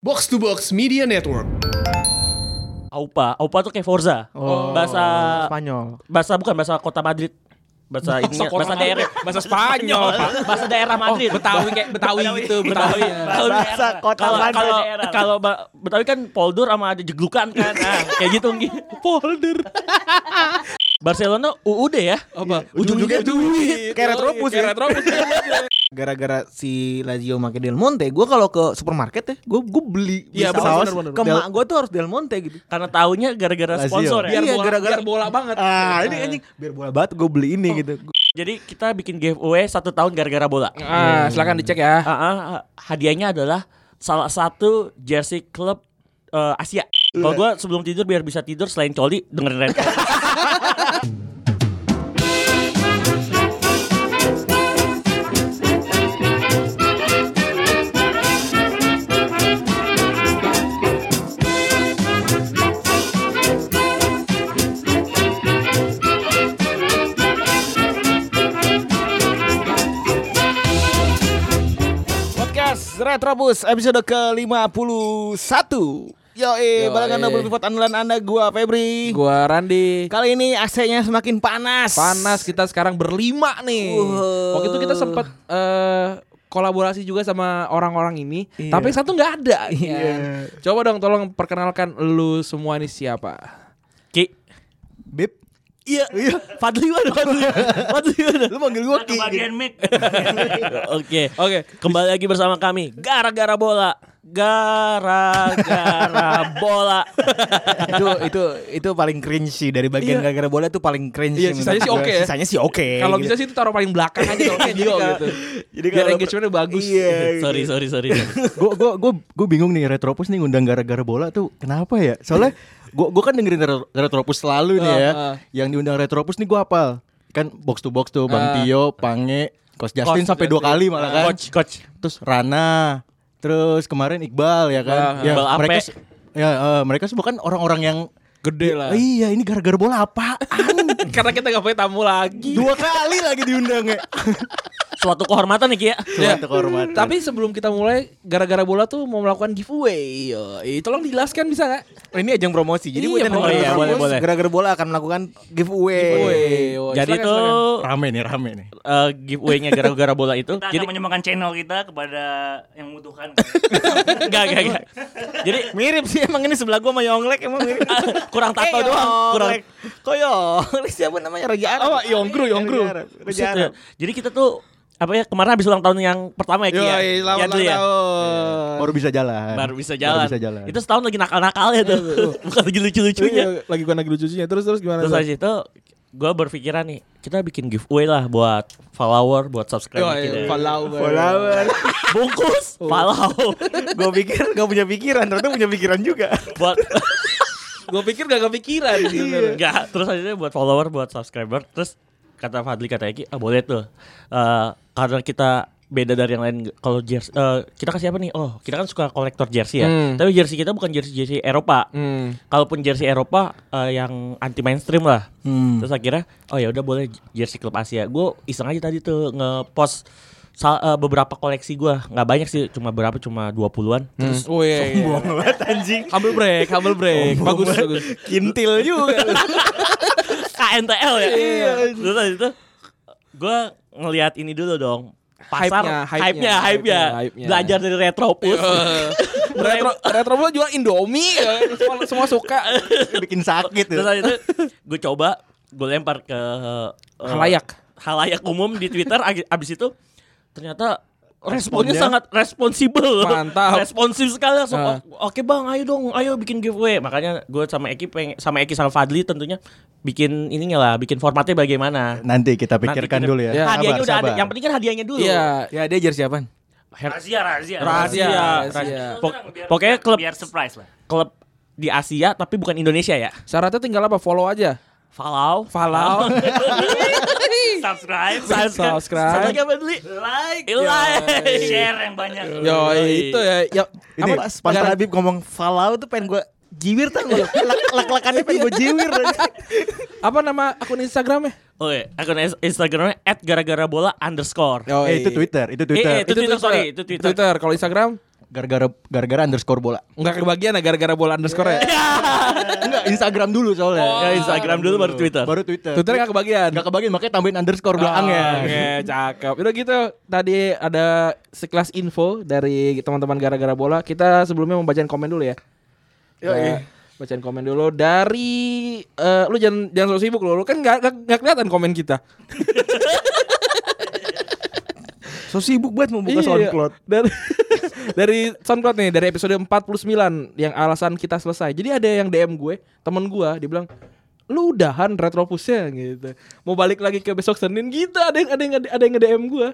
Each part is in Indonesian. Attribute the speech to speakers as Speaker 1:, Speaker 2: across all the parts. Speaker 1: Box to Box Media Network.
Speaker 2: Aupa, Aupa tuh kayak Forza.
Speaker 3: Oh,
Speaker 2: Bahasa
Speaker 4: Oh, Spanyol.
Speaker 2: bahasa bukan bahasa kota Madrid. Bahasa ininya,
Speaker 3: kota
Speaker 2: bahasa daerah,
Speaker 3: bahasa Spanyol. Pak.
Speaker 2: bahasa daerah
Speaker 3: Oh,
Speaker 2: Madrid.
Speaker 3: Betawi kayak Betawi gitu, Betawi.
Speaker 2: Kalau
Speaker 4: Bahasa
Speaker 2: daerah.
Speaker 4: kota
Speaker 2: Kalau-
Speaker 4: Madrid.
Speaker 2: Kalau kalau ba- Betawi kan polder sama ada jeglukan kan. Nah, kayak gitu mungkin. Polder. Barcelona UUD ya.
Speaker 3: Apa?
Speaker 4: Ujung-ujungnya duit. Kayak Retropus ya.
Speaker 3: Kayak Iya, Retropus. iya,
Speaker 4: Gara-gara si Lazio make Del Monte, gue kalau ke supermarket ya, gue gue beli beli
Speaker 3: Iya, bener,
Speaker 4: saus.
Speaker 3: bener, bener.
Speaker 4: Ke
Speaker 3: Del-
Speaker 4: mak gue tuh harus Del Monte gitu.
Speaker 2: Karena tahunya gara-gara
Speaker 4: Lazio.
Speaker 2: sponsor ya.
Speaker 3: Biar
Speaker 4: Iya,
Speaker 3: bola,
Speaker 4: gara-gara-
Speaker 3: biar bola banget. Iya. Oh.
Speaker 4: Ah, ini anjing biar bola banget gue beli ini gitu.
Speaker 2: Jadi kita bikin giveaway satu tahun gara-gara bola.
Speaker 3: Ah, silakan dicek ya.
Speaker 2: Ah, ah, ah, hadiahnya adalah salah satu jersey klub eh, Asia. Kalau gue sebelum tidur biar bisa tidur selain coli dengerin Red.
Speaker 4: Podcast Retrobus episode ke-51. Yo, eh,
Speaker 3: Yoi.
Speaker 4: balangan double pivot andalan Anda gua Febri.
Speaker 3: Gua Randi.
Speaker 4: Kali ini AC-nya semakin panas.
Speaker 3: Panas kita sekarang berlima nih.
Speaker 4: Wuh.
Speaker 3: Waktu itu kita sempat eh, kolaborasi juga sama orang-orang ini, tapi yang satu nggak ada. Iya. Coba dong tolong perkenalkan lu semua ini siapa?
Speaker 2: Ki.
Speaker 4: Bib.
Speaker 2: Iya. Fadli mana Fadli? Fadli mana?
Speaker 4: Lu manggil gua
Speaker 3: Nah,
Speaker 4: Ki.
Speaker 2: Kebagian
Speaker 4: gitu.
Speaker 2: mic. Oke.
Speaker 3: Oke.
Speaker 2: Kembali lagi bersama kami gara-gara bola. Gara-gara bola.
Speaker 4: itu itu itu paling cringe sih dari bagian gara-gara bola itu paling cringe.
Speaker 3: Iya,
Speaker 4: menurut
Speaker 3: sisanya sih
Speaker 4: gua.
Speaker 3: oke ya.
Speaker 4: Sisanya sih oke.
Speaker 3: Kalau
Speaker 4: gitu.
Speaker 3: bisa sih itu taruh paling belakang aja kalau kayak gitu.
Speaker 4: Iya. Jadi
Speaker 3: Biar
Speaker 4: kalau-
Speaker 3: engagementnya bagus.
Speaker 4: Iya.
Speaker 2: sorry, sorry, sorry.
Speaker 5: gue gua gua gua bingung nih Retropus nih ngundang gara-gara bola tuh kenapa ya? Soalnya gua gua kan dengerin Re- Retropus selalu nih ya.
Speaker 3: Ah, ah.
Speaker 5: Yang diundang Retropus nih gua hafal. Kan box to box tuh
Speaker 3: Ah.
Speaker 5: Bang Tio, Pange, Coach Justin
Speaker 3: Coach
Speaker 5: sampai dua
Speaker 3: Justin.
Speaker 5: kali malah kan.
Speaker 2: coach, coach.
Speaker 5: Terus Rana, terus kemarin Iqbal ya kan.
Speaker 3: Ah,
Speaker 5: ya,
Speaker 2: Iqbal
Speaker 5: mereka
Speaker 2: Ape.
Speaker 5: se- ya eh, mereka semua kan orang-orang yang
Speaker 3: Gede lah.
Speaker 5: Iya, ini gara-gara bola apaan?
Speaker 3: Karena kita nggak punya tamu lagi.
Speaker 5: dua kali lagi diundangnya.
Speaker 4: ya.
Speaker 2: Suatu kehormatan nih Ki ya.
Speaker 3: Ya.
Speaker 5: Suatu kehormatan.
Speaker 3: Tapi sebelum kita mulai gara-gara bola tuh mau melakukan giveaway. Yoi. Tolong dijelaskan bisa nggak?
Speaker 4: Oh, ini ajang promosi. Jadi
Speaker 3: Iya,
Speaker 4: buat yang
Speaker 3: promosi.
Speaker 4: dengerin
Speaker 2: Iya,
Speaker 4: Retropus,
Speaker 2: boleh, boleh.
Speaker 4: Gara-gara bola akan melakukan giveaway.
Speaker 3: Yoi.
Speaker 2: Jadi
Speaker 3: Silakan,
Speaker 2: itu
Speaker 3: silakan.
Speaker 5: rame nih, rame nih.
Speaker 2: eh, giveaway-nya gara-gara bola itu.
Speaker 6: kita
Speaker 2: Jadi
Speaker 6: akan menyumbangkan channel kita kepada yang membutuhkan.
Speaker 2: enggak, enggak, enggak. Jadi
Speaker 4: Mirip sih emang ini sebelah gua sama Yonglek emang mirip.
Speaker 2: kurang tato
Speaker 4: Eh,
Speaker 2: doang, kurang
Speaker 4: Yonglek. Kok Yonglek siapa namanya Raja Arab?
Speaker 3: Oh, Yonggru, Yonggru.
Speaker 4: Raja Arab. Raja
Speaker 2: Buset ya.
Speaker 4: Arab.
Speaker 2: Jadi kita tuh apa ya kemarin habis ulang tahun yang pertama ya Ki ya.
Speaker 3: Yoi,
Speaker 2: Ya,
Speaker 3: selamat
Speaker 2: dulu
Speaker 3: ulang
Speaker 2: ya.
Speaker 3: tahun.
Speaker 5: Baru bisa jalan.
Speaker 2: Baru bisa jalan.
Speaker 5: Baru bisa jalan.
Speaker 2: Itu setahun lagi nakal-nakalnya tuh. Bukan lagi lucu-lucunya.
Speaker 3: Iya, lagi gua lagi lucunya. Terus terus
Speaker 4: iya.
Speaker 3: gimana?
Speaker 2: Terus
Speaker 3: Sal?
Speaker 2: habis itu gue berpikiran nih kita bikin giveaway lah buat follower, buat subscriber
Speaker 3: Yoi,
Speaker 2: kita.
Speaker 3: follower.
Speaker 4: Follower.
Speaker 2: Bungkus,
Speaker 4: Oh.
Speaker 2: follow,
Speaker 4: Gua pikir gak punya pikiran, ternyata punya pikiran juga.
Speaker 2: buat
Speaker 3: Gue pikir gak kepikiran. sebenarnya.
Speaker 2: enggak. Terus akhirnya buat follower, buat subscriber. Terus kata Fadli kata Eki, ah boleh tuh. Eh, karena kita beda dari yang lain kalau jersey eh, kita kasih apa nih oh kita kan suka kolektor jersey ya
Speaker 3: Hmm.
Speaker 2: tapi jersey kita bukan jersey jersey Eropa
Speaker 3: Hmm.
Speaker 2: kalaupun jersey Eropa eh, yang anti mainstream lah.
Speaker 3: Hmm.
Speaker 2: Terus akhirnya oh ya udah boleh jersey klub Asia. Gue iseng aja tadi tuh ngepost sal- eh, beberapa koleksi gua nggak banyak sih cuma berapa cuma 20-an terus
Speaker 3: Oh iya, iya.
Speaker 4: banget anjing.
Speaker 3: Humble break, humble break. bagus, bagus.
Speaker 4: Kintil juga.
Speaker 2: KNTL
Speaker 3: Iya,
Speaker 2: ya terus habis itu gue ngelihat ini dulu dong pasar
Speaker 3: Hype-nya, hype-nya,
Speaker 2: hype-nya hype-nya
Speaker 3: hype-nya.
Speaker 2: belajar dari retropus
Speaker 3: Iya. retro retro bola jual Indomie ya. semua, semua suka
Speaker 5: bikin sakit
Speaker 2: Gitu. terus habis itu gue coba gue lempar ke eh,
Speaker 3: Halayak.
Speaker 2: halayak umum di Twitter ag- abis itu ternyata responnya sangat responsibel
Speaker 3: Mantap.
Speaker 2: responsif sekali langsung
Speaker 3: Ah.
Speaker 2: "O- oke bang ayo dong ayo bikin giveaway makanya gue sama Eki pengen sama Eki sama Fadli tentunya bikin ininya lah bikin formatnya bagaimana
Speaker 5: Nanti kita pikirkan
Speaker 2: kita-
Speaker 5: dulu ya.
Speaker 3: Ya,
Speaker 2: hadiahnya
Speaker 5: Sabar,
Speaker 2: udah ada
Speaker 5: sabar.
Speaker 2: yang penting kan hadiahnya dulu
Speaker 3: iya
Speaker 4: ya dia jersey apaan?
Speaker 2: Her-
Speaker 6: rahasia, rahasia.
Speaker 3: Rahasia, rahasia.
Speaker 2: Pok- pokoknya
Speaker 6: biar,
Speaker 2: klub
Speaker 6: biar surprise lah.
Speaker 2: klub di Asia tapi bukan Indonesia ya
Speaker 3: syaratnya tinggal apa follow aja
Speaker 2: Falau
Speaker 3: follow
Speaker 6: Subscribe,
Speaker 2: satu
Speaker 3: subscribe
Speaker 2: lagi apa beli
Speaker 6: like,
Speaker 2: like
Speaker 6: share yang banyak.
Speaker 3: yo itu ya yo
Speaker 5: Ini
Speaker 3: apa,
Speaker 5: pas,
Speaker 4: Pas
Speaker 3: gara-
Speaker 4: Habib ngomong falau tuh pengen gue jiwir tau gak lu? Lek- Lek-lekannya pengen gue jiwir
Speaker 3: Iya. apa nama akun Instagramnya
Speaker 2: Oke, akun Instagramnya @gara-gara bola underscore.
Speaker 3: yo
Speaker 5: eh, itu Twitter, itu Twitter.
Speaker 2: Eh, eh, itu Twitter, sorry, itu Twitter.
Speaker 3: Twitter kalau Instagram
Speaker 5: gara-gara gara-gara underscore bola.
Speaker 3: Enggak kebagian ya gara-gara bola underscore
Speaker 2: Iya.
Speaker 3: ya.
Speaker 5: Enggak, Instagram dulu soalnya.
Speaker 2: Ya Instagram dulu baru Twitter.
Speaker 5: Baru Twitter. Ah,
Speaker 3: Twitter enggak kebagian. ya?
Speaker 5: Enggak kebagian makanya tambahin underscore belakangnya.
Speaker 3: Oke, cakep. Udah gitu, tadi ada sekelas info dari teman-teman gara-gara bola. Kita sebelumnya membacain komen dulu ya. Kita Bacain komen dulu dari eh, lu jangan jangan sok sibuk lu. Lu kan nggak nggak- nggak kelihatan komen kita.
Speaker 4: So sibuk banget mau buka
Speaker 3: Iya.
Speaker 4: SoundCloud.
Speaker 3: Dari dari SoundCloud nih dari episode 49 yang alasan kita selesai. Jadi ada yang DM gue, temen gue, dia bilang lu udahan retropusnya gitu. Mau balik lagi ke besok Senin gitu. Ada yang ada yang ada yang nge-DM gue.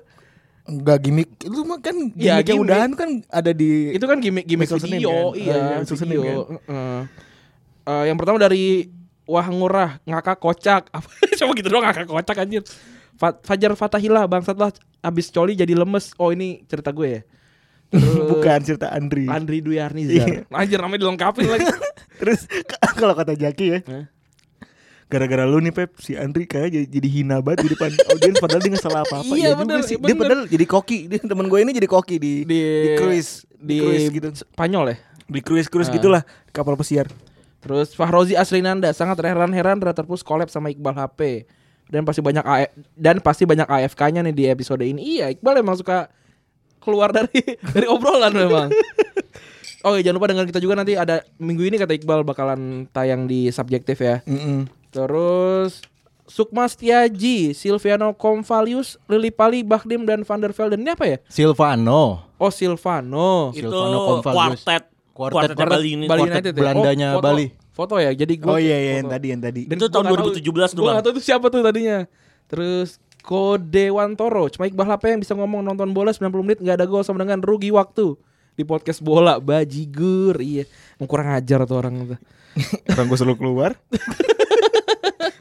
Speaker 4: Enggak gimmick. Lu mah kan gimmick
Speaker 3: Ya,
Speaker 4: yang
Speaker 3: gimmick.
Speaker 4: udahan kan ada di
Speaker 3: itu kan gimmick gimmick
Speaker 4: Besok Senin
Speaker 3: video
Speaker 4: kan?
Speaker 3: iya
Speaker 4: Oh, iya, besok Senin
Speaker 3: video Heeh. Eh, yang pertama dari wah ngurah ngakak kocak apa coba gitu doang ngakak kocak anjir Fa- Fajar Fatahila bangsat lah abis coli jadi lemes oh ini cerita gue ya
Speaker 4: bukan cerita Andri.
Speaker 3: Andri Dwi
Speaker 4: Iya.
Speaker 3: Arnizar anjir namanya dilengkapin lagi
Speaker 4: Terus kalau kata Jaki ya. Gara-gara lu nih Pep, si Andri kayaknya jadi, jadi hina banget di depan audiens padahal dia nggak salah apa-apa.
Speaker 3: Iya,
Speaker 4: juga
Speaker 3: bener,
Speaker 4: sih.
Speaker 3: iya,
Speaker 4: Dia
Speaker 3: bener.
Speaker 4: padahal jadi koki. Dia teman gue ini jadi koki di di, cruise,
Speaker 3: di,
Speaker 4: cruise gitu.
Speaker 3: Spanyol ya
Speaker 4: Di cruise cruise
Speaker 3: Ah.
Speaker 4: gitulah kapal pesiar.
Speaker 3: Terus Fahrozi Asrinanda sangat terheran-heran Retropus collab sama Iqbal HP. Dan pasti banyak AF dan pasti banyak AFK-nya nih di episode ini. Iya, Iqbal emang suka keluar dari dari obrolan memang. Oke, jangan lupa dengar kita juga nanti ada minggu ini kata Iqbal bakalan tayang di subjektif ya. Terus Sukma Setiaji, Silviano Convalius, Lili Pali, Bahdim dan Van der Velden ini apa ya?
Speaker 5: Silvano.
Speaker 3: Oh Silvano.
Speaker 2: Itu
Speaker 5: Silvano Convalius.
Speaker 2: quartet
Speaker 5: Quartet
Speaker 2: quartetnya Bali ini.
Speaker 5: Bali. United ya? Belandanya
Speaker 3: foto,
Speaker 5: Bali.
Speaker 3: Foto ya. Jadi
Speaker 4: Oh
Speaker 3: gua
Speaker 4: iya iya yang
Speaker 3: foto.
Speaker 4: tadi yang tadi.
Speaker 2: Itu tahun 2017
Speaker 3: Gue
Speaker 2: tuh, Bang.
Speaker 3: gak tau itu siapa tuh tadinya Terus Kode Wantoro Cuma Iqbal Hape yang bisa ngomong nonton bola 90 menit Gak ada gol sama dengan rugi waktu Di podcast bola Bajigur Iya Emang kurang ajar tuh orang tuh.
Speaker 4: Orang gue selalu keluar.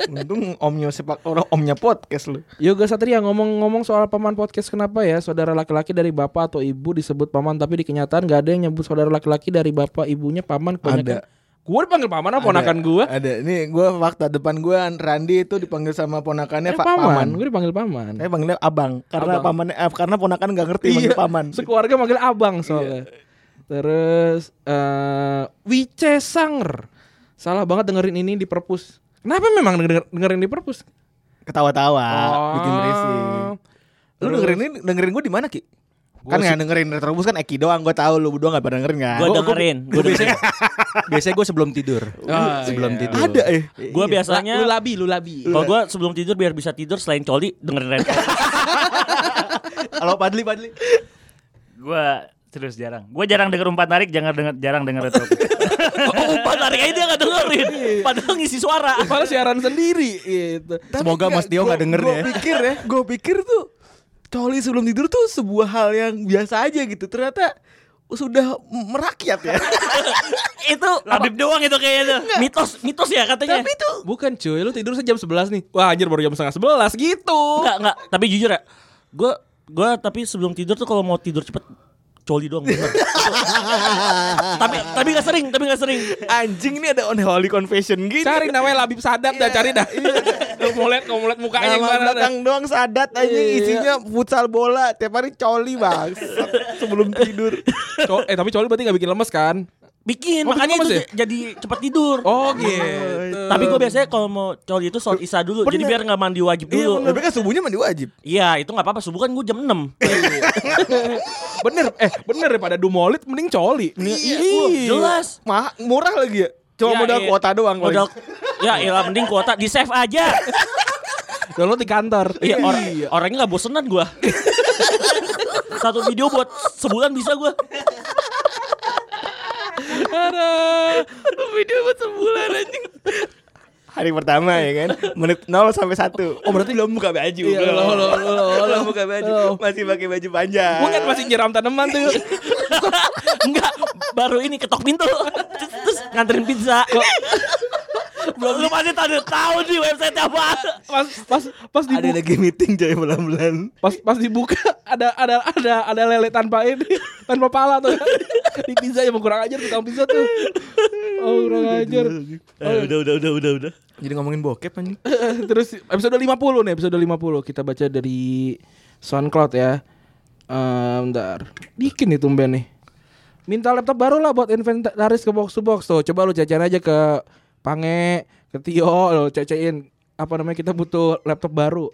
Speaker 4: Untung omnya sepak orang omnya podcast lu.
Speaker 3: Yoga Satria ngomong-ngomong soal paman podcast Kenapa ya saudara laki-laki dari bapak atau ibu disebut paman Tapi di kenyataan gak ada yang nyebut saudara laki-laki dari bapak ibunya paman kebanyakan
Speaker 4: Ada.
Speaker 3: Gue dipanggil paman apa ponakan gue?
Speaker 4: Ada. Nih gue fakta depan gue Randi itu dipanggil sama ponakannya Ya, Pak Paman.
Speaker 3: Gue dipanggil paman
Speaker 4: Saya panggilnya abang Iya. karena
Speaker 3: Abang.
Speaker 4: paman eh, karena ponakan nggak ngerti manggil paman.
Speaker 3: Sekeluarga manggil abang
Speaker 5: Iya.
Speaker 3: soalnya. Terus eh Wice Sanger. Salah banget dengerin ini di perpus. Kenapa memang denger- dengerin di perpus?
Speaker 4: Ketawa-tawa,
Speaker 3: Oh.
Speaker 5: Ah,
Speaker 4: bikin berisik. Lu dengerin ini dengerin gue di mana Ki? kan nggak dengerin Retrobus kan Eki doang, gue tahu lu berdua nggak pernah dengerin kan?
Speaker 2: Gue dengerin, gue dengerin.
Speaker 5: Biasanya gue sebelum tidur.
Speaker 3: Ah,
Speaker 5: sebelum
Speaker 3: iya.
Speaker 5: tidur.
Speaker 4: Ada eh.
Speaker 2: Gue biasanya
Speaker 3: Lu labi, lu labi.
Speaker 2: kalau gue sebelum tidur biar bisa tidur selain coli dengerin Red Hot.
Speaker 5: Halo Padli, Padli.
Speaker 6: Gue terus jarang. Gue jarang denger umpan tarik, jangan denger jarang denger retro.
Speaker 2: Oh, umpan tarik aja dia gak dengerin. Padahal ngisi suara.
Speaker 3: Padahal siaran sendiri gitu.
Speaker 5: Semoga Mas Tio nggak denger
Speaker 4: gue
Speaker 5: ya.
Speaker 4: pikir ya, gue pikir tuh coli sebelum tidur tuh sebuah hal yang biasa aja gitu. Ternyata sudah merakyat ya.
Speaker 2: itu Labib doang itu kayaknya tuh. Mitos, mitos ya katanya.
Speaker 4: Tapi itu
Speaker 3: Bukan cuy, lu tidur sejam 11 nih. Wah, anjir baru jam setengah 11 gitu.
Speaker 2: Enggak, enggak. Tapi jujur ya, gue gue tapi sebelum tidur tuh kalau mau tidur cepet coli doang. bener. tapi tapi nggak sering, tapi nggak sering.
Speaker 4: anjing ini ada unholy confession gitu.
Speaker 3: Cari namanya Labib Sadap
Speaker 5: Iya,
Speaker 3: dah, cari dah. Lu mau lihat, mau lihat
Speaker 4: Nama
Speaker 3: mukanya gimana dah.
Speaker 4: belakang doang sadat aja
Speaker 3: Iya.
Speaker 4: isinya futsal bola tiap hari coli bang sebelum tidur
Speaker 3: Co- eh tapi coli berarti gak bikin lemes kan?
Speaker 2: Bikin,
Speaker 3: Oh, bikin
Speaker 2: makanya
Speaker 3: lemes
Speaker 2: itu
Speaker 3: ya?
Speaker 2: jadi cepet tidur.
Speaker 3: Oh gitu.
Speaker 2: Tapi gue biasanya kalau mau coli itu sholat isya dulu, jadi biar nggak mandi wajib dulu.
Speaker 4: kan subuhnya mandi wajib
Speaker 2: Iya, itu nggak apa-apa. Subuh kan gue jam 6
Speaker 3: bener eh bener daripada dumolit mending coli
Speaker 4: Iya,
Speaker 2: Oh, jelas.
Speaker 4: mah murah lagi ya cuma
Speaker 2: Ya,
Speaker 4: modal
Speaker 2: iya.
Speaker 4: kuota doang paling.
Speaker 2: Modal, ya, ya mending kuota di save aja.
Speaker 3: download di kantor
Speaker 2: Iya, or- orangnya nggak bosenan gue. Satu video buat sebulan bisa gue.
Speaker 3: video buat sebulan anjing
Speaker 4: hari pertama ya kan menit 0 sampai 1 oh berarti belum buka baju
Speaker 3: Iya, belum, belum, belum,
Speaker 4: belum
Speaker 3: belum.
Speaker 4: buka baju
Speaker 3: Belum.
Speaker 4: masih pakai baju panjang
Speaker 3: bukan kan masih nyeram tanaman tuh
Speaker 2: Enggak, baru ini ketok pintu. Terus, terus nganterin pizza. Belum lu pasti tahu tahu di website apa.
Speaker 3: pas pas pas
Speaker 4: ada
Speaker 3: dibuka
Speaker 4: lagi meeting jaya bulan-bulan
Speaker 3: pas pas dibuka ada ada ada ada lele tanpa ini tanpa pala tuh di pizza yang kurang ajar tukang pizza tuh oh kurang ajar
Speaker 2: Eh, udah udah udah udah udah.
Speaker 4: jadi ngomongin bokep anjing
Speaker 3: Terus episode 50 nih, episode 50 kita baca Eh, dari SoundCloud ya. Ehm bentar. Dikin nih tumben nih. minta laptop baru lah buat inventaris ke box to box tuh. Coba lu jajan aja ke Pange, ke Tio, lu cecein apa namanya kita butuh laptop baru.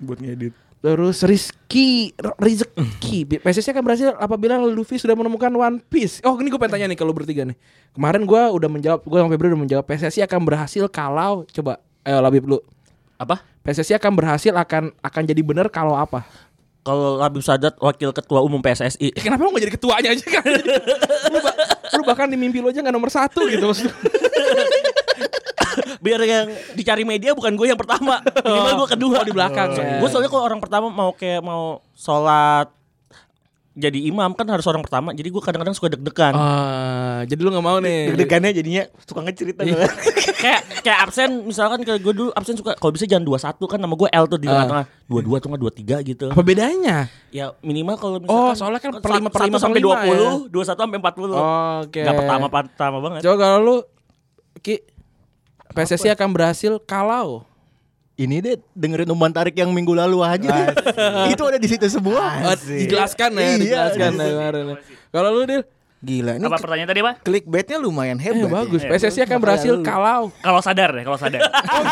Speaker 7: buat ngedit.
Speaker 3: Terus Rizky Rizky Mesesnya kan berhasil apabila Luffy sudah menemukan One Piece Oh ini gue pengen tanya nih kalau bertiga nih Kemarin gue udah menjawab Gue sama Febri udah menjawab PSSI akan berhasil kalau Coba Ayo Labib lu
Speaker 2: Apa?
Speaker 3: PSSI akan berhasil akan akan jadi bener kalau apa
Speaker 2: Kalau Labib Sadat wakil ketua umum PSSI.
Speaker 3: Ya, Kenapa lu gak jadi ketuanya aja kan lu, ba- lu bahkan di mimpi lu aja gak nomor satu gitu maksud gua.
Speaker 2: Biar yang dicari media bukan gue yang pertama. Minimal gue kedua
Speaker 3: Oh, di belakang ya.
Speaker 2: Gue soalnya kalau orang pertama mau kayak mau sholat jadi imam kan harus orang pertama. Jadi gue kadang-kadang suka deg-degan.
Speaker 3: Ah, Jadi lu gak mau nih
Speaker 7: Deg-degannya jadinya suka ngecerita kan.
Speaker 4: Iya.
Speaker 2: kayak kayak absen misalkan kayak gue dulu absen suka kalau bisa jangan 21 kan nama gue L
Speaker 3: Eh.
Speaker 2: tuh di tengah-tengah. 22 tuh nggak 23 gitu.
Speaker 3: Apa bedanya?
Speaker 2: Ya minimal kalau
Speaker 3: Oh, soalnya kan per lima- per
Speaker 2: satu
Speaker 3: lima, per
Speaker 2: sampai
Speaker 3: lima
Speaker 2: 20, 21 sampai 40.
Speaker 3: Oh, Oke
Speaker 2: Nggak pertama-pertama banget.
Speaker 3: Coba kalau lu Ki PSSI akan berhasil kalau
Speaker 4: Ini deh dengerin umpan tarik yang minggu lalu aja. itu ada di situ semua.
Speaker 3: Eh, dijelaskan ya,
Speaker 4: Iya,
Speaker 3: dijelaskan ya kemarin ya. Kalau lu Dil,
Speaker 4: Gila ini
Speaker 6: Apa pertanyaan tadi, Pak?
Speaker 4: clickbaitnya lumayan
Speaker 3: eh,
Speaker 4: hebat. ya.
Speaker 3: bagus. PSSI akan berhasil kalau.
Speaker 6: Kalau sadar deh, kalau sadar. kalau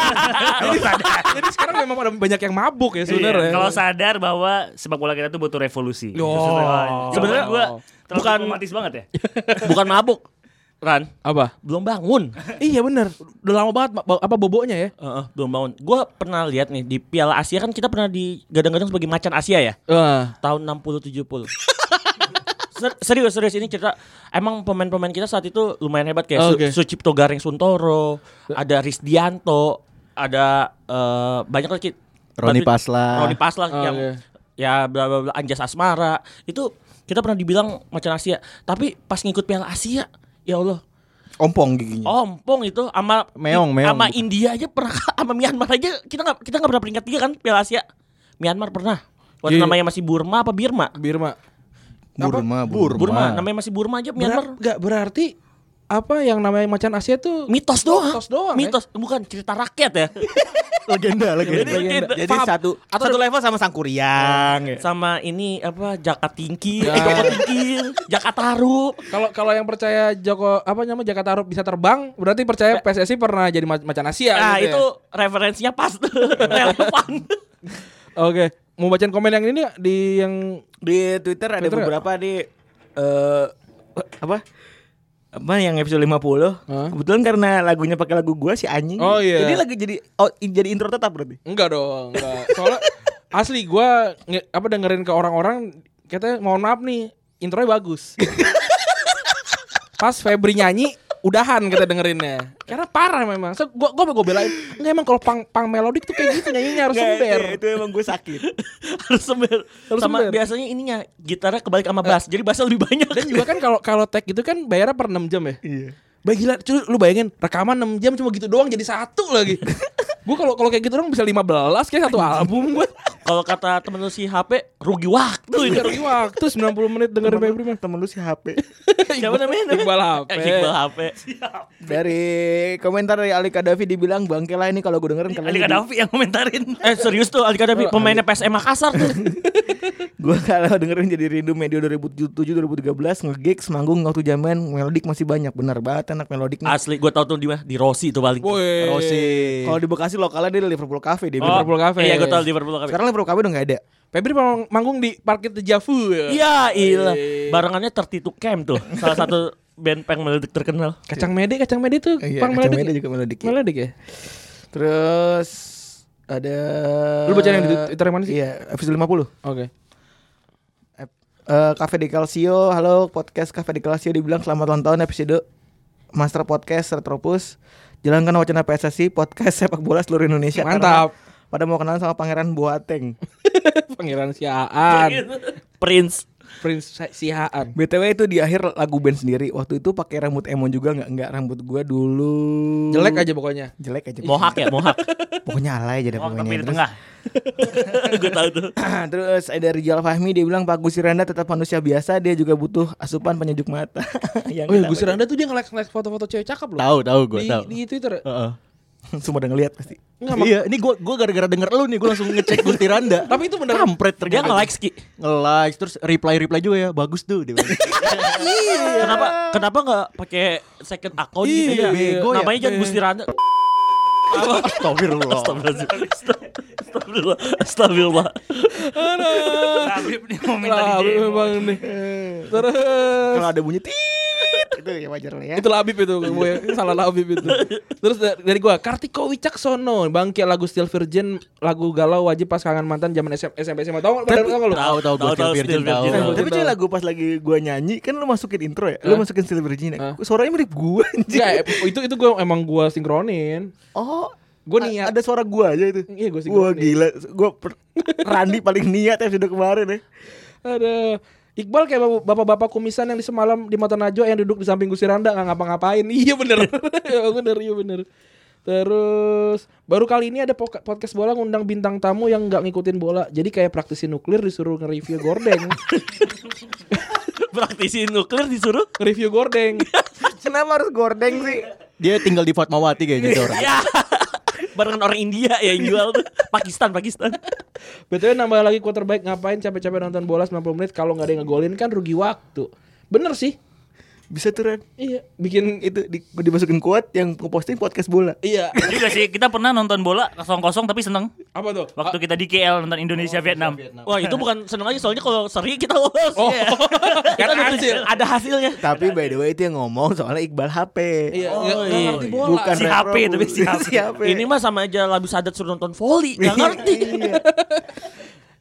Speaker 6: sadar.
Speaker 3: Jadi sekarang memang ada banyak yang mabuk ya
Speaker 6: Iya,
Speaker 3: sebenarnya.
Speaker 6: Kalau sadar bahwa sepak bola kita tuh butuh revolusi.
Speaker 3: Oh.
Speaker 6: Sebenarnya gua
Speaker 2: Bukan-
Speaker 6: bukan romantis banget ya.
Speaker 2: Bukan mabuk. Ran,
Speaker 3: apa?
Speaker 2: belum bangun.
Speaker 3: Iya benar. Udah lama banget ma- ba- apa boboknya ya?
Speaker 2: Heeh, belum bangun. Gue pernah lihat nih di Piala Asia kan kita pernah digadang-gadang sebagai macan Asia ya
Speaker 3: Ah,
Speaker 2: tahun 60 70. Ser- serius serius ini cerita emang pemain-pemain kita saat itu lumayan hebat kayak Su-
Speaker 3: Oke.
Speaker 2: Sucipto Gareng Suntoro, ada Risdianto, ada eh, banyak lagi
Speaker 4: Roni
Speaker 2: Badut-
Speaker 4: Pasla.
Speaker 2: Roni Pasla
Speaker 3: Oh,
Speaker 2: yang
Speaker 3: iya.
Speaker 2: ya bla bla bla Anjas Asmara itu kita pernah dibilang macan Asia, tapi pas ngikut Piala Asia ya Allah
Speaker 4: Ompong giginya.
Speaker 2: ompong itu sama
Speaker 4: Meong, meong. gitu.
Speaker 2: sama India aja pernah sama Myanmar aja kita nggak kita nggak pernah peringkat tiga kan Piala Asia Myanmar pernah waktu
Speaker 3: Iya.
Speaker 2: namanya masih Burma apa Birma
Speaker 3: Birma.
Speaker 4: Burma, Burma.
Speaker 2: Burma namanya masih Burma aja Myanmar
Speaker 3: Enggak berarti apa yang namanya macan Asia tuh
Speaker 2: mitos doang
Speaker 3: Mitos doang, ya? eh.
Speaker 2: mitos bukan cerita rakyat ya
Speaker 4: legenda, legenda.
Speaker 2: Legenda.
Speaker 4: Jadi satu
Speaker 2: Atau-
Speaker 4: satu level sama Sangkuriang. ya.
Speaker 2: sama ini apa Jaka Tingkir
Speaker 3: Ya.
Speaker 2: Joko Tingkir Jaka Taru
Speaker 3: kalau kalau yang percaya Joko apa namanya Jakarta Arup bisa terbang, berarti percaya PSSI pernah jadi ma- macan Asia.
Speaker 2: nah
Speaker 3: gitu ya.
Speaker 2: itu referensinya pas tuh, relevan
Speaker 3: Oke, mau bacain komen yang ini nggak? di yang
Speaker 4: Di Twitter ada
Speaker 3: Twitter
Speaker 4: beberapa di eh, apa? Apa yang episode 50?
Speaker 3: Hah?
Speaker 4: Kebetulan karena lagunya pakai lagu gua si anjing.
Speaker 3: Oh, iya.
Speaker 4: Jadi lagu jadi oh, jadi intro tetap berarti.
Speaker 3: enggak dong, enggak. Soalnya asli gua nge- apa dengerin ke orang-orang katanya mohon maaf nih, intronya bagus. Pas Febri nyanyi udahan kita dengerinnya. Karena parah memang. So, gua gua gua belain. Enggak emang kalau pang pang melodik tuh kayak gitu nyanyinya harus
Speaker 4: Nggak,
Speaker 3: ember.
Speaker 4: Eh, iya, itu, itu emang gue sakit.
Speaker 2: harus sember
Speaker 3: Harus
Speaker 2: sama
Speaker 3: sember.
Speaker 2: biasanya ininya gitarnya kebalik sama bass jadi bassnya lebih banyak
Speaker 3: Dan juga kan kalau kalau tag gitu kan bayarnya per 6 jam ya. Iya. Baik gila, cuy, lu bayangin rekaman 6 jam cuma gitu doang jadi satu lagi. gua kalau kalau kayak gitu dong bisa 15 kayak satu album gua.
Speaker 2: kalau kata temen lu si HP rugi waktu ini
Speaker 3: Rugi waktu 90 menit dengerin Febri mah.
Speaker 7: Temen lu si HP.
Speaker 2: Siapa namanya?
Speaker 3: Iqbal HP.
Speaker 2: Eh, Iqbal HP.
Speaker 4: Dari komentar dari Ali Kadafi dibilang bangke lah ini kalau gue dengerin kalian
Speaker 6: Ali
Speaker 4: jadi-
Speaker 6: Kadafi yang komentarin.
Speaker 2: Eh serius tuh Ali Kadafi pemainnya PSM Makassar tuh.
Speaker 4: Gue kalau dengerin jadi rindu media 2007-2013 nge-gigs manggung waktu zaman melodik masih banyak benar banget anak melodik nih.
Speaker 2: Asli gue tau tuh di di Rossi tuh paling.
Speaker 3: Woi. iya,
Speaker 4: Kalau di Bekasi lokalnya dia di Liverpool Cafe dia bilang.
Speaker 3: Liverpool Cafe.
Speaker 2: Iya gue tau Liverpool
Speaker 3: Oh.
Speaker 2: Cafe.
Speaker 4: Sekarang Liverpool Cafe udah gak ada.
Speaker 3: Febri mau manggung di parkir The Javu. Ya.
Speaker 2: Iya ilah. Barengannya tertitu camp tuh. Salah satu band punk meledek terkenal.
Speaker 3: Kacang mede, kacang mede tuh
Speaker 4: Iya,
Speaker 3: pang
Speaker 4: Kacang
Speaker 3: melodik.
Speaker 4: Mede juga melodik. ya.
Speaker 3: Melodik ya?
Speaker 4: Terus ada
Speaker 3: Lu baca yang di Twitter yang mana sih?
Speaker 4: Iya, episode 50.
Speaker 3: Oke.
Speaker 4: Eh Cafe di Calcio, halo podcast Cafe di Calcio dibilang selamat ulang tahun episode Master Podcast Retropus. Jalankan wacana PSSI podcast sepak bola seluruh Indonesia.
Speaker 3: Mantap.
Speaker 4: Karena Pada mau kenalan sama Pangeran Boateng.
Speaker 3: Pangeran Siaan.
Speaker 2: Prince.
Speaker 3: Prince Si- Siaan.
Speaker 4: BTW itu di akhir lagu band sendiri. Waktu itu pakai rambut emo juga nggak nggak rambut gua dulu.
Speaker 3: Jelek aja pokoknya.
Speaker 4: Jelek aja.
Speaker 2: Mohak ya mohak.
Speaker 4: Pokoknya alay aja deh
Speaker 6: Oh,
Speaker 4: pokoknya.
Speaker 6: tapi di
Speaker 4: Terus-
Speaker 6: tengah.
Speaker 2: gue tau tuh.
Speaker 4: Terus ada Rizal Fahmi dia bilang Pak Gusiranda tetap manusia biasa dia juga butuh asupan penyejuk mata. Ya Yang
Speaker 3: Oh iya,
Speaker 4: kita-
Speaker 3: Gus Randa tuh dia nge-like nge-like foto-foto cewek cakep loh.
Speaker 4: tahu gue
Speaker 3: di, di Twitter. ya?
Speaker 4: Semua udah ngeliat pasti.
Speaker 7: iya, ini gue gua gara-gara denger lu nih, gue langsung ngecek Gusti Randa.
Speaker 3: Tapi itu beneran.
Speaker 7: kampret
Speaker 5: Iya.
Speaker 2: Dia
Speaker 7: ternyata.
Speaker 2: nge-like Ki.
Speaker 7: Nge-like terus reply-reply juga ya. Bagus tuh dia. bilang.
Speaker 2: Kenapa kenapa nggak pakai second account gitu
Speaker 7: Iya,
Speaker 2: ya?
Speaker 7: bego ya.
Speaker 2: Namanya jangan Gusti Randa.
Speaker 7: Astagfirullah.
Speaker 2: Astagfirullah. Astagfirullah. Astagfirullah.
Speaker 6: Habib nih mau minta
Speaker 3: Lah,
Speaker 6: di demo.
Speaker 3: memang nih. Terus
Speaker 4: Kalau ada bunyi tit itu ya wajar lah ya.
Speaker 3: itu Labib itu gue salah Labib itu. Terus da- dari gue Kartiko Wicaksono bangke lagu Still Virgin lagu galau wajib pasangan mantan zaman SM, SMP SMA tahu pada tahu lu?
Speaker 7: Tahu tahu gue
Speaker 2: Tahu,
Speaker 7: Steel
Speaker 2: tahu,
Speaker 7: Virgin
Speaker 2: Steel Virgin,
Speaker 3: Iya,
Speaker 7: tahu.
Speaker 4: Tapi cuy lagu pas lagi gua nyanyi kan lu masukin intro ya, lu masukin Silver Virgin
Speaker 3: Hah?
Speaker 4: ya. Suaranya mirip gua
Speaker 3: Enggak,
Speaker 4: anjir.
Speaker 3: eh, itu itu gue emang gue sinkronin.
Speaker 4: Oh,
Speaker 3: Gue
Speaker 4: a-
Speaker 3: niat
Speaker 4: Ada suara gua aja itu.
Speaker 3: Iya, gua sih
Speaker 4: Wah
Speaker 3: gua niat.
Speaker 4: gila, gua per- Randi paling niat episode kemarin ya.
Speaker 3: Ada Iqbal kayak bap- bapak-bapak kumisan yang di semalam di Mata Najwa yang duduk di samping Gusti Randa nggak ngapa-ngapain. Iya bener, iya bener, iya bener. Terus baru kali ini ada poka- podcast bola ngundang bintang tamu yang nggak ngikutin bola. Jadi kayak praktisi nuklir disuruh nge-review gordeng,
Speaker 2: Praktisi nuklir disuruh.
Speaker 3: nge-review gordeng.
Speaker 4: Kenapa harus gordeng sih?
Speaker 7: Dia tinggal di Fatmawati kayaknya gitu orang.
Speaker 2: Ya. Barengan orang India ya yang jual tuh. Pakistan, Pakistan.
Speaker 3: Betul nambah lagi quarterback ngapain capek-capek nonton bola 90 menit kalau nggak ada yang ngegolin kan rugi waktu. Bener sih.
Speaker 4: Bisa tuh Ren.
Speaker 3: Iya, bikin
Speaker 4: Itu di, dimasukin kuat yang posting podcast bola.
Speaker 3: iya
Speaker 6: Juga sih kita pernah nonton bola kosong-kosong tapi seneng
Speaker 3: apa tuh?
Speaker 6: waktu kita di KL nonton Indonesia Vietnam.
Speaker 2: Wah, itu bukan seneng aja soalnya kalau seri kita lolos.
Speaker 3: Oh.
Speaker 2: ya. Kita ada hasil. Ada hasilnya.
Speaker 4: Tapi by the way itu yang ngomong soalnya Iqbal HP.
Speaker 3: Iya,
Speaker 2: Oh,
Speaker 3: nggak nggak
Speaker 2: iya.
Speaker 3: ngerti bola.
Speaker 4: Bukan
Speaker 6: Si
Speaker 4: Ren
Speaker 6: HP,
Speaker 4: Prabu.
Speaker 6: tapi si HP.
Speaker 2: Ini mah sama aja labu sadat suruh nonton volley. Gak ngerti.
Speaker 4: Iya.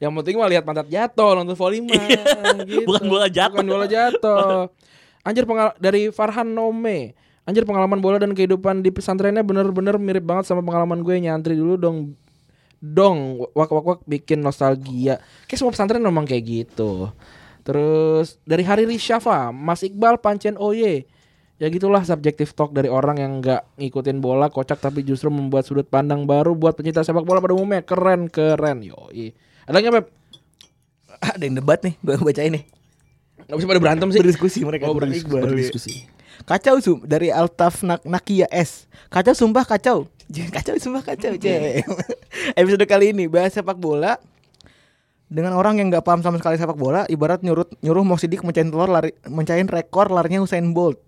Speaker 3: Yang penting mah lihat pantat jatuh nonton volley mah gitu.
Speaker 2: Iya. Bukan bola jatuh.
Speaker 3: Bukan bola jatuh. Anjir pengal dari Farhan Nome. Anjir pengalaman bola dan kehidupan di pesantrennya bener-bener mirip banget sama pengalaman gue nyantri dulu dong. Dong, wak wak wak bikin nostalgia. Kayak semua pesantren memang kayak gitu. Terus dari Hari Rishafa, Mas Iqbal Pancen Oye. Ya gitulah subjektif talk dari orang yang nggak ngikutin bola kocak tapi justru membuat sudut pandang baru buat pencinta sepak bola pada umumnya keren keren yoi. Ada nggak Pep?
Speaker 4: Ada yang debat nih, gua bacain nih.
Speaker 3: Gak bisa pada berantem sih.
Speaker 4: Berdiskusi mereka.
Speaker 3: Oh, berdiskusi.
Speaker 4: Iqbal, iya.
Speaker 3: berdiskusi.
Speaker 4: Kacau sum dari Altaf Nak Nakia S. Kacau sumpah kacau. J- Kacau sumpah kacau. Cem. Episode kali ini bahas sepak bola dengan orang yang nggak paham sama sekali sepak bola ibarat nyurut nyuruh Mo Sidik mencahin telur lari mencahin rekor larinya Usain Bolt.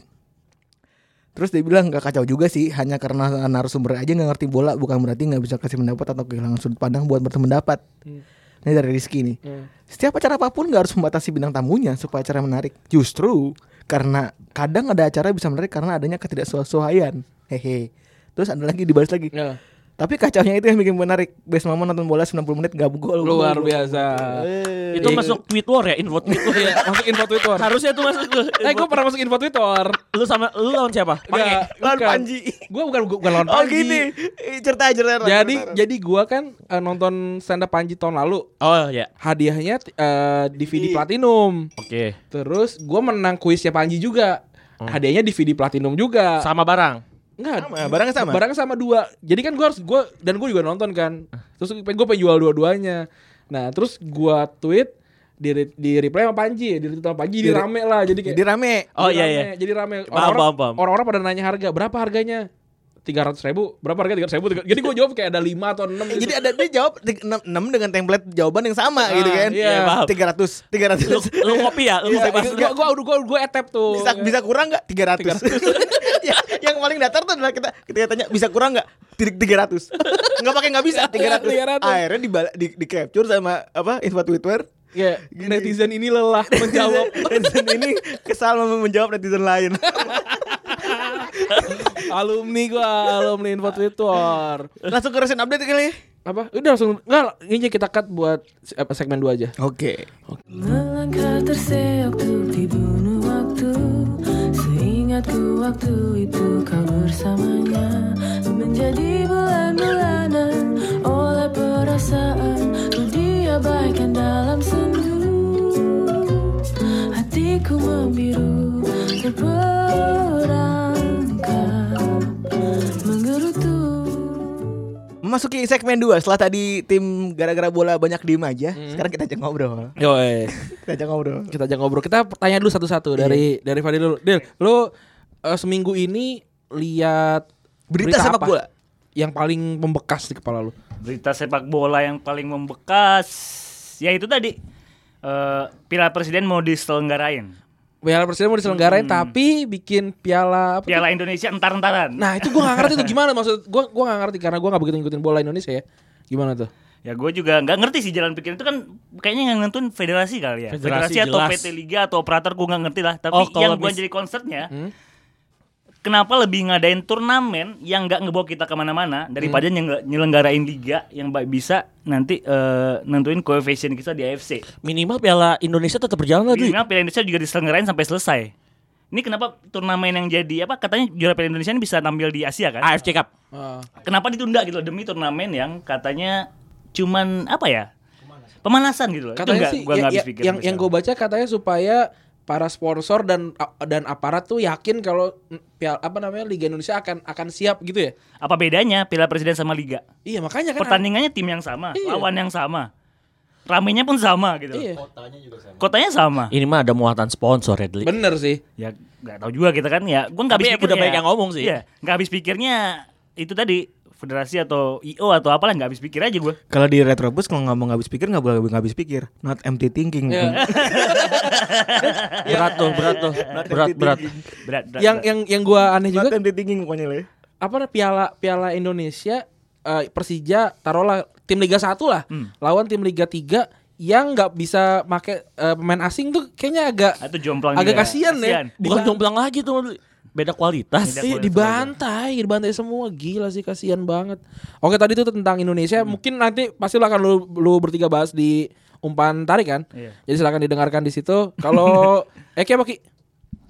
Speaker 4: Terus dia bilang nggak kacau juga sih, hanya karena narasumber aja nggak ngerti bola bukan berarti nggak bisa kasih pendapat atau kehilangan sudut pandang buat bertemu pendapat. Ini dari Rizky nih.
Speaker 3: Iya.
Speaker 4: Setiap acara apapun nggak harus membatasi bintang tamunya supaya acara menarik. Justru karena kadang ada acara bisa menarik karena adanya ketidaksesuaian. Hehe. Terus ada lagi dibahas lagi.
Speaker 3: Ya.
Speaker 4: Tapi kacaunya itu yang bikin menarik. Best Mama nonton bola 90 menit gak gol.
Speaker 3: Luar biasa.
Speaker 4: Eh.
Speaker 2: Itu masuk tweet war ya, info tweet war.
Speaker 3: Iya, masuk info Twitter.
Speaker 2: Harusnya itu masuk ke.
Speaker 3: Eh, gue pernah masuk info Twitter.
Speaker 2: Lu sama lu lawan siapa?
Speaker 3: Nggak,
Speaker 2: Pakai.
Speaker 4: Lawan
Speaker 3: bukan.
Speaker 4: Panji.
Speaker 3: Gue bukan gua, bukan lawan
Speaker 4: Oh
Speaker 3: Panji.
Speaker 4: gini. Ih, Cerita aja Ren.
Speaker 3: Jadi jadi gue kan eh, nonton stand up Panji tahun lalu.
Speaker 2: Oh ya,
Speaker 3: iya. Hadiahnya eh, DVD platinum.
Speaker 2: oke.
Speaker 3: Terus gue menang kuisnya Panji juga.
Speaker 2: Hmm.
Speaker 3: Hadiahnya DVD platinum juga.
Speaker 2: Sama barang.
Speaker 3: Enggak.
Speaker 4: Sama, barangnya sama?
Speaker 3: Barangnya sama dua. Jadi kan gue harus gue dan gue juga nonton kan. Terus gue pengen jual dua-duanya. Nah terus gue tweet di, re- di reply sama Panji, di retweet sama Panji,
Speaker 4: Di-
Speaker 3: di rame lah. Jadi kayak
Speaker 4: jadi rame.
Speaker 2: Oh
Speaker 3: Jadi
Speaker 2: iya
Speaker 3: rame,
Speaker 2: iya.
Speaker 3: Jadi rame.
Speaker 2: Paham,
Speaker 3: Orang-orang
Speaker 2: paham, paham.
Speaker 3: orang-orang pada nanya harga, berapa harganya? Tiga ratus ribu, berapa harga tiga ratus ribu? Jadi gue jawab kayak ada lima atau enam.
Speaker 4: Eh, Jadi ada dia jawab 6 dengan template jawaban yang sama gitu kan.
Speaker 3: iya,
Speaker 2: paham.
Speaker 4: 300 300.
Speaker 2: Lu, lu kopi ya, lu kopi
Speaker 3: gue
Speaker 2: masuk.
Speaker 3: gue gue gue etep tuh. ya.
Speaker 4: bisa bisa kurang nggak 300, Ya, yang paling datar tuh adalah kita kita tanya bisa kurang nggak titik 300 nggak pakai nggak bisa 300,
Speaker 3: 300.
Speaker 4: akhirnya dibal- di, di capture sama apa info twitter
Speaker 3: Ya, netizen ini lelah menjawab.
Speaker 4: netizen ini kesal sama menjawab netizen lain
Speaker 3: alumni gue, alumni info Twitter.
Speaker 4: langsung ke recent update kali ya
Speaker 3: Apa? Udah langsung enggak ini kita cut buat se- apa, segmen dua aja.
Speaker 4: oke
Speaker 8: Melangkah terseok untuk dibunuh waktu Seingatku waktu itu kau bersamanya Menjadi bulan-bulanan oleh perasaan Ku diabaikan dalam sendu Hatiku membiru terperangkap Menggerutu
Speaker 4: memasuki segmen 2 setelah tadi tim gara-gara bola banyak diem aja
Speaker 7: Hmm.
Speaker 4: sekarang kita ajak ngobrol
Speaker 3: Yo,
Speaker 4: kita ajak ngobrol
Speaker 3: kita aja ngobrol. Kita tanya dulu
Speaker 4: Iya.
Speaker 3: satu-satu dari dari Fadil dulu. Dil, lu eh, seminggu ini lihat
Speaker 4: berita, sepak
Speaker 3: apa?
Speaker 4: bola
Speaker 3: yang paling membekas di kepala lu?
Speaker 6: Berita sepak bola yang paling membekas ya itu tadi eh Piala Presiden mau diselenggarain.
Speaker 3: Piala Presiden mau
Speaker 4: Hmm.
Speaker 3: diselenggarain tapi bikin piala apa tuh?
Speaker 6: Piala Indonesia entar-entaran.
Speaker 3: Nah, itu gua gak ngerti tuh gimana maksud gua gua gak ngerti karena gua gak begitu ngikutin bola Indonesia ya. Gimana tuh?
Speaker 6: Ya gue juga nggak ngerti sih jalan pikir itu kan kayaknya yang nentuin federasi kali ya.
Speaker 2: Federasi,
Speaker 6: Federasi, atau
Speaker 2: jelas.
Speaker 6: PT Liga atau operator gue nggak ngerti lah. Tapi
Speaker 2: Oh, kalau
Speaker 6: yang gue
Speaker 2: mis- Hmm?
Speaker 6: jadi concernnya kenapa lebih ngadain turnamen yang nggak ngebawa kita kemana-mana daripada
Speaker 2: Hmm.
Speaker 6: yang nyelenggarain liga yang ba- bisa nanti eh, nentuin koefisien kita di AFC.
Speaker 2: Minimal Piala Indonesia tetap berjalan lah, Dwi.
Speaker 6: Minimal Piala Indonesia juga diselenggarain sampai selesai. Ini kenapa turnamen yang jadi apa katanya juara Piala Indonesia ini bisa tampil di Asia kan?
Speaker 2: AFC Cup.
Speaker 3: Ah.
Speaker 6: kenapa ditunda gitu loh demi turnamen yang katanya cuman apa ya pemanasan gitu loh
Speaker 3: katanya
Speaker 6: itu nggak-
Speaker 3: sih
Speaker 6: gua
Speaker 3: ya-
Speaker 6: nggak
Speaker 3: ya-
Speaker 6: habis pikir
Speaker 3: yang
Speaker 6: sampai
Speaker 3: yang gue baca katanya supaya para sponsor dan dan aparat tuh yakin kalau mm, piala apa namanya Liga Indonesia akan akan siap gitu ya.
Speaker 6: sekarang. apa bedanya Piala Presiden sama Liga
Speaker 3: Iya makanya kan
Speaker 6: pertandingannya tim yang sama
Speaker 3: Iya.
Speaker 6: lawan yang sama ramenya pun sama gitu
Speaker 3: Iya.
Speaker 6: kotanya sama
Speaker 2: Ini mah ada muatan sponsor ya, Dli.
Speaker 3: Bener sih.
Speaker 6: ya nggak tahu juga kita kan ya gua nggak
Speaker 2: Tapi ya
Speaker 6: habis pikir
Speaker 2: udah
Speaker 6: ya.
Speaker 2: banyak yang ngomong sih.
Speaker 6: Iya, nggak habis pikirnya itu tadi federasi atau IO atau apalah nggak habis pikir aja gue
Speaker 7: Kalau di Retrobus kalau nggak mau ngabis pikir nggak boleh ngabis pikir. Not empty thinking.
Speaker 3: Ya.
Speaker 4: Iya.
Speaker 2: Eh, Berat
Speaker 3: eh,
Speaker 2: tuh, berat tuh. Berat, berat.
Speaker 6: berat, berat,
Speaker 3: Yang
Speaker 6: berat.
Speaker 3: yang yang gue aneh
Speaker 7: Not
Speaker 3: juga
Speaker 7: empty thinking pokoknya lah. ya.
Speaker 3: apa namanya, piala piala Indonesia eh, Persija taruhlah tim Liga 1 lah
Speaker 6: Hmm.
Speaker 3: lawan tim Liga 3 yang nggak bisa make eh, pemain asing tuh kayaknya agak
Speaker 6: Ah, itu jomplang
Speaker 3: agak
Speaker 6: juga.
Speaker 3: kasihan
Speaker 6: Kasihan.
Speaker 3: ya.
Speaker 2: Bukan jomplang lagi tuh, Dli. Beda kualitas.
Speaker 6: Beda
Speaker 3: Iya
Speaker 6: kualitas
Speaker 3: dibantai, dibantai semua gila sih kasihan banget. Oke tadi itu tentang Indonesia, mungkin nanti pasti lo akan lu, lu bertiga bahas di umpan tarik kan.
Speaker 6: Iya.
Speaker 3: Jadi silakan didengarkan di situ. Kalau Eki apa Ki?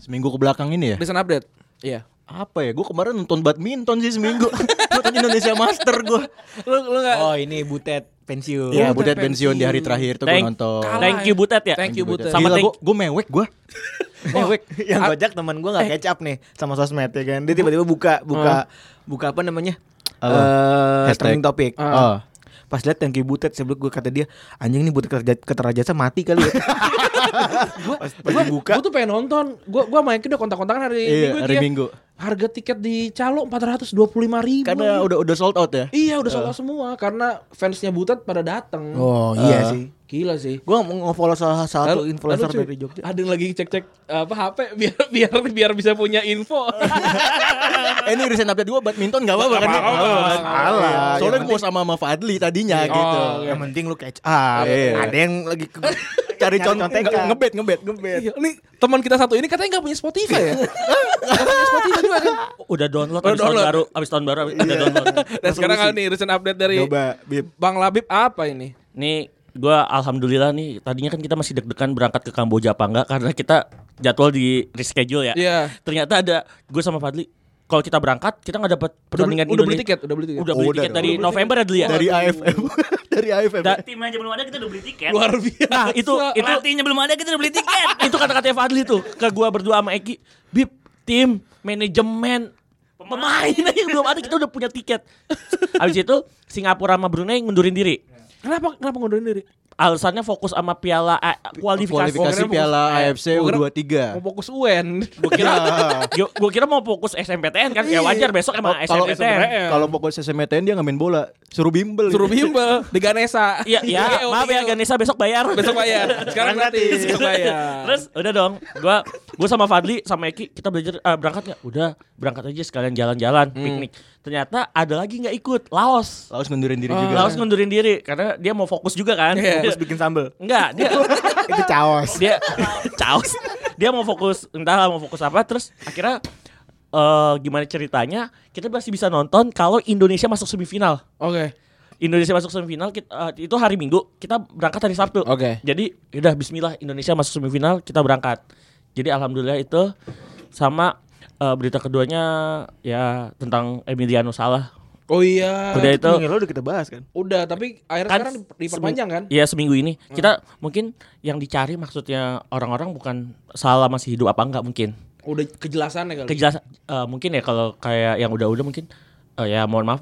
Speaker 5: Seminggu ke belakang ini ya.
Speaker 3: Recent update. Iya.
Speaker 5: Apa ya? Gue kemarin nonton badminton sih seminggu. nonton Indonesia Master gue.
Speaker 3: Lu lu enggak
Speaker 4: Oh ini butet pensiun.
Speaker 5: Iya, budet pensiun di hari terakhir tuh gue
Speaker 2: Thank,
Speaker 5: nonton.
Speaker 2: thank you Butet ya.
Speaker 3: Thank you, Butet. ah,
Speaker 2: Sama
Speaker 5: Sama
Speaker 2: thank,
Speaker 5: gue mewek gue.
Speaker 4: Mewek. yang gojek teman gue
Speaker 3: Eh.
Speaker 4: nggak catch up nih sama sosmed ya kan. Dia tiba-tiba buka
Speaker 3: Hmm.
Speaker 4: buka buka apa namanya?
Speaker 5: Apa?
Speaker 4: Eh,
Speaker 5: Hashtag.
Speaker 4: trending topic.
Speaker 7: Oh.
Speaker 5: Ah.
Speaker 4: Pas lihat tangki butet sebelum gue kata dia anjing nih butet keterja- keterjasa mati kali ya. pas, pas dibuka
Speaker 3: Gue tuh pengen nonton. Gue gua main udah kontak-kontakan
Speaker 5: Iya,
Speaker 3: hari Minggu.
Speaker 5: hari
Speaker 3: Ki, ya.
Speaker 5: Minggu.
Speaker 3: Harga tiket di Calo 425 ribu.
Speaker 5: Karena udah udah sold out ya.
Speaker 3: Iya udah sold out semua karena fansnya Butet pada datang.
Speaker 4: Oh iya sih.
Speaker 3: Gila sih.
Speaker 4: Gue mau follow salah satu
Speaker 3: Lalu-
Speaker 4: influencer
Speaker 3: lalu, cuy,
Speaker 4: dari Jogja.
Speaker 3: Ada yang lagi cek-cek eh, apa HP biar biar biar bisa punya info. Iya,
Speaker 5: Eh ini recent update gue badminton gak apa-apa kan? Nggak apa-apa kan? Soalnya gue mau sama sama Fadli tadinya gitu.
Speaker 3: Oh, iya.
Speaker 4: Yang penting lu catch up.
Speaker 5: Iya.
Speaker 4: Oh, Ada yang lagi ke-
Speaker 5: Cari contoh
Speaker 4: contekan.
Speaker 5: ngebet ngebet ngebet.
Speaker 3: Iya, ini teman kita satu ini katanya nggak punya Spotify ya. Nggak punya Spotify juga kan.
Speaker 2: udah download abis tahun
Speaker 3: Udah download. Iya.
Speaker 2: baru, abis tahun baru abis- ada download.
Speaker 3: Dan Nah, sekarang kali nih recent update dari
Speaker 5: Coba Bib.
Speaker 3: Bang Labib apa ini?
Speaker 2: Nih gue alhamdulillah nih tadinya kan kita masih deg-degan berangkat ke Kamboja apa enggak karena kita jadwal di reschedule ya.
Speaker 3: Iya.
Speaker 2: Ternyata ada gue sama Fadli kalau kita berangkat kita nggak dapat
Speaker 3: Udah,
Speaker 2: pertandingan
Speaker 3: udah beli
Speaker 2: Indonesia.
Speaker 3: tiket, udah beli tiket.
Speaker 2: Udah beli
Speaker 5: Oh, udah
Speaker 2: tiket
Speaker 5: dong.
Speaker 2: dari
Speaker 5: Udah
Speaker 2: November ya Dli ya.
Speaker 5: Dari AFM. Dari AFM.
Speaker 2: Da-
Speaker 6: tim aja belum ada kita udah beli tiket
Speaker 3: Luar biasa.
Speaker 2: Nah, itu- itu-
Speaker 6: pelatihnya belum ada kita udah beli tiket
Speaker 2: itu kata-katanya Fadli tuh ke gua berdua sama Eki Bib tim manajemen pemain aja yang belum ada kita udah punya tiket abis itu Singapura sama Brunei ngundurin diri
Speaker 3: kenapa kenapa ngundurin diri?
Speaker 2: alasannya fokus sama piala eh, kualifikasi,
Speaker 5: Kualifikasi Piala AFC
Speaker 3: gua kira-
Speaker 5: U23.
Speaker 3: Mau fokus UN.
Speaker 2: gue Eh, kira gua- gua kira mau fokus SMPTN kan ya wajar besok emang
Speaker 5: Kalau
Speaker 2: SMPTN
Speaker 5: kalau pokoknya SMTN dia nggak main bola, suruh bimbel. gitu.
Speaker 3: Suruh bimbel di Ganesa.
Speaker 2: Iya, ya,
Speaker 3: Iya,
Speaker 2: maaf ya
Speaker 3: iya.
Speaker 2: Ganesha besok bayar.
Speaker 3: Besok bayar. Sekarang gratis. Besok bayar.
Speaker 2: Terus udah dong, gua gua sama Fadli sama Eki kita belajar eh, berangkat nggak? Udah berangkat aja sekalian jalan-jalan
Speaker 3: Hmm.
Speaker 2: piknik. Ternyata ada lagi nggak ikut Laos.
Speaker 5: Laos ngundurin diri juga.
Speaker 2: Laos ngundurin diri karena dia mau fokus juga kan.
Speaker 3: Iya.
Speaker 2: Fokus bikin sambel. Enggak, dia
Speaker 4: Itu caos.
Speaker 2: dia caos. Dia mau fokus entahlah mau fokus apa terus akhirnya eh, gimana ceritanya kita masih bisa nonton kalau Indonesia masuk semifinal.
Speaker 3: Oke.
Speaker 2: Indonesia masuk semifinal kita, eh, itu hari Minggu kita berangkat hari Sabtu.
Speaker 3: Oke.
Speaker 2: Jadi udah Bismillah Indonesia masuk semifinal kita berangkat. Jadi alhamdulillah itu sama eh, berita keduanya ya tentang Emiliano Salah.
Speaker 3: Oh iya.
Speaker 2: Udah itu
Speaker 7: Yang lo udah kita bahas kan.
Speaker 3: Udah, tapi akhirnya
Speaker 2: kan
Speaker 3: sekarang diperpanjang kan?
Speaker 2: Iya seminggu ini kita mungkin yang dicari maksudnya orang-orang bukan Salah masih hidup apa enggak mungkin.
Speaker 3: Udah kejelasannya kali.
Speaker 2: Kejelasan eh, mungkin ya kalau kayak yang udah-udah mungkin eh, ya mohon maaf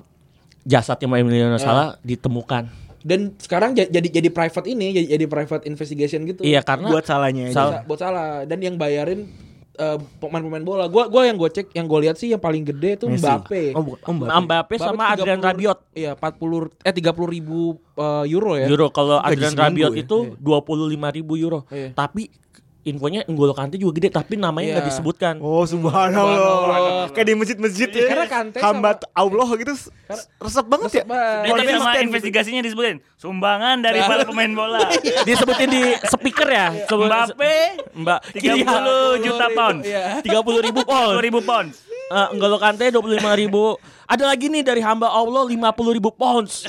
Speaker 2: jasadnya Emiliano
Speaker 3: Ah.
Speaker 2: Salah ditemukan.
Speaker 3: Dan sekarang ja- jadi jadi private ini, jadi, jadi private investigation gitu.
Speaker 2: Iya karena
Speaker 7: Buat salahnya aja.
Speaker 2: Salah-
Speaker 3: Sa- buat salah dan yang bayarin eh, pemain-pemain bola. Gua gua yang gue cek, yang gue lihat sih yang paling gede tuh
Speaker 7: Messi.
Speaker 3: Mbappe.
Speaker 7: Oh, bukan. Oh, Mbappe.
Speaker 2: Mbappe sama Adrian Rabiot.
Speaker 3: Iya, 40 eh 30 ribu eh, euro ya.
Speaker 2: Euro kalau
Speaker 7: Gaji
Speaker 2: Adrian
Speaker 7: seminggu
Speaker 2: Rabiot
Speaker 7: ya?
Speaker 2: itu dua puluh lima ribu euro.
Speaker 3: Iya.
Speaker 2: Tapi infonya N'Golo Kante juga gede tapi namanya nggak
Speaker 3: Iya.
Speaker 2: disebutkan.
Speaker 7: Oh subhanallah Kayak di masjid-masjid
Speaker 3: Iya,
Speaker 7: ya
Speaker 3: karena Kante
Speaker 7: Hambat
Speaker 3: sama-
Speaker 7: Allah gitu s-
Speaker 3: Karena-
Speaker 7: Resep banget
Speaker 3: Resep
Speaker 7: ya
Speaker 3: banget.
Speaker 6: Itu
Speaker 7: Model
Speaker 6: sama
Speaker 7: stand gitu.
Speaker 6: investigasinya disebutin sumbangan
Speaker 3: Nah.
Speaker 6: dari para pemain bola.
Speaker 3: Iya.
Speaker 2: Disebutin di speaker ya. Sebut-
Speaker 6: Mbappe
Speaker 2: Mbak
Speaker 6: 30 juta pound.
Speaker 3: Iya.
Speaker 2: tiga puluh ribu
Speaker 6: Dua
Speaker 2: pound.
Speaker 6: ribu pound.
Speaker 2: Eh, N'Golo Kante dua puluh lima ribu. Ada lagi nih dari hamba Allah lima puluh ribu pounds.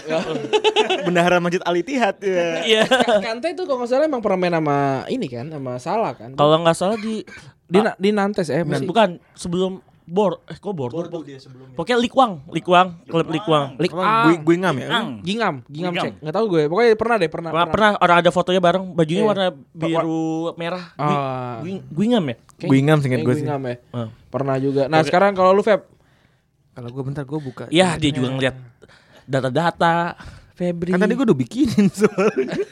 Speaker 7: Bendahara masjid Al Ittihad ya.
Speaker 2: Iya.
Speaker 3: Kante itu kalau nggak salah emang pernah main sama ini kan, sama Salah kan.
Speaker 2: Kalau nggak salah di
Speaker 3: di, Na- di Nantes eh apa sih?
Speaker 2: bukan sebelum Bor, eh kok Bor? Pokoknya Likwang, Likwang, klub Likwang.
Speaker 3: Lik
Speaker 7: Apa, Gue gue ngam ya
Speaker 6: Ang.
Speaker 3: Gingam, Gingam
Speaker 6: Gingham.
Speaker 3: Ah, cek. Enggak tahu gue. Pokoknya pernah deh, pernah.
Speaker 2: Pernah, pernah orang ada fotonya bareng, bajunya
Speaker 3: Iya.
Speaker 2: warna biru merah.
Speaker 3: Ah.
Speaker 2: Gue gue ngam ya.
Speaker 7: Gue ngam seinget
Speaker 3: Kayak
Speaker 7: gue sih
Speaker 3: Gingham ya.
Speaker 2: Ah.
Speaker 3: Pernah juga. Nah, sekarang kalau lu Feb
Speaker 7: Kalau gue bentar gue buka
Speaker 2: Ya dia juga ngeliat data-data Febri.
Speaker 7: Kan tadi gue udah bikinin soalnya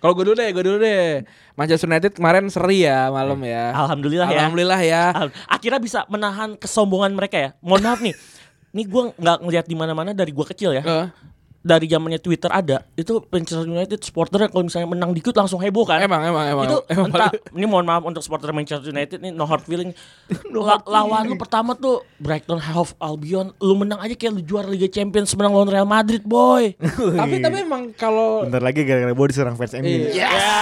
Speaker 3: kalau gue dulu deh, gue dulu deh. Manchester United kemarin seri ya malam ya.
Speaker 2: Alhamdulillah ya.
Speaker 3: Alhamdulillah ya.
Speaker 2: Al- akhirnya bisa menahan kesombongan mereka ya. Mohon maaf nih. Ini gue nggak ngeliat di mana-mana dari gue kecil ya.
Speaker 3: Eh,
Speaker 2: Dari zamannya Twitter ada, itu Manchester United supporternya kalau misalnya menang dikit langsung heboh kan.
Speaker 3: Eh, emang emang emang.
Speaker 2: itu
Speaker 3: emang
Speaker 2: entah ini mohon maaf untuk supporter Manchester United nih no hard feeling La- lawan lu pertama tuh Brighton Hove Albion lu menang aja kayak lu juara Liga Champions menang lawan Real Madrid boy
Speaker 3: tapi tapi emang kalau
Speaker 7: Bentar lagi gara-gara gue diserang fans MU
Speaker 3: Iya.
Speaker 2: ya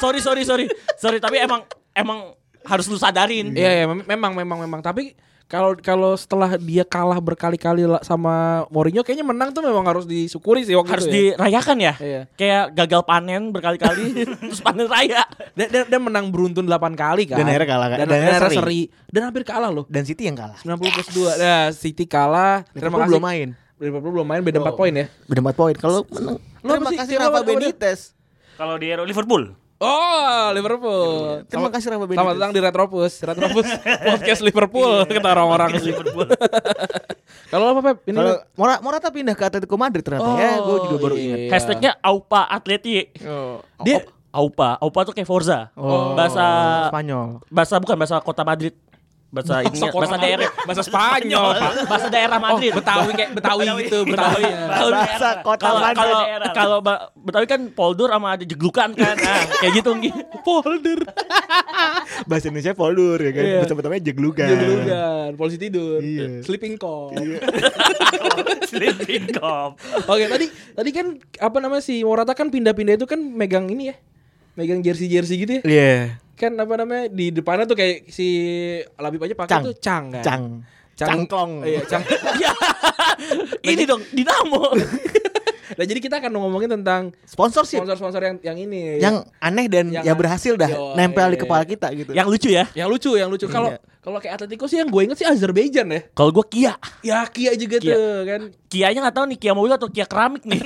Speaker 2: sorry sorry sorry sorry tapi emang emang harus lu sadarin
Speaker 3: Iya, iya, mem- memang memang memang tapi kalau kalau setelah dia kalah berkali-kali la- sama Mourinho kayaknya menang tuh memang harus disyukuri sih waktu
Speaker 2: harus
Speaker 3: itu ya.
Speaker 2: dirayakan ya
Speaker 3: Iya.
Speaker 2: kayak gagal panen berkali-kali terus panen raya
Speaker 3: Dan, dan, dan menang beruntun 8 kali kan.
Speaker 7: Dan akhirnya kalah kan?
Speaker 3: Dan,
Speaker 7: Dan
Speaker 3: akhirnya
Speaker 7: akhirnya seri.
Speaker 3: seri. Dan hampir kalah loh.
Speaker 7: Dan City yang kalah
Speaker 3: 90 plus 2. Nah, City kalah. Terima
Speaker 4: Liverpool
Speaker 3: kasih.
Speaker 4: Nah, belum main.
Speaker 3: Liverpool belum main beda 4 poin ya.
Speaker 4: Udah 4 poin Kalau menang
Speaker 3: Lu apa
Speaker 4: Terima
Speaker 3: sih?
Speaker 4: kasih
Speaker 3: Lu
Speaker 4: Rafa
Speaker 3: apa- apa dia?
Speaker 4: Benitez
Speaker 6: Kalau di Euro Liverpool.
Speaker 3: Oh, Liverpool.
Speaker 4: Terima kasih Rafa
Speaker 3: Selamat
Speaker 4: Benitez
Speaker 3: datang di Retropus. Retropus podcast Liverpool kata orang-orang.
Speaker 6: Liverpool.
Speaker 3: Kalau apa Pep? Ini
Speaker 4: Kalau Mora- Morata pindah ke Atletico Madrid ternyata ya Gue juga baru ingat
Speaker 3: Iya. Oh.
Speaker 2: hashtagnya Aupa Atleti
Speaker 3: dia
Speaker 2: Aupa Aupa tuh kayak Forza
Speaker 3: Oh.
Speaker 2: bahasa
Speaker 4: Spanyol
Speaker 2: bahasa bukan bahasa kota Madrid bahasa ini
Speaker 3: kota
Speaker 2: bahasa
Speaker 3: Madrid.
Speaker 2: daerah
Speaker 3: bahasa Spanyol, Pak.
Speaker 2: bahasa daerah
Speaker 3: Oh,
Speaker 2: Madrid Iya.
Speaker 3: Betawi kayak Betawi gitu, Betawi. ya.
Speaker 4: Bahasa kota
Speaker 2: kalau
Speaker 4: Madrid
Speaker 2: kalau
Speaker 6: daerah.
Speaker 2: kalau ba- Betawi kan poldur sama ada jeglukan kan nah, kayak gitu mungkin poldur
Speaker 7: Bahasa Indonesia poldur ya kan
Speaker 3: Iya.
Speaker 7: Betul-betulnya jeglugan
Speaker 3: Joglugan, polisi tidur,
Speaker 7: Iya.
Speaker 3: sleeping call.
Speaker 6: Oh, Sleeping
Speaker 3: Oh,
Speaker 6: Cup.
Speaker 3: Oke, tadi tadi kan apa namanya si Morata kan pindah-pindah itu kan megang ini ya. Megang jersey-jersey gitu ya.
Speaker 7: Iya
Speaker 3: Kan apa namanya di depannya tuh kayak si Labib aja pakai
Speaker 7: Cang.
Speaker 3: tuh cang kan.
Speaker 7: Cang
Speaker 3: Cang-
Speaker 7: Cangklong
Speaker 3: Iya, cang.
Speaker 2: ya ini dong dinamo
Speaker 3: Nah, jadi kita akan ngomongin tentang
Speaker 4: Sponsorship
Speaker 3: sponsor-sponsor yang yang ini.
Speaker 4: Yang aneh dan ya
Speaker 3: Yang aneh.
Speaker 4: berhasil dah
Speaker 3: Yo,
Speaker 4: Nempel di
Speaker 3: iya.
Speaker 4: kepala kita gitu
Speaker 2: yang lucu ya
Speaker 3: yang lucu, yang lucu. Kalau
Speaker 4: Iya.
Speaker 3: kalau kayak Atletico sih yang gue inget sih Azerbaijan ya.
Speaker 2: kalau gue Kia
Speaker 3: Ya Kia juga
Speaker 2: Kia.
Speaker 3: tuh kan.
Speaker 2: Kianya nggak tahu nih Kia mobil atau Kia keramik nih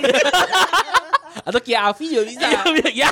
Speaker 3: Atau Kia Avi juga bisa.
Speaker 2: ya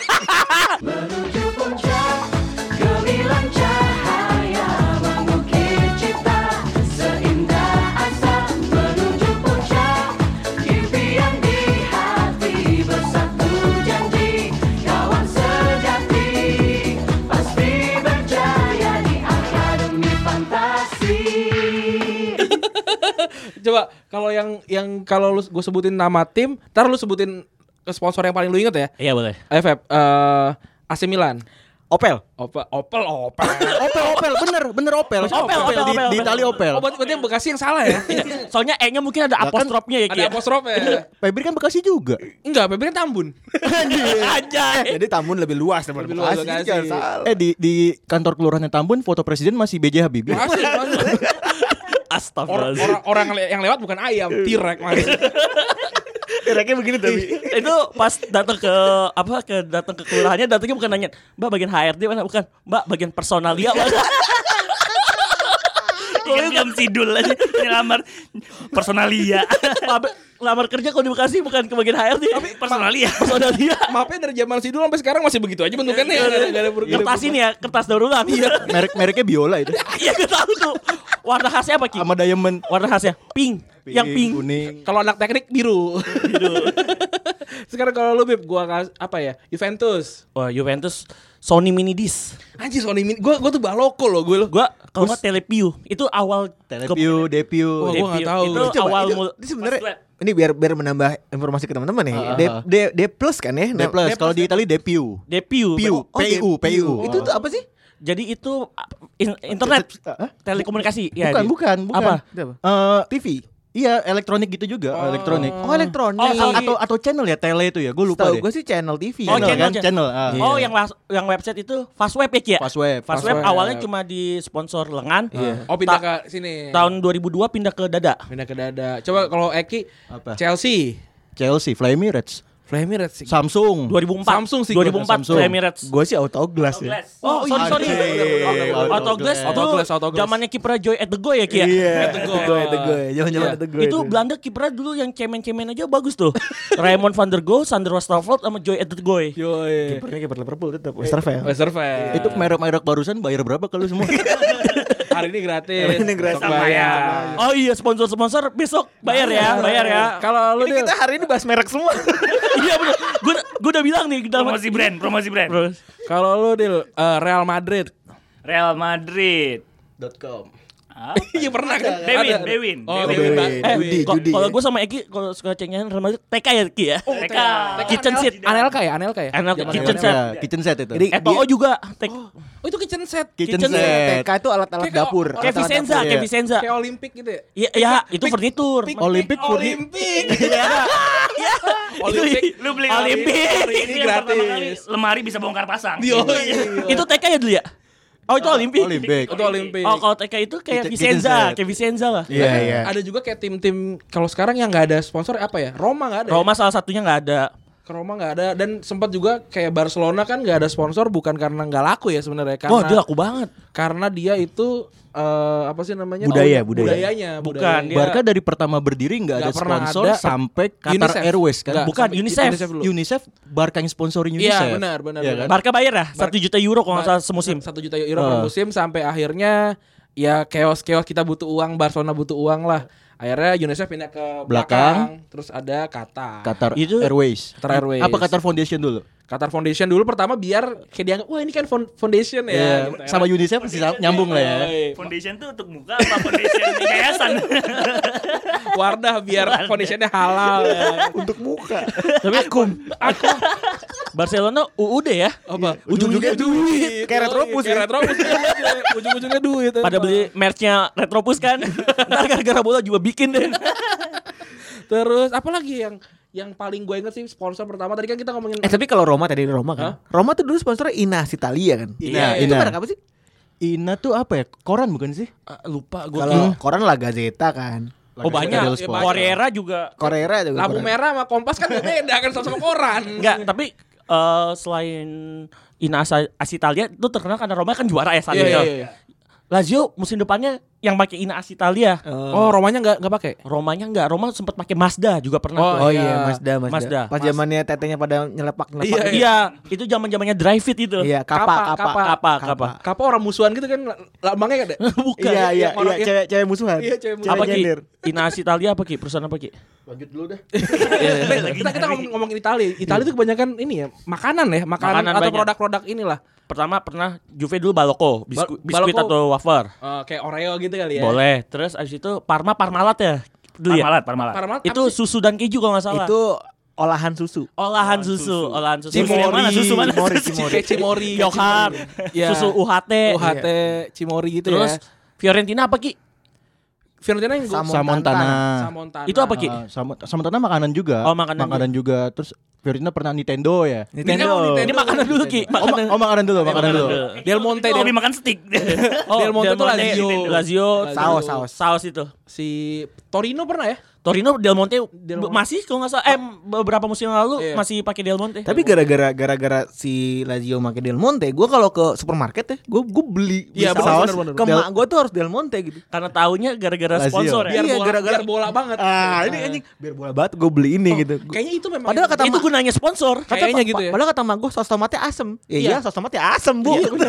Speaker 3: Coba kalau yang yang kalau lu gue sebutin nama tim, ntar lu sebutin ke sponsor yang paling lu inget ya.
Speaker 2: iya boleh
Speaker 3: Ayo Feb, eh, AC Milan.
Speaker 4: Opel
Speaker 3: Opel, Opel, Opel.
Speaker 4: Opel Opel Bener bener Opel
Speaker 2: Opel, Opel,
Speaker 4: Di-
Speaker 2: Opel,
Speaker 4: Di
Speaker 2: Opel.
Speaker 4: Itali Opel
Speaker 3: Oh, berarti berarti yang Bekasi yang salah ya?
Speaker 2: soalnya E nya mungkin ada apostrofnya ya
Speaker 3: Ada
Speaker 2: Kia
Speaker 3: apostrofnya.
Speaker 4: Febri kan Bekasi juga
Speaker 3: Enggak, Febri kan Tambun.
Speaker 2: aja
Speaker 7: Jadi Tambun lebih luas daripada
Speaker 3: Lebih luas,
Speaker 7: Bekasi, jadi
Speaker 3: Bekasi.
Speaker 7: jangan salah.
Speaker 5: Eh di di kantor kelurahannya Tambun foto presiden masih BJ Habibie.
Speaker 3: Masih, masih. Or-
Speaker 2: astagfirullahaladzim
Speaker 3: orang orang le- yang lewat bukan ayam, tirek masih.
Speaker 7: Iraknya begini tapi
Speaker 2: itu pas datang ke apa ke datang ke kelurahannya datangnya bukan nanya mbak bagian HRD mana bukan mbak bagian personalia mana
Speaker 6: Ingat film sidul aja nyelamar personalia.
Speaker 2: Lama- lamar kerja kalau di Bekasi bukan ke bagian HRD tapi
Speaker 6: Personalia.
Speaker 2: personalia
Speaker 3: Mapnya dari zaman sidul sampai sekarang masih begitu aja bentukannya. Gak ada- gak ada perubahan.
Speaker 2: kertas ini ya kertas daur ulang iya
Speaker 5: Merek-mereknya Biola itu.
Speaker 2: iya gue tahu tuh warna khasnya apa ki
Speaker 5: Sama diamond
Speaker 2: warna khasnya pink yang pink
Speaker 5: kuning.
Speaker 3: Kalau anak teknik biru. Sekarang kalau lu Bib, gua kas- apa ya? Juventus.
Speaker 2: Wah, Juventus Sony Mini Disc.
Speaker 3: Anjir Sony Mini. Gua gua tuh baloko loh gue lo.
Speaker 2: Gua kalau nggak Telepio itu awal
Speaker 5: Depew, Depew.
Speaker 2: Oh,
Speaker 3: Wah, gua nggak tahu.
Speaker 2: Itu
Speaker 3: Lu
Speaker 4: Coba,
Speaker 2: awal
Speaker 4: itu-
Speaker 2: mul-
Speaker 4: ini sebenarnya ini biar biar menambah informasi ke teman-teman nih.
Speaker 5: Ah,
Speaker 4: D,
Speaker 5: ah, ah.
Speaker 4: D, D plus kan ya?
Speaker 5: D plus. Kalau di Itali Depew.
Speaker 2: Depew.
Speaker 5: Piu,
Speaker 4: Oh, D-
Speaker 5: PU, PU.
Speaker 4: Itu tuh apa sih?
Speaker 2: Jadi itu uh, in- internet
Speaker 4: Hah?
Speaker 2: telekomunikasi ya.
Speaker 5: Bukan,
Speaker 2: di-
Speaker 5: bukan, bukan.
Speaker 2: Apa?
Speaker 4: Itu apa?
Speaker 5: Iya, Eh, TV. Iya, elektronik gitu juga, elektronik.
Speaker 4: Oh, elektronik.
Speaker 2: Oh,
Speaker 5: A-
Speaker 2: sorry.
Speaker 5: atau atau channel ya, tele itu ya. Gue lupa deh.
Speaker 4: Tahu gue sih iya. channel TV.
Speaker 2: Oh, channel,
Speaker 5: channel, kan,
Speaker 2: channel.
Speaker 5: channel. ah.
Speaker 2: Oh, yang las- yang website itu Fastweb ya, Ki, ya?
Speaker 5: Fastweb.
Speaker 2: Fastweb
Speaker 3: Iya. Fastweb.
Speaker 2: awalnya cuma di sponsor lengan.
Speaker 3: Oh pindah ke sini.
Speaker 2: Tahun 2002 pindah ke dada.
Speaker 3: Pindah ke dada. Coba kalau Eki
Speaker 5: Apa?
Speaker 3: Chelsea.
Speaker 5: Chelsea, Fly Emirates,
Speaker 3: Flame Red sih.
Speaker 5: Samsung.
Speaker 2: 2004
Speaker 3: Samsung sih gua.
Speaker 2: 2004
Speaker 5: Samsung.
Speaker 2: Emirates.
Speaker 4: Gue sih autoglass ya.
Speaker 2: Oh, sorry sorry.
Speaker 5: Anjing.
Speaker 2: Autoglass
Speaker 5: Autoglass.
Speaker 2: itu
Speaker 3: Autoglass, autoglass.
Speaker 2: zamannya kiper Joy at the Go ya, Ki ya?
Speaker 4: Gue itu gue. ya, Jangan-jangan
Speaker 3: Iya.
Speaker 4: itu gue.
Speaker 2: itu Belanda kipernya dulu yang cemen-cemen aja bagus tuh. Raymond van der Go, Sander Westerveld sama Joy Goy.
Speaker 3: Iya, Yoi.
Speaker 4: Kipernya kiper Liverpool tetap Westerveld.
Speaker 3: Westerveld.
Speaker 5: Itu merek-merek barusan bayar berapa kalau semua?
Speaker 3: hari ini gratis.
Speaker 4: Hari ini gratis.
Speaker 3: Besok bayar.
Speaker 2: Oh iya sponsor-sponsor besok bayar
Speaker 3: Iya,
Speaker 2: ya, bayar ya.
Speaker 3: Kalau lu
Speaker 4: Ini
Speaker 3: Dil,
Speaker 4: kita hari ini bahas merek semua.
Speaker 2: Iya bener. Gue gue udah bilang nih dalam
Speaker 6: Promosi brand, promosi brand.
Speaker 2: Bro,
Speaker 3: kalau lu Dil, eh, Real Madrid.
Speaker 6: Real Madrid.
Speaker 5: .com.
Speaker 6: Ah,
Speaker 3: Iya pernah kan?
Speaker 6: Dewin,
Speaker 3: Ada.
Speaker 6: Dewin.
Speaker 3: Oh, Dewin.
Speaker 6: Dewin.
Speaker 4: Dewin.
Speaker 3: Eh,
Speaker 4: Judi,
Speaker 2: ko-
Speaker 4: judi.
Speaker 2: Kalau gue sama Eki kalau suka cengnya Real Madrid TK ya Ki ya.
Speaker 3: oh,
Speaker 6: Oh, TK.
Speaker 2: Kitchen seat.
Speaker 3: Anelka ya, Anelka ya?
Speaker 2: Anak
Speaker 3: Zaman
Speaker 2: kitchen set.
Speaker 3: Anelka.
Speaker 5: Ya, kitchen set itu.
Speaker 4: Jadi
Speaker 2: Eto'o juga. Tek-
Speaker 3: Oh, itu kitchen set.
Speaker 5: kitchen,
Speaker 2: kitchen
Speaker 5: set.
Speaker 4: TK itu alat-alat
Speaker 3: Kayak kalau-
Speaker 4: dapur.
Speaker 2: Kayak
Speaker 4: Alat-alat
Speaker 2: Vicenza,
Speaker 4: dapur.
Speaker 5: iya.
Speaker 2: kayak Vicenza.
Speaker 3: Kayak Olimpik gitu ya?
Speaker 2: Iya, ya, itu furnitur.
Speaker 5: Olimpik Furni-
Speaker 3: Olimpik.
Speaker 2: Olimpik.
Speaker 6: Lu beli
Speaker 2: Olimpik.
Speaker 6: Itu yang pertama kali
Speaker 3: gratis.
Speaker 6: lemari bisa bongkar pasang. iya,
Speaker 2: Itu TK ya dulu ya? Oh itu Olimpik.
Speaker 5: Olimpik.
Speaker 3: Itu Olimpik.
Speaker 2: Oh kalau TK itu kayak
Speaker 5: Kitchen-
Speaker 2: Vicenza,
Speaker 5: kitchen set.
Speaker 2: kayak Vicenza lah.
Speaker 5: Iya, iya.
Speaker 3: Ada juga kayak tim-tim kalau sekarang yang nggak ada sponsor apa ya? Roma nggak ada. ya?
Speaker 2: Roma salah satunya nggak ada.
Speaker 3: Ke Roma nggak ada dan sempat juga kayak Barcelona kan nggak ada sponsor bukan karena nggak laku ya sebenarnya karena
Speaker 2: Wah dia laku banget.
Speaker 3: karena dia itu eh, apa sih namanya
Speaker 4: Budaya,
Speaker 3: Oh,
Speaker 4: budaya.
Speaker 3: budayanya
Speaker 2: Bukan,
Speaker 3: budayanya.
Speaker 2: dia-
Speaker 5: Barca dari pertama berdiri nggak
Speaker 3: iya. Nggak
Speaker 5: ada
Speaker 3: pernah
Speaker 5: sponsor
Speaker 3: ada.
Speaker 5: sampai Qatar
Speaker 3: UNICEF.
Speaker 5: Airways kan?
Speaker 3: Nggak,
Speaker 2: Bukan,
Speaker 3: sampai
Speaker 2: UNICEF.
Speaker 3: dulu.
Speaker 5: UNICEF Barca yang sponsorin
Speaker 3: gitu Iya,
Speaker 5: UNICEF.
Speaker 3: benar, benar,
Speaker 5: Iya
Speaker 3: benar.
Speaker 5: kan?
Speaker 2: Barca bayar ya satu juta euro kalau nggak salah semusim.
Speaker 3: satu juta euro per musim sampai akhirnya ya chaos chaos kita butuh uang Barcelona butuh uang lah akhirnya UNICEF pindah ke belakang,
Speaker 5: Belakang.
Speaker 3: terus ada Qatar
Speaker 5: Qatar
Speaker 2: Itu-
Speaker 5: Airways.
Speaker 3: Qatar Airways.
Speaker 5: Apa Qatar Foundation dulu?
Speaker 3: Qatar Foundation dulu pertama biar kayak dianggap wah ini kan fon- foundation ya
Speaker 5: Iya, sama UNICEF sih nyambung lah ya.
Speaker 3: Yoi.
Speaker 6: Iya. Foundation tuh untuk muka apa foundation yayasan?
Speaker 3: Iya. Wardah biar foundationnya halal ya.
Speaker 4: Untuk muka.
Speaker 2: Tapi aku, aku Barcelona UUD ya.
Speaker 3: apa
Speaker 4: Ujung-ujungnya duit. Kayak Retropus ya.
Speaker 3: kayak retropus ya. ujung-ujungnya duit
Speaker 2: Pada
Speaker 3: emang.
Speaker 2: beli merchnya Retropus kan. Ntar gara-gara bola juga bikin deh.
Speaker 3: terus apalagi yang yang paling gue inget sih sponsor pertama tadi kan kita ngomongin
Speaker 4: Eh tapi kalau Roma tadi Roma
Speaker 3: Hah?
Speaker 4: kan. Roma tuh dulu sponsornya Inas Italia kan.
Speaker 5: Ina,
Speaker 4: Itu
Speaker 5: Ina.
Speaker 4: merek apa sih?
Speaker 5: Ina tuh apa ya? Koran bukan sih?
Speaker 2: lupa gue.
Speaker 4: Kalau koran lah Gazeta kan.
Speaker 2: Oh banyak.
Speaker 5: Real
Speaker 3: Iya,
Speaker 5: Sport.
Speaker 2: Corriera juga.
Speaker 4: Correra juga.
Speaker 3: lampu
Speaker 4: koran.
Speaker 3: merah sama kompas kan beda kan sama-sama koran
Speaker 2: Enggak, tapi eh, selain Ina Asa- Asitalia itu terkenal karena Roma kan juara ya saat
Speaker 3: Iya,
Speaker 2: itu.
Speaker 3: iya, iya.
Speaker 2: Lazio musim depannya yang pakai Ina Asitalia.
Speaker 3: oh romanya nggak nggak pakai
Speaker 2: Romanya enggak, Roma sempat pakai Mazda juga pernah.
Speaker 3: Oh,
Speaker 2: tuh.
Speaker 4: Oh
Speaker 3: Iya.
Speaker 4: iya, Mazda, Mazda.
Speaker 2: Mazda.
Speaker 4: Pas zamannya tetenya pada nyelepak-nyelepak.
Speaker 3: Iya,
Speaker 2: Iya, itu zaman-zamannya Drive It itu.
Speaker 4: Iya,
Speaker 3: Kapa,
Speaker 4: kapa, kapa,
Speaker 3: kapa.
Speaker 2: Apa, apa?
Speaker 3: Kapal orang musuhan gitu kan la- lambangnya kan ada.
Speaker 2: Bukan.
Speaker 4: Iya, iya,
Speaker 3: Yang orang-
Speaker 4: iya, cewek, cewek musuhan.
Speaker 3: Iya, cewek musuhan.
Speaker 2: apa Ki?
Speaker 4: nyender.
Speaker 2: Ina Asitalia apa Ki? Perusahaan apa Ki?
Speaker 3: Iya, kita kita ngomong, ngomongin Italia. Italia itu kebanyakan ini ya, makanan ya, makanan,
Speaker 2: Makanan
Speaker 3: atau
Speaker 2: banyak.
Speaker 3: produk-produk inilah.
Speaker 2: Pertama pernah Juve dulu Baloko, bisku-
Speaker 3: Ba-
Speaker 2: biskuit
Speaker 3: Balocco.
Speaker 2: atau wafer.
Speaker 3: Eh, kayak Oreo gitu kali ya.
Speaker 2: Boleh. Terus abis itu Parma Parmalat ya. Dulu ya.
Speaker 6: Parmalat, Parmalat.
Speaker 3: Parmalat
Speaker 2: Itu
Speaker 3: apa sih?
Speaker 2: susu dan keju kalau nggak salah.
Speaker 4: Itu olahan susu.
Speaker 2: olahan susu, olahan susu.
Speaker 6: Susu yang mana? Susu mana?
Speaker 4: Cimori,
Speaker 6: Susu
Speaker 4: cimori.
Speaker 3: Kayak Cimori,
Speaker 2: Yogurt,
Speaker 3: Iya.
Speaker 2: susu UHT,
Speaker 3: UHT, Cimori gitu
Speaker 2: Iya. Terus
Speaker 3: ya.
Speaker 2: Fiorentina apa Ki?
Speaker 3: Fiorentina yang gua-
Speaker 5: Samontana.
Speaker 3: Samontana.
Speaker 2: Itu apa Ki?
Speaker 5: Ah, sama sama tanah makanan juga.
Speaker 2: Oh, makanan
Speaker 5: juga. Terus Fiorentina pernah Nintendo ya.
Speaker 3: kan Nintendo.
Speaker 2: Ini makanan dulu Ki.
Speaker 5: Oh, ma-
Speaker 2: Makanan.
Speaker 5: oh, makanan
Speaker 3: Iya,
Speaker 5: dulu, makanan dulu.
Speaker 3: Del Monte,
Speaker 6: Itu
Speaker 3: Del-
Speaker 6: hobi makan steak.
Speaker 2: Oh,
Speaker 3: Del Monte itu Lazio.
Speaker 2: Lazio,
Speaker 3: Lazio.
Speaker 2: saus, saus, saus itu.
Speaker 3: Si Torino pernah ya?
Speaker 2: Torino Del Monte,
Speaker 3: Del Monte. Ah.
Speaker 2: masih kalau nggak salah eh beberapa musim lalu
Speaker 3: Iya.
Speaker 2: masih pakai Del Monte.
Speaker 4: Tapi gara-gara gara-gara si Lazio make Del Monte, gue kalau ke supermarket ya, gue gue beli, beli
Speaker 3: Iya, bener, bener, bener.
Speaker 4: Ke mak gue tuh harus Del Monte gitu.
Speaker 2: karena tahunya gara-gara
Speaker 5: Lazio.
Speaker 2: sponsor ya.
Speaker 3: Biar
Speaker 4: Iya,
Speaker 3: bola,
Speaker 4: gara-gara-
Speaker 3: biar bola banget. Iya.
Speaker 4: Ah, ini anjing biar bola banget gue beli ini gitu. Gua-
Speaker 3: Kayaknya itu memang
Speaker 4: Padahal kata
Speaker 2: itu
Speaker 4: mak-
Speaker 2: gunanya sponsor.
Speaker 4: kata
Speaker 3: kayaknya
Speaker 4: pa-
Speaker 3: gitu ya.
Speaker 4: Padahal kata mak gue saus tomatnya asem. Ya
Speaker 3: Iya.
Speaker 4: iya, saus tomatnya asem, Bu.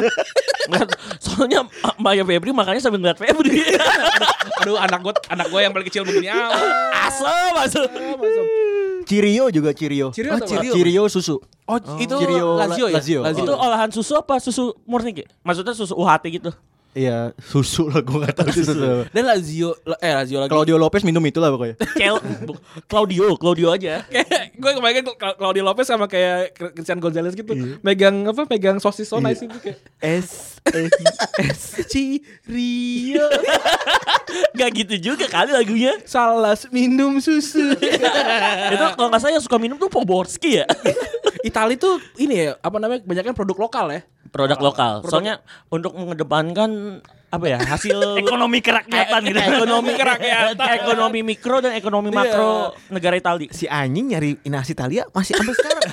Speaker 2: Nggak, Soalnya Ma- Maya Febri makanya sambil ngeliat Febri.
Speaker 3: aduh anak gue anak gue yang paling kecil begini ah.
Speaker 2: asem, asem.
Speaker 5: Cirio juga Cirio. Ah,
Speaker 3: Cirio atau apa?
Speaker 5: Cirio. susu.
Speaker 3: Oh, itu
Speaker 5: Cirio La-
Speaker 3: Lazio ya?
Speaker 5: Lazio.
Speaker 3: Lazio.
Speaker 2: Itu olahan susu apa susu murni Ki? Maksudnya susu UHT gitu.
Speaker 5: Iya, susu lah gue gak tahu susu. itu apa.
Speaker 3: Dan Lazio eh Lazio lagi.
Speaker 5: Claudio Lopez minum itulah pokoknya.
Speaker 2: Cel bu- Claudio, Claudio aja.
Speaker 3: Kayak gue kebayangin Cla- Claudio Lopez sama kayak Christian Gonzalez gitu. Megang apa? Megang sosis so nice itu kayak
Speaker 4: S
Speaker 3: S Cirio
Speaker 2: Gak gitu juga kali lagunya.
Speaker 3: salas minum susu.
Speaker 2: Itu kalau nggak salah yang suka minum tuh Poborski ya.
Speaker 3: Itali tuh ini ya, apa namanya? Banyaknya produk lokal ya.
Speaker 2: Produk lokal. Soalnya untuk mengedepankan apa ya hasil
Speaker 6: Ekonomi kerakyatan
Speaker 3: Eh,
Speaker 6: gitu.
Speaker 2: ekonomi kerakyatan, ekonomi mikro dan ekonomi makro
Speaker 3: Iya.
Speaker 2: negara Italia.
Speaker 4: si anjing nyari nasi Italia masih sampai sekarang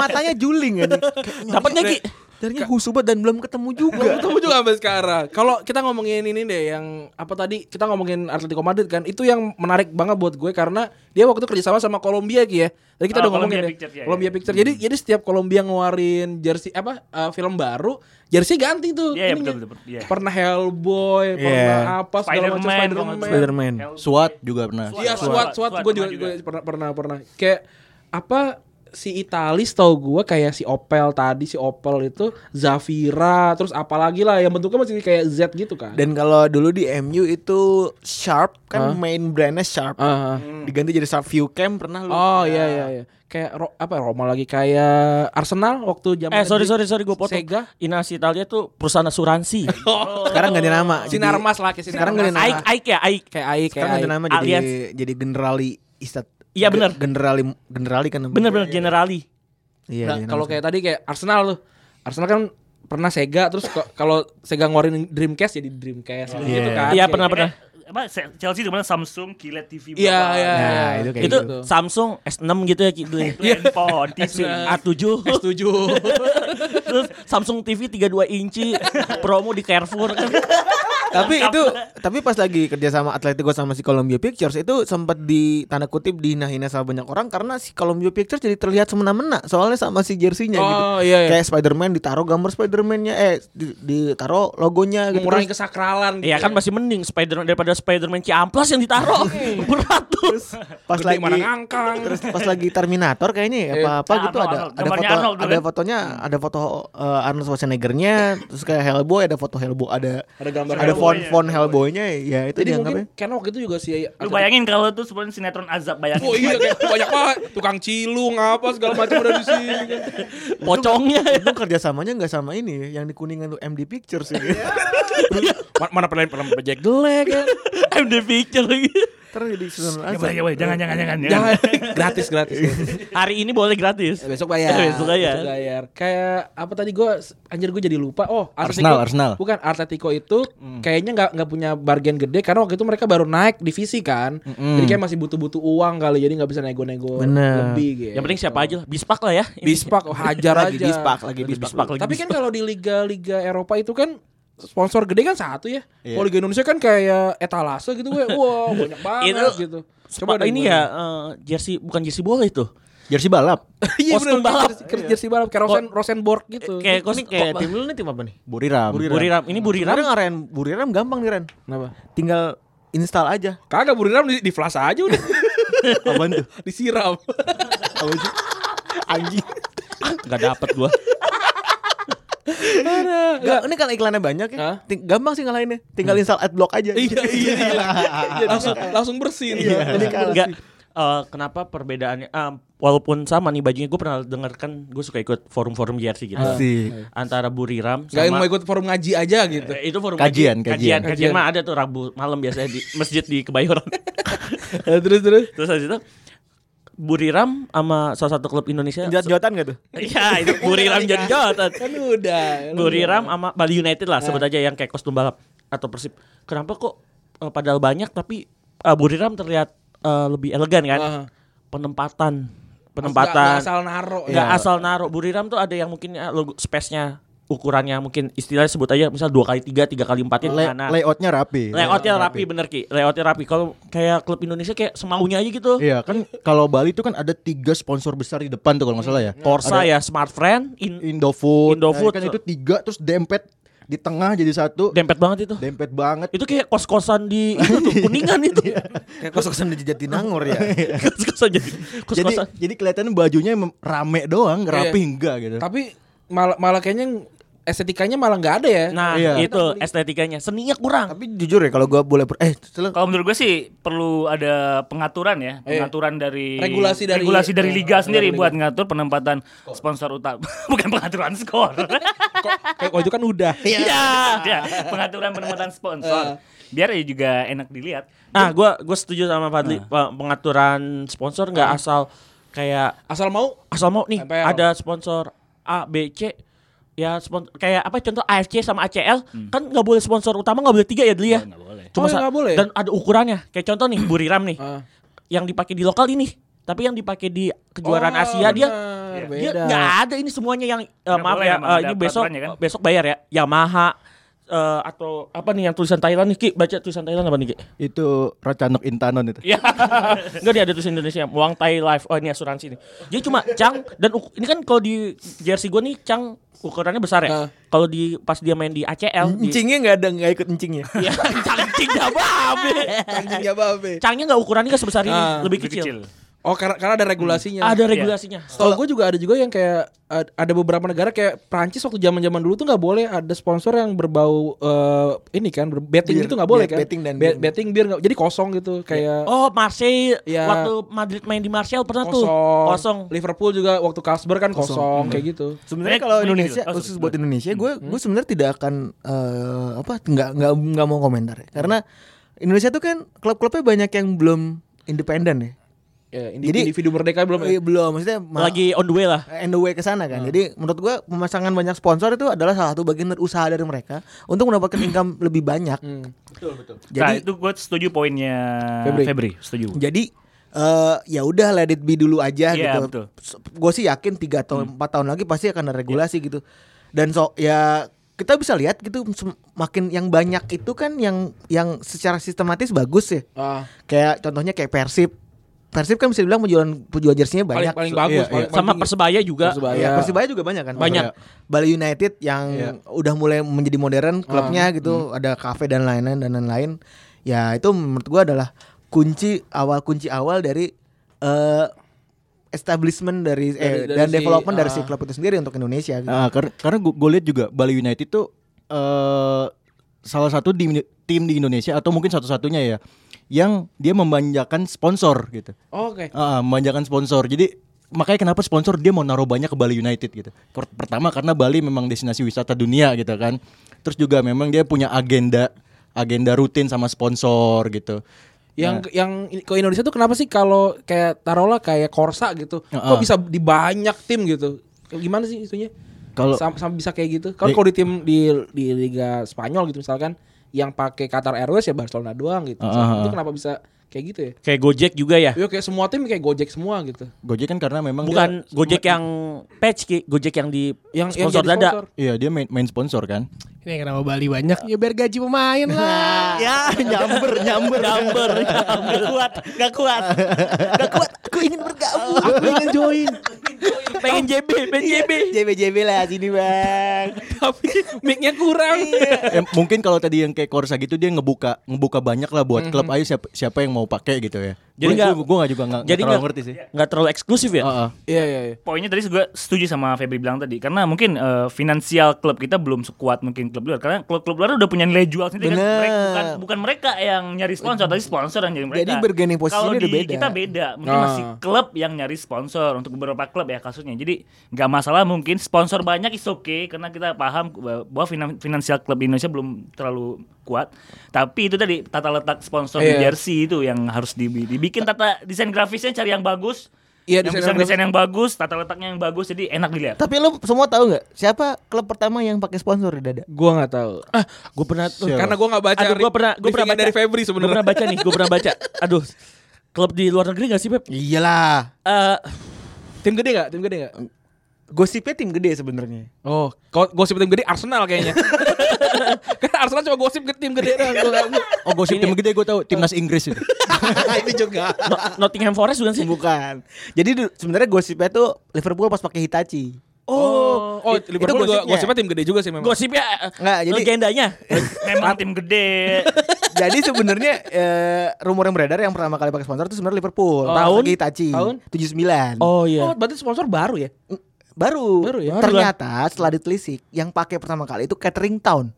Speaker 4: matanya juling anjing.
Speaker 2: Dapatnya Ki.
Speaker 4: Darinya husubat dan belum ketemu juga.
Speaker 3: Ketemu juga sampai sekarang. Kalau kita ngomongin ini deh yang apa tadi kita ngomongin Atletico Madrid kan, itu yang menarik banget buat gue karena dia waktu itu kerjasama sama Kolombia Ki ya. Tadi kita
Speaker 6: Oh,
Speaker 3: udah ngomongin
Speaker 6: Columbia
Speaker 3: ya.
Speaker 6: Pictures, ya,
Speaker 3: Columbia
Speaker 6: ya.
Speaker 3: Pictures. Jadi jadi setiap Kolombia ngeluarin jersey apa eh, film baru, jersey ganti tuh.
Speaker 6: Iya, iya,
Speaker 3: ininya.
Speaker 6: betul, betul, betul. Iya.
Speaker 3: Pernah Hellboy, pernah apa segala macam
Speaker 6: Spider-Man,
Speaker 3: Spider-Man.
Speaker 6: kalau nggak salah.
Speaker 4: Spiderman.
Speaker 5: Suat juga pernah.
Speaker 3: Iya,
Speaker 6: Swat,
Speaker 3: SWAT,
Speaker 6: swat,
Speaker 3: SWAT, gue
Speaker 6: swat
Speaker 3: juga,
Speaker 6: pernah
Speaker 3: gua pernah pernah pernah. Kayak apa si Itali tahu gue kayak si Opel tadi si Opel itu Zafira terus apalagi lah yang bentuknya masih kayak Z gitu kan.
Speaker 4: Dan kalau dulu di MU itu Sharp kan main brandnya Sharp.
Speaker 3: Ah, ah.
Speaker 4: Diganti jadi Sharp View Cam pernah lu.
Speaker 3: oh iya iya iya. Kayak Ro- apa Roma lagi kayak Arsenal waktu zaman
Speaker 2: Eh sorry
Speaker 3: SD.
Speaker 2: sorry sorry gue potong.
Speaker 3: Sega.
Speaker 2: Inasi Italia tuh perusahaan asuransi.
Speaker 4: Sekarang ganti nama. jadi-
Speaker 3: Sinarmas lah kayak
Speaker 4: Sekarang ganti nama.
Speaker 3: Sinarmas.
Speaker 2: Oh, Aik Aik ya Aik.
Speaker 3: kayak AI kayak Nah,
Speaker 4: Sekarang ganti
Speaker 3: AI.
Speaker 4: nama
Speaker 2: Allianz.
Speaker 4: jadi jadi Generali Istat.
Speaker 2: Iya, bener.
Speaker 4: Generali Generali kan. namanya.
Speaker 2: Bener-bener generali.
Speaker 4: Iya.
Speaker 3: Nah,
Speaker 4: jadi
Speaker 3: kalau
Speaker 4: nama.
Speaker 3: kayak tadi kayak Arsenal tuh. Arsenal kan pernah Sega terus ke- kalau Sega ngeluarin Dreamcast jadi Dreamcast gitu kan.
Speaker 2: Iya
Speaker 3: Kayak-
Speaker 2: pernah pernah.
Speaker 6: Eh, Apa Se- Chelsea itu mana Samsung, Kilet TV
Speaker 3: Iya iya.
Speaker 4: Nah,
Speaker 3: iya.
Speaker 4: itu kayak
Speaker 2: Itu
Speaker 4: gitu.
Speaker 2: Samsung S6 gitu ya Ki beli.
Speaker 6: Iya. Handphone, TV.
Speaker 2: A7
Speaker 3: S7
Speaker 2: Terus Samsung TV 32 inci promo di Carrefour kan.
Speaker 4: tapi itu tapi pas lagi kerja sama Atletico sama si Columbia Pictures itu sempat di tanda kutip dihina-hina sama banyak orang karena si Columbia Pictures jadi terlihat semena-mena soalnya sama si jersinya gitu.
Speaker 3: Oh iya iya
Speaker 4: Kayak Spider-Man ditaruh gambar Spider-Man-nya eh di- ditaruh logonya gitu.
Speaker 3: Mengurangi
Speaker 4: Terus-
Speaker 3: kesakralan
Speaker 2: Iya kan masih mending Spider daripada Spider-Man Ciamplas yang ditaruh berat tuh.
Speaker 4: pas lagi
Speaker 3: mana Iya. ngangkang
Speaker 4: terus pas lagi Terminator kayaknya ya, apa apa
Speaker 6: Nah,
Speaker 4: gitu
Speaker 6: Arnold,
Speaker 4: ada
Speaker 6: Arnold.
Speaker 4: ada
Speaker 6: Gambarnya
Speaker 4: foto
Speaker 6: Arnold tuh
Speaker 4: ada
Speaker 6: kan?
Speaker 4: fotonya
Speaker 3: Hmm.
Speaker 4: ada foto eh, Arnold Schwarzenegger-nya terus kayak Hellboy ada foto Hellboy ada
Speaker 3: Ada gambar
Speaker 4: ada
Speaker 6: Hellboy-nya.
Speaker 4: font font Hellboy-nya ya itu
Speaker 3: Jadi
Speaker 4: dianggapnya
Speaker 3: mungkin karena waktu itu juga si
Speaker 6: Lu bayangin kalau tuh sebenarnya sinetron azab bayangin.
Speaker 3: Oh iya kayak banyak banget Tukang cilung apa segala macam ada di sini kan.
Speaker 2: Pocongnya ya.
Speaker 4: Untung kerjasamanya nggak sama ini yang di kuningan tuh MD Pictures ini.
Speaker 3: Ma- Mana pernah pernah project jelek kan
Speaker 2: MD Picture lagi.
Speaker 4: Terus jadi season
Speaker 6: Ya,
Speaker 4: azab.
Speaker 6: boleh, ya, boleh. Jangan, jangan, jangan, jangan.
Speaker 3: Jangan Gratis gratis
Speaker 2: Hari ini boleh gratis.
Speaker 3: Eh, Besok bayar
Speaker 2: Besok bayar.
Speaker 3: Kayak apa tadi gue Anjir gue jadi lupa Oh
Speaker 5: Arsenal, Arsenal.
Speaker 3: Bukan Atletico itu Kayaknya nggak nggak punya bargain gede Karena waktu itu mereka baru naik divisi kan Jadi kayak masih butuh-butuh uang kali Jadi nggak bisa nego-nego
Speaker 4: Bener.
Speaker 3: lebih gitu
Speaker 2: Yang penting siapa aja lah, Bispak lah ya.
Speaker 3: Bispak oh, hajar
Speaker 4: lagi
Speaker 3: aja.
Speaker 4: bispak lagi
Speaker 2: Bispak,
Speaker 4: bispak.
Speaker 2: Bispak lagi.
Speaker 3: Tapi kan
Speaker 2: Bispak.
Speaker 3: kalau di liga-liga Eropa itu kan sponsor gede kan satu ya.
Speaker 5: Iya.
Speaker 3: Kalau Liga Indonesia kan kayak etalase gitu gue. Wah, banyak banget
Speaker 2: Itu
Speaker 3: gitu.
Speaker 2: Coba
Speaker 3: deh
Speaker 2: ini
Speaker 3: gue.
Speaker 2: ya eh, jersey bukan jersey bola itu.
Speaker 5: Jersey balap.
Speaker 3: Iya
Speaker 2: kostum
Speaker 3: bener,
Speaker 2: balap. Iya.
Speaker 3: jersey- Jersey balap kayak Rosen Rosenborg gitu.
Speaker 2: Kayak kos kayak
Speaker 4: tim lu nih tim apa nih?
Speaker 5: Buriram.
Speaker 2: Buriram. Ini Buriram.
Speaker 4: Sekarang ngaren Buriram gampang nih Ren.
Speaker 3: Kenapa?
Speaker 4: Tinggal install aja.
Speaker 3: Kagak Buriram di, di flash aja udah
Speaker 5: Apaan tuh?
Speaker 3: disiram.
Speaker 4: Anjing.
Speaker 2: Gak dapet gua.
Speaker 4: Gak, ini kan iklannya banyak ya.
Speaker 3: Hah?
Speaker 4: Ting- gampang sih ngalahinnya. Tinggal install adblock aja.
Speaker 3: iya iya. iya. Jadi langsung
Speaker 2: Iya.
Speaker 3: langsung bersih.
Speaker 4: Jadi kalau
Speaker 2: Enggak. eh, kenapa perbedaannya eh, walaupun sama nih bajunya gue pernah dengarkan gue suka ikut forum-forum jersey
Speaker 3: Iya.
Speaker 2: gitu
Speaker 5: Ah.
Speaker 4: Asik.
Speaker 2: antara Buriram
Speaker 3: Gak yang mau
Speaker 2: sama
Speaker 3: ikut forum ngaji aja gitu.
Speaker 2: Eh, itu forum
Speaker 5: Kajian,
Speaker 2: kajian,
Speaker 5: kajian.
Speaker 2: kajian mah ada tuh Rabu malam biasanya di masjid di Kebayoran. Iya.
Speaker 3: Eh, terus terus.
Speaker 2: Terus habis itu Buriram sama salah satu klub Indonesia.
Speaker 4: jot-jotan gak tuh?
Speaker 2: Iya, itu Buriram jadi jotot.
Speaker 3: Kan udah.
Speaker 2: Buriram sama Bali United lah sebut aja yang kayak kostum balap atau Persib. Kenapa kok eh, padahal banyak tapi eh, Buriram terlihat eh, lebih elegan kan?
Speaker 3: Ah.
Speaker 2: Penempatan
Speaker 3: Nggak- nggak
Speaker 2: penempatan Iya.
Speaker 3: asal naro. ya.
Speaker 2: nggak asal naruh Buriram tuh ada yang mungkin ya, logo space-nya ukurannya mungkin istilahnya sebut aja misal dua kali tiga tiga kali empatnya
Speaker 5: Le-
Speaker 2: mana
Speaker 5: layoutnya rapi.
Speaker 2: nah. Layoutnya rapi bener Ki Layoutnya rapi Kalau kayak klub Indonesia kayak semaunya aja gitu
Speaker 5: Iya kan kalau Bali itu kan ada tiga sponsor besar di
Speaker 4: Hmm.
Speaker 5: depan tuh kalau nggak salah ya.
Speaker 2: Torsa ya Smart Friend in
Speaker 5: Indofood.
Speaker 2: Indofood.
Speaker 5: Nah, kan itu tiga terus dempet di tengah jadi satu,
Speaker 2: Dempet banget Iya. itu.
Speaker 5: dempet banget.
Speaker 2: Itu kayak kos-kosan di itu tuh, kuningan itu.
Speaker 4: Kayak kos-kosan di Jatinangor ya.
Speaker 2: kos-kosan jadi
Speaker 5: Jadi
Speaker 2: kos-kosan.
Speaker 5: jadi kelihatan bajunya emang rame doang, rapi
Speaker 3: Iya.
Speaker 5: enggak gitu.
Speaker 3: Tapi malah malah kayaknya estetikanya malah nggak ada ya.
Speaker 2: Nah,
Speaker 5: Iya.
Speaker 2: itu estetikanya. Seninya kurang.
Speaker 4: Tapi jujur ya kalau gua boleh per- eh Celeng,
Speaker 6: Kalau menurut gue sih perlu ada pengaturan ya,
Speaker 3: Iya.
Speaker 6: pengaturan dari
Speaker 3: Regulasi dari-
Speaker 6: regulasi dari
Speaker 3: eh,
Speaker 6: liga sendiri
Speaker 3: liga.
Speaker 6: buat ngatur penempatan sponsor utama, bukan pengaturan skor.
Speaker 3: Kok kayak kok itu kan udah.
Speaker 6: Iya, pengaturan penempatan sponsor. Biar ya juga enak dilihat.
Speaker 2: Nah, gua gua setuju sama Fadli Pe- pengaturan sponsor nggak asal kayak
Speaker 3: Asal mau
Speaker 2: asal mau nih
Speaker 3: MPL.
Speaker 2: ada sponsor A, B, C ya sponsor kayak apa contoh AFC sama ACL kan nggak boleh sponsor utama nggak boleh tiga ya Dli ya
Speaker 6: Eh, Nggak boleh.
Speaker 2: cuma
Speaker 3: Oh, ya
Speaker 2: sa-
Speaker 3: nggak boleh.
Speaker 2: dan ada ukurannya kayak contoh nih Buriram nih
Speaker 3: Ah.
Speaker 2: yang dipakai di lokal ini tapi yang dipakai di kejuaraan
Speaker 3: Oh,
Speaker 2: Asia dia
Speaker 4: Iya.
Speaker 3: benar,
Speaker 2: dia
Speaker 3: beda.
Speaker 2: nggak ada ini semuanya yang eh,
Speaker 6: Nggak
Speaker 2: maaf
Speaker 6: boleh
Speaker 2: ya
Speaker 6: emang
Speaker 2: eh,
Speaker 6: ada
Speaker 2: ini besok
Speaker 6: peraturannya kan?
Speaker 2: besok bayar ya Yamaha eh, atau apa nih yang tulisan Thailand nih Ki baca tulisan Thailand apa nih Ki
Speaker 5: Itu Racanok Intanon itu.
Speaker 2: Ya. Enggak dia ada tulisan Indonesia, Muang Thai Life. Oh, ini asuransi nih. Jadi cuma cang dan uk- ini kan kalau di jersey gua nih cang ukurannya besar
Speaker 3: Heeh.
Speaker 2: ya. Kalau di pas dia main di ACL di
Speaker 4: encingnya enggak ada enggak ikut encingnya.
Speaker 2: Ya, cangcing gak babe.
Speaker 3: Anjing ya babe.
Speaker 2: Cangnya enggak ukurannya enggak sebesar ini,
Speaker 3: Ah,
Speaker 2: lebih,
Speaker 6: Lebih
Speaker 2: kecil. Iya.
Speaker 6: kecil.
Speaker 3: Oh karena, karena ada regulasinya.
Speaker 2: Ada regulasinya.
Speaker 3: Setahu gue juga ada juga yang kayak ad- ada beberapa negara kayak Prancis waktu zaman zaman dulu tuh nggak boleh ada sponsor yang berbau eh, ini kan ber- betting
Speaker 4: Bir,
Speaker 3: gitu nggak boleh
Speaker 4: bir,
Speaker 3: kan?
Speaker 4: Iya, betting dan bir.
Speaker 3: Be- betting bir nggak jadi kosong gitu kayak
Speaker 2: Oh, Marseille
Speaker 3: Ya.
Speaker 2: waktu Madrid main di Marseille pernah
Speaker 3: kosong.
Speaker 2: tuh kosong.
Speaker 3: Liverpool juga waktu Kasber kan kosong, kayak
Speaker 4: Hmm.
Speaker 3: gitu.
Speaker 4: Sebenarnya
Speaker 6: Eh,
Speaker 4: kalau
Speaker 6: ini
Speaker 4: Indonesia
Speaker 6: gitu. Oh,
Speaker 4: khusus buat Indonesia gue gue sebenarnya tidak akan eh, apa nggak nggak nggak mau komentar ya. karena Indonesia tuh kan klub-klubnya banyak yang belum independen ya.
Speaker 3: Ya, indi-
Speaker 4: Jadi-
Speaker 3: individu merdeka belum. ya?
Speaker 4: Eh, belum maksudnya ma-
Speaker 2: Lagi on the way lah.
Speaker 4: and the way ke sana kan. Jadi menurut gua pemasangan banyak sponsor itu adalah salah satu bagian dari usaha dari mereka untuk mendapatkan income lebih banyak.
Speaker 6: Nah,
Speaker 4: Jadi
Speaker 6: itu gue setuju poinnya
Speaker 3: Febri.
Speaker 6: Febri. setuju.
Speaker 4: jadi eh, ya udah let it be dulu aja
Speaker 6: Iya,
Speaker 4: gitu.
Speaker 6: betul. Hmm. Iya.
Speaker 4: Gue sih yakin 3 tahun 4 tahun lagi pasti akan ada regulasi gitu. Dan so ya kita bisa lihat gitu sem- makin yang banyak itu kan yang yang secara sistematis bagus ya.
Speaker 3: Ah,
Speaker 4: Kayak contohnya kayak Persib. Persib kan bisa dibilang penjualan penjual jersinya
Speaker 3: paling
Speaker 4: banyak.
Speaker 3: paling
Speaker 5: iya,
Speaker 3: bagus, paling,
Speaker 2: Sama
Speaker 3: paling Iya, tinggi.
Speaker 2: Persebaya juga.
Speaker 3: Persebaya.
Speaker 4: Ya, Persibaya juga banyak kan?
Speaker 2: Banyak.
Speaker 4: Bali United yang udah mulai menjadi modern klubnya gitu, ada kafe dan lain-lain dan lain-lain. Ya itu menurut gua adalah kunci awal kunci awal dari eh, establishment dari, eh,
Speaker 3: Dari- dari
Speaker 4: dan
Speaker 3: si,
Speaker 4: development dari si
Speaker 3: ah.
Speaker 4: klub itu sendiri untuk Indonesia gitu.
Speaker 5: Ah, kar- karena gue lihat juga Bali United tuh eh salah satu tim, tim di Indonesia atau mungkin satu-satunya ya yang dia memanjakan sponsor gitu.
Speaker 3: Oh, Oke.
Speaker 5: Ah, memanjakan sponsor. Jadi makanya kenapa sponsor dia mau naruh banyak ke Bali United gitu. Per- Pertama karena Bali memang destinasi wisata dunia gitu kan. Terus juga memang dia punya agenda agenda rutin sama sponsor gitu.
Speaker 3: Yang yang ini- ke Indonesia tuh kenapa sih kalau kayak taruhlah kayak Korsa gitu, kok bisa di banyak tim gitu? Gimana sih itunya?
Speaker 5: Nah, Kalau-
Speaker 3: Sam- sam- bisa kayak gitu.
Speaker 2: Iya.
Speaker 3: Kalau kalau di tim di di Liga Spanyol gitu misalkan yang pakai Qatar Airways ya Barcelona doang gitu. Misalkan. Itu kenapa bisa kayak gitu ya?
Speaker 2: Kayak Gojek juga ya.
Speaker 3: Yo kayak semua tim kayak Gojek semua gitu.
Speaker 5: Gojek kan karena memang
Speaker 2: Bukan
Speaker 5: dia-
Speaker 2: Gojek yang patch Ki, Gojek yang di
Speaker 3: Yang yang
Speaker 2: sponsor
Speaker 3: jadi
Speaker 2: dada.
Speaker 5: Iya, dia main, main sponsor kan.
Speaker 9: Ini kenapa Bali banyak? Ya biar gaji pemain lah.
Speaker 5: ya, nyamber, nyamber.
Speaker 2: Gambar. Gak kuat, gak kuat.
Speaker 4: Gak kuat, aku ingin bergabung.
Speaker 9: Aku ingin join.
Speaker 2: Pengen JB, pengen JB.
Speaker 4: JBJB lah sini bang.
Speaker 3: Tapi mic-nya kurang.
Speaker 2: Iya.
Speaker 5: Ya, mungkin kalau tadi yang kayak Corsa gitu dia ngebuka ngebuka banyak lah buat klub ayo siapa siapa yang mau pakai gitu ya.
Speaker 2: Mhm. Jadi
Speaker 5: Jadi
Speaker 2: nggak-
Speaker 5: gue nggak juga nggak nggak
Speaker 2: jadi
Speaker 5: terlalu
Speaker 2: nggak-
Speaker 5: ngerti sih.
Speaker 4: Iya.
Speaker 2: Nggak terlalu eksklusif ya?
Speaker 5: Heeh.
Speaker 3: Iya iya iya.
Speaker 6: Poinnya tadi juga setuju sama Febri bilang tadi karena mungkin eh, finansial klub kita belum sekuat mungkin klub luar karena klub-klub luar udah punya nilai jual sendiri kan
Speaker 4: Bener.
Speaker 6: mereka, bukan, bukan mereka yang nyari sponsor tapi sponsor yang nyari mereka.
Speaker 4: Jadi bergening posisi
Speaker 6: Kalau
Speaker 4: ini udah
Speaker 6: di
Speaker 4: beda.
Speaker 6: kita beda mungkin
Speaker 3: Ah.
Speaker 6: masih klub yang nyari sponsor untuk beberapa klub ya kasusnya jadi nggak masalah mungkin sponsor banyak is oke karena kita paham eh, bahwa finan- finansial klub di Indonesia belum terlalu kuat tapi itu tadi tata letak sponsor di
Speaker 3: Iya.
Speaker 6: jersey itu yang harus dibi- dibikin tata desain grafisnya cari yang bagus
Speaker 3: Iya,
Speaker 6: yang
Speaker 3: desain
Speaker 6: bisa
Speaker 3: grafis.
Speaker 6: desain yang bagus, tata letaknya yang bagus, jadi enak dilihat.
Speaker 4: Tapi lu semua tahu nggak siapa klub pertama yang pakai sponsor di dada?
Speaker 3: Gua nggak tahu.
Speaker 2: Ah, gue pernah tuh.
Speaker 3: Karena gua nggak baca.
Speaker 2: Aduh, gue pernah, gue pernah
Speaker 3: briefing
Speaker 2: baca
Speaker 3: dari Febri
Speaker 2: Gue
Speaker 3: sebenarnya.
Speaker 2: pernah baca nih, gue pernah baca. Aduh, klub di luar negeri gak sih Pep?
Speaker 4: Iyalah.
Speaker 2: Eh,
Speaker 3: Tim gede nggak? Tim gede nggak?
Speaker 4: Gosipnya tim gede sebenarnya.
Speaker 3: Oh, kok gosip tim gede Arsenal kayaknya. Karena Arsenal cuma gosip ke tim gede doang. Gua nggak-
Speaker 5: Oh gosip tim gede gue tahu timnas Inggris itu.
Speaker 4: itu Nah, juga.
Speaker 2: No- Nottingham Forest bukan sih?
Speaker 4: Bukan. Jadi du- sebenarnya gosipnya tuh Liverpool pas pakai Hitachi.
Speaker 2: Oh,
Speaker 3: Oh, Liverpool juga
Speaker 4: gosipnya.
Speaker 3: gosipnya tim gede juga sih memang.
Speaker 2: gosipnya
Speaker 4: Nggak, jadi-
Speaker 2: legendanya.
Speaker 6: Memang tim gede.
Speaker 4: Jadi sebenarnya eh, rumor yang beredar yang pertama kali pakai sponsor itu sebenarnya Liverpool.
Speaker 3: Oh,
Speaker 4: tahun
Speaker 3: tahun?
Speaker 4: Hitachi.
Speaker 3: Tahun?
Speaker 4: 79.
Speaker 2: Oh iya.
Speaker 3: Oh, berarti sponsor baru ya?
Speaker 4: Baru.
Speaker 3: Baru ya?
Speaker 4: Ternyata setelah ditelisik yang pakai pertama kali itu Catering Town.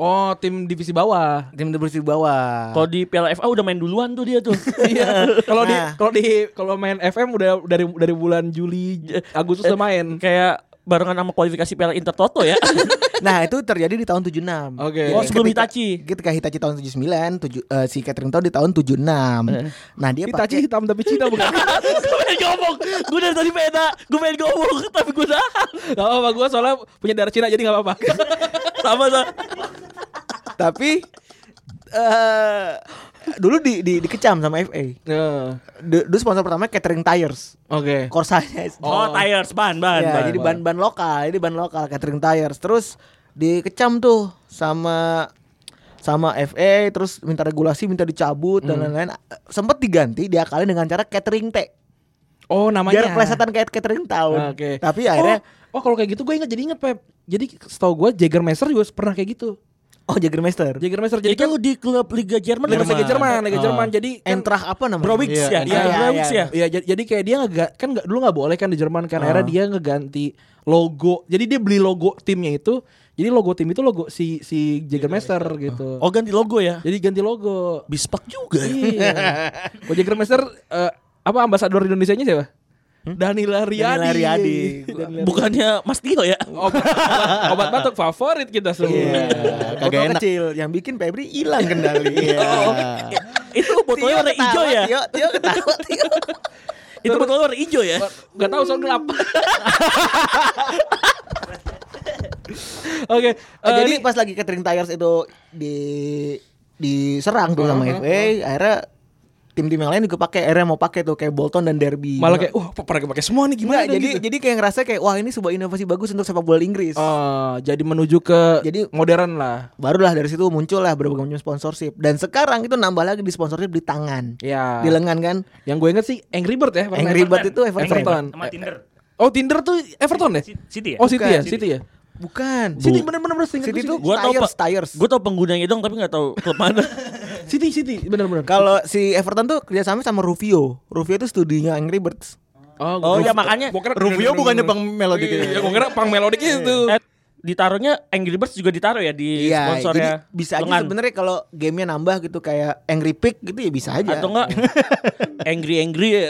Speaker 3: Oh, tim divisi bawah.
Speaker 4: Tim bersih bawah.
Speaker 2: Kalau di Piala FA udah main duluan tuh dia tuh.
Speaker 3: Iya. Kalau di
Speaker 4: Nah.
Speaker 3: kalau di kalau main FM udah dari dari bulan Juli J- Agustus udah main.
Speaker 2: Kayak barengan sama kualifikasi Piala Inter Toto ya.
Speaker 4: Nah, itu terjadi di tahun 76. Jadi
Speaker 3: Oke.
Speaker 2: Oh, sebelum
Speaker 4: ketika-
Speaker 2: Hitachi.
Speaker 4: Ketika Hitachi tahun 79, tujuh, eh, si Catering Town di tahun 76.
Speaker 3: Eh.
Speaker 4: Nah, dia
Speaker 3: Hitachi
Speaker 4: pakai
Speaker 3: hitam tapi Cina bukan?
Speaker 2: gue pengen ngomong. Gue dari tadi beda. Gue pengen ngomong tapi gue nahan.
Speaker 3: Gak apa-apa gue soalnya punya darah Cina jadi gak apa-apa
Speaker 2: Sama sama.
Speaker 4: tapi eh dulu di, di- dikecam sama FA.
Speaker 3: Nah.
Speaker 4: Du- Dulu sponsor pertama Catering Tires.
Speaker 3: Oke
Speaker 4: Korsanya
Speaker 2: Oh, tires ban ban.
Speaker 4: ya,
Speaker 2: ban.
Speaker 4: jadi ban-ban lokal, jadi ban lokal catering tires. Terus dikecam tuh sama sama FA terus minta regulasi, minta dicabut dan lain-lain. Sempet diganti diakalin dengan cara catering teh.
Speaker 3: Oh namanya
Speaker 4: Biar kelesetan kayak catering tahun.
Speaker 3: Oke.
Speaker 4: Tapi akhirnya
Speaker 3: Oh, oh, kalau kayak gitu gue ingat jadi ingat Pep Jadi setahu gue Jagermeister juga pernah kayak gitu
Speaker 4: oh, Jagermeister.
Speaker 3: Jagermeister jadi
Speaker 2: itu
Speaker 3: kan
Speaker 2: di klub Liga Jerman.
Speaker 3: Liga Jerman Liga Jerman, Liga
Speaker 5: Ah.
Speaker 3: Jerman. Jadi kan,
Speaker 4: Oh. Entrah apa namanya?
Speaker 2: Browix ya, iya,
Speaker 5: Iya,
Speaker 4: iya,
Speaker 2: Browix
Speaker 4: iya.
Speaker 2: ya.
Speaker 3: Iya ja- jadi kayak dia nggak kan nggak dulu nggak boleh kan di Jerman kan akhirnya dia ngeganti logo jadi dia beli logo timnya itu jadi logo tim itu logo si si Jagermeister gitu
Speaker 2: Oh ganti logo ya.
Speaker 3: jadi ganti logo
Speaker 2: Bispak juga. ya.
Speaker 3: Iya. Gojek Grandmaster eh, apa ambasador Indonesia-nya siapa? Danila Riyadi.
Speaker 4: Hmm? Danila Riyadi.
Speaker 3: Danila-
Speaker 2: Bukannya Mas Tio ya?
Speaker 3: obat, obat batuk favorit kita semua.
Speaker 4: Iya.
Speaker 5: Kagak
Speaker 4: Botol
Speaker 5: enak.
Speaker 4: kecil yang bikin Febri hilang kendali. Iya.
Speaker 2: Itu botolnya warna hijau ya?
Speaker 4: Tio, Tio ketawa, Tio.
Speaker 2: Itu botolnya warna hijau ya?
Speaker 3: Gak tahu soal gelap. Oke,
Speaker 4: Eh,
Speaker 3: jadi
Speaker 4: jadi pas lagi catering tires itu di diserang tuh sama FA, akhirnya tim-tim yang lain juga pakai, akhirnya mau pakai tuh kayak Bolton dan Derby.
Speaker 3: malah kayak "Uh, wah pada pakai semua nih
Speaker 4: Nggak,
Speaker 3: gimana gitu?
Speaker 4: jadi jadi kayak ngerasa kayak wah ini sebuah inovasi bagus untuk sepak bola Inggris.
Speaker 3: Oh. Eh, jadi menuju ke
Speaker 4: Jadi-
Speaker 3: modern lah.
Speaker 4: Barulah dari situ muncul lah berbagai macam sponsorship dan sekarang itu nambah lagi di sponsorship di tangan.
Speaker 3: Ya.
Speaker 4: Di lengan kan.
Speaker 3: Yang gue inget sih Angry Bird ya. pernah.
Speaker 4: Angry Bird itu Everton.
Speaker 3: Everton.
Speaker 6: Sama Tinder.
Speaker 3: Oh Tinder tuh Everton ya?
Speaker 6: City ya?
Speaker 3: Oh City
Speaker 4: Bukan,
Speaker 3: ya,
Speaker 4: City.
Speaker 3: City ya.
Speaker 4: Bukan.
Speaker 3: City bener-bener bener, seingat
Speaker 4: City itu
Speaker 3: gue
Speaker 2: Gua tahu
Speaker 4: tires,
Speaker 2: Pak.
Speaker 4: tires.
Speaker 2: Gue tau penggunanya dong tapi gak tau klub mana.
Speaker 3: City City bener-bener.
Speaker 4: Kalau si Everton tuh kerjasama sama Rufio. Rufio itu studinya Angry Birds.
Speaker 2: Oh ya
Speaker 3: iya,
Speaker 2: makanya
Speaker 3: Gua kira
Speaker 5: Rufio bukannya bang gitu ya? melodi
Speaker 3: Iya, iya, gua kira pang melodik itu.
Speaker 2: eh, ditaruhnya Angry Birds juga ditaruh ya di
Speaker 4: Iya, jadi
Speaker 2: sponsornya.
Speaker 4: bisa aja
Speaker 2: lengan.
Speaker 4: sebenarnya kalau gamenya nambah gitu kayak Angry Pig gitu ya bisa aja.
Speaker 2: Atau enggak Angry Angry ya.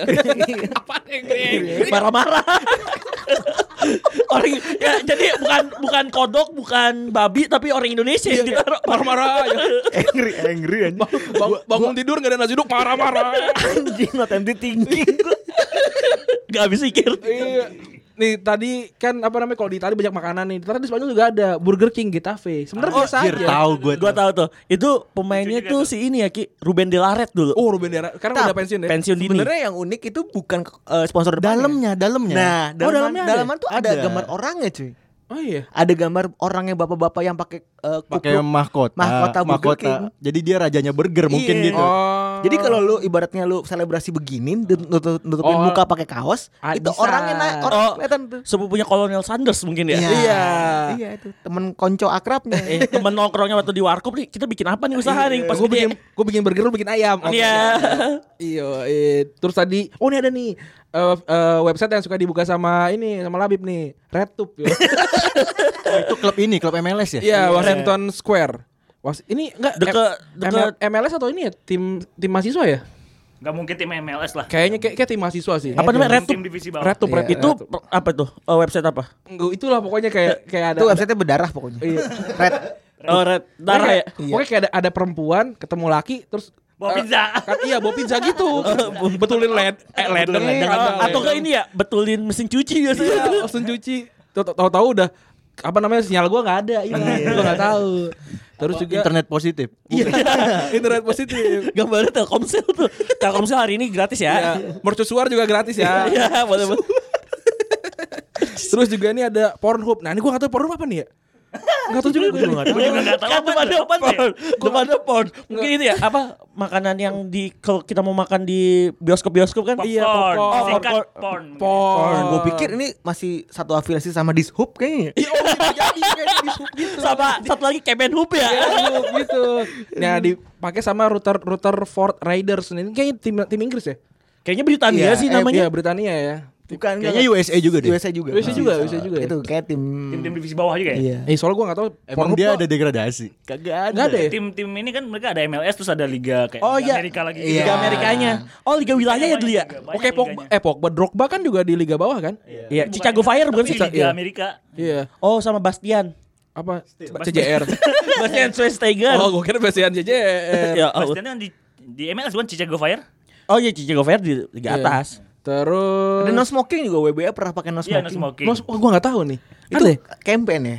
Speaker 3: Apa angry angry?
Speaker 2: Marah-marah. orang ya jadi bukan bukan kodok, bukan babi tapi orang Indonesia yang ditaruh.
Speaker 3: Marah-marah iya. aja.
Speaker 7: angry angry anjing.
Speaker 3: Bang- bangun tidur gak ada nasi duduk marah-marah.
Speaker 4: anjing not empty thinking.
Speaker 2: Gak habis pikir.
Speaker 3: Iya. Nih tadi kan apa namanya kalau di Itali banyak makanan nih. Ternyata di Spanyol juga ada Burger King, Getafe. Sebenarnya biasa
Speaker 5: Anjir,
Speaker 3: aja.
Speaker 5: tahu gue
Speaker 2: Gua tahu tuh. Itu pemainnya tuh si ini ya Ki, Ruben Delaret dulu.
Speaker 3: Oh, Ruben Dera. Karena
Speaker 4: Tap,
Speaker 3: udah pensiun ya.
Speaker 2: pensiun dini.
Speaker 4: Sebenarnya yang unik itu bukan eh, sponsor depannya.
Speaker 5: Dalamnya, dalamnya.
Speaker 4: Nah, dalaman,
Speaker 3: dalamnya ada?
Speaker 4: dalaman tuh ada,
Speaker 5: Iya. Oh, Ada.
Speaker 4: gambar orangnya cuy.
Speaker 3: Oh iya.
Speaker 4: Ada gambar orangnya bapak-bapak yang pakai eh, kupluk.
Speaker 5: pakai mahkota.
Speaker 4: Mahkota Burger King.
Speaker 5: Jadi dia rajanya burger mungkin
Speaker 4: Iya.
Speaker 5: gitu.
Speaker 3: Oh.
Speaker 4: Jadi kalau lu ibaratnya lu selebrasi begini nut- nut- nutupin
Speaker 3: Oh.
Speaker 4: muka pakai kaos,
Speaker 3: Ah,
Speaker 4: itu
Speaker 3: bisa.
Speaker 4: orangnya na- orang
Speaker 2: Oh.
Speaker 4: kelihatan tuh.
Speaker 2: Sepupunya Kolonel Sanders mungkin ya.
Speaker 3: Iya.
Speaker 4: Iya itu teman konco akrabnya.
Speaker 2: Eh, temen nongkrongnya waktu di warkop nih, kita bikin apa nih usaha nih pas
Speaker 3: gue
Speaker 2: gede.
Speaker 3: Iya, bikin gue bikin burger lu bikin ayam. Oke.
Speaker 2: Iya.
Speaker 3: Iya, eh, terus tadi oh ini ada nih eh, eh, website yang suka dibuka sama ini sama Labib nih, RedTube. yo.
Speaker 5: Oh, itu klub ini, klub MLS ya?
Speaker 3: Iya, Washington Square. Was ini enggak
Speaker 2: Deket- deket-
Speaker 3: MLS atau ini ya tim tim mahasiswa ya?
Speaker 6: Gak mungkin tim MLS lah.
Speaker 3: Kayaknya kayak, kayak tim mahasiswa sih.
Speaker 2: Apa namanya Red
Speaker 6: Iya, Tim
Speaker 2: Tube?
Speaker 6: divisi bawah.
Speaker 3: Red Tube, Red
Speaker 2: Itu
Speaker 3: Tube.
Speaker 2: per- apa tuh? Eh, website apa?
Speaker 3: Nggak, itulah pokoknya kayak kayak ada
Speaker 4: Itu website-nya berdarah pokoknya.
Speaker 3: Iya.
Speaker 4: Red.
Speaker 2: Oh, Red Darah ya.
Speaker 3: Kayak- Pokoknya kayak ada, ada perempuan ketemu laki terus
Speaker 6: Bawa
Speaker 3: eh,
Speaker 6: pizza.
Speaker 3: kan, iya bawa pizza gitu. Betulin led eh ledeng,
Speaker 2: Eh,
Speaker 3: ada
Speaker 2: Atau enggak
Speaker 3: ledeng.
Speaker 2: ini ya, betulin mesin cuci
Speaker 3: Iya,
Speaker 2: biasanya.
Speaker 3: langsung cuci. Tau- Tahu-tahu udah apa namanya sinyal gua nggak ada, hilang. Gua nggak tahu. Terus juga
Speaker 5: Oh, Internet positif.
Speaker 3: Iya, internet positif.
Speaker 2: Gambarnya Telkomsel tuh. Telkomsel hari ini gratis
Speaker 3: ya,
Speaker 2: ya.
Speaker 3: mercusuar juga gratis ya.
Speaker 2: Iya, boleh boleh.
Speaker 3: Terus juga ini ada Pornhub. Nah, ini gua nggak tahu Pornhub apa nih ya? Enggak tahu juga gue.
Speaker 2: Gue nggak tahu.
Speaker 6: juga nggak tahu
Speaker 2: Kan
Speaker 6: apa
Speaker 2: depannya
Speaker 6: tuh.
Speaker 2: apa sih? Depannya pon. Mungkin itu ya apa makanan yang di kalau kita mau makan di bioskop-bioskop kan?
Speaker 3: Iya,
Speaker 6: Porn.
Speaker 3: popcorn.
Speaker 6: Singkat
Speaker 2: Popcorn.
Speaker 6: porn.
Speaker 3: Porn.
Speaker 4: Gue pikir ini masih satu afiliasi sama Dishub kayaknya.
Speaker 3: Iya, oh, bisa jadi kayak di sub gitu.
Speaker 2: Sama satu lagi Kemenhub ya.
Speaker 3: Sub gitu. Nah, dipakai sama router router Ford Raiders ini kayaknya tim tim Inggris ya?
Speaker 2: Kayaknya Britania
Speaker 4: Iya,
Speaker 2: sih
Speaker 4: eh,
Speaker 2: namanya.
Speaker 3: Iya, Britania ya.
Speaker 4: Bukan
Speaker 5: Kayaknya USA juga deh.
Speaker 4: USA juga.
Speaker 3: USA juga, USA juga ya?
Speaker 4: Itu kayak tim
Speaker 6: Tim-tim divisi bawah juga ya?
Speaker 4: Iya.
Speaker 3: Eh, soalnya gue gak tau
Speaker 5: Emang dia ada degradasi. Kagak
Speaker 3: Gak ada ya?
Speaker 6: Tim-tim ini kan mereka ada MLS terus ada liga kayak
Speaker 2: Oh, iya.
Speaker 6: Liga Amerika lagi
Speaker 4: Iya.
Speaker 2: Liga Amerikanya. Oh, Liga wilayah ya dulu ya.
Speaker 3: Oke, Pogba, eh Pogba, Drogba kan juga di liga bawah kan?
Speaker 2: Iya, Chicago Fire bukan sih?
Speaker 6: sih? Liga
Speaker 3: iya.
Speaker 6: Amerika.
Speaker 3: Iya.
Speaker 2: Oh, sama Bastian.
Speaker 3: Apa? CJR.
Speaker 2: Bastian Schweinsteiger.
Speaker 3: Oh, gue kira Bastian CJR.
Speaker 2: Ya,
Speaker 6: Pas
Speaker 2: oh,
Speaker 6: kan di di MLS bukan Chicago Fire?
Speaker 2: oh iya Chicago Fire di liga
Speaker 3: Iya.
Speaker 2: atas.
Speaker 3: Terus
Speaker 4: Ada no smoking juga WBA pernah pakai no
Speaker 6: Iya, no
Speaker 4: smoking.
Speaker 6: smoking.
Speaker 3: No, oh, gua nggak tahu nih.
Speaker 4: Itu
Speaker 3: Ada ya?
Speaker 4: campaign ya.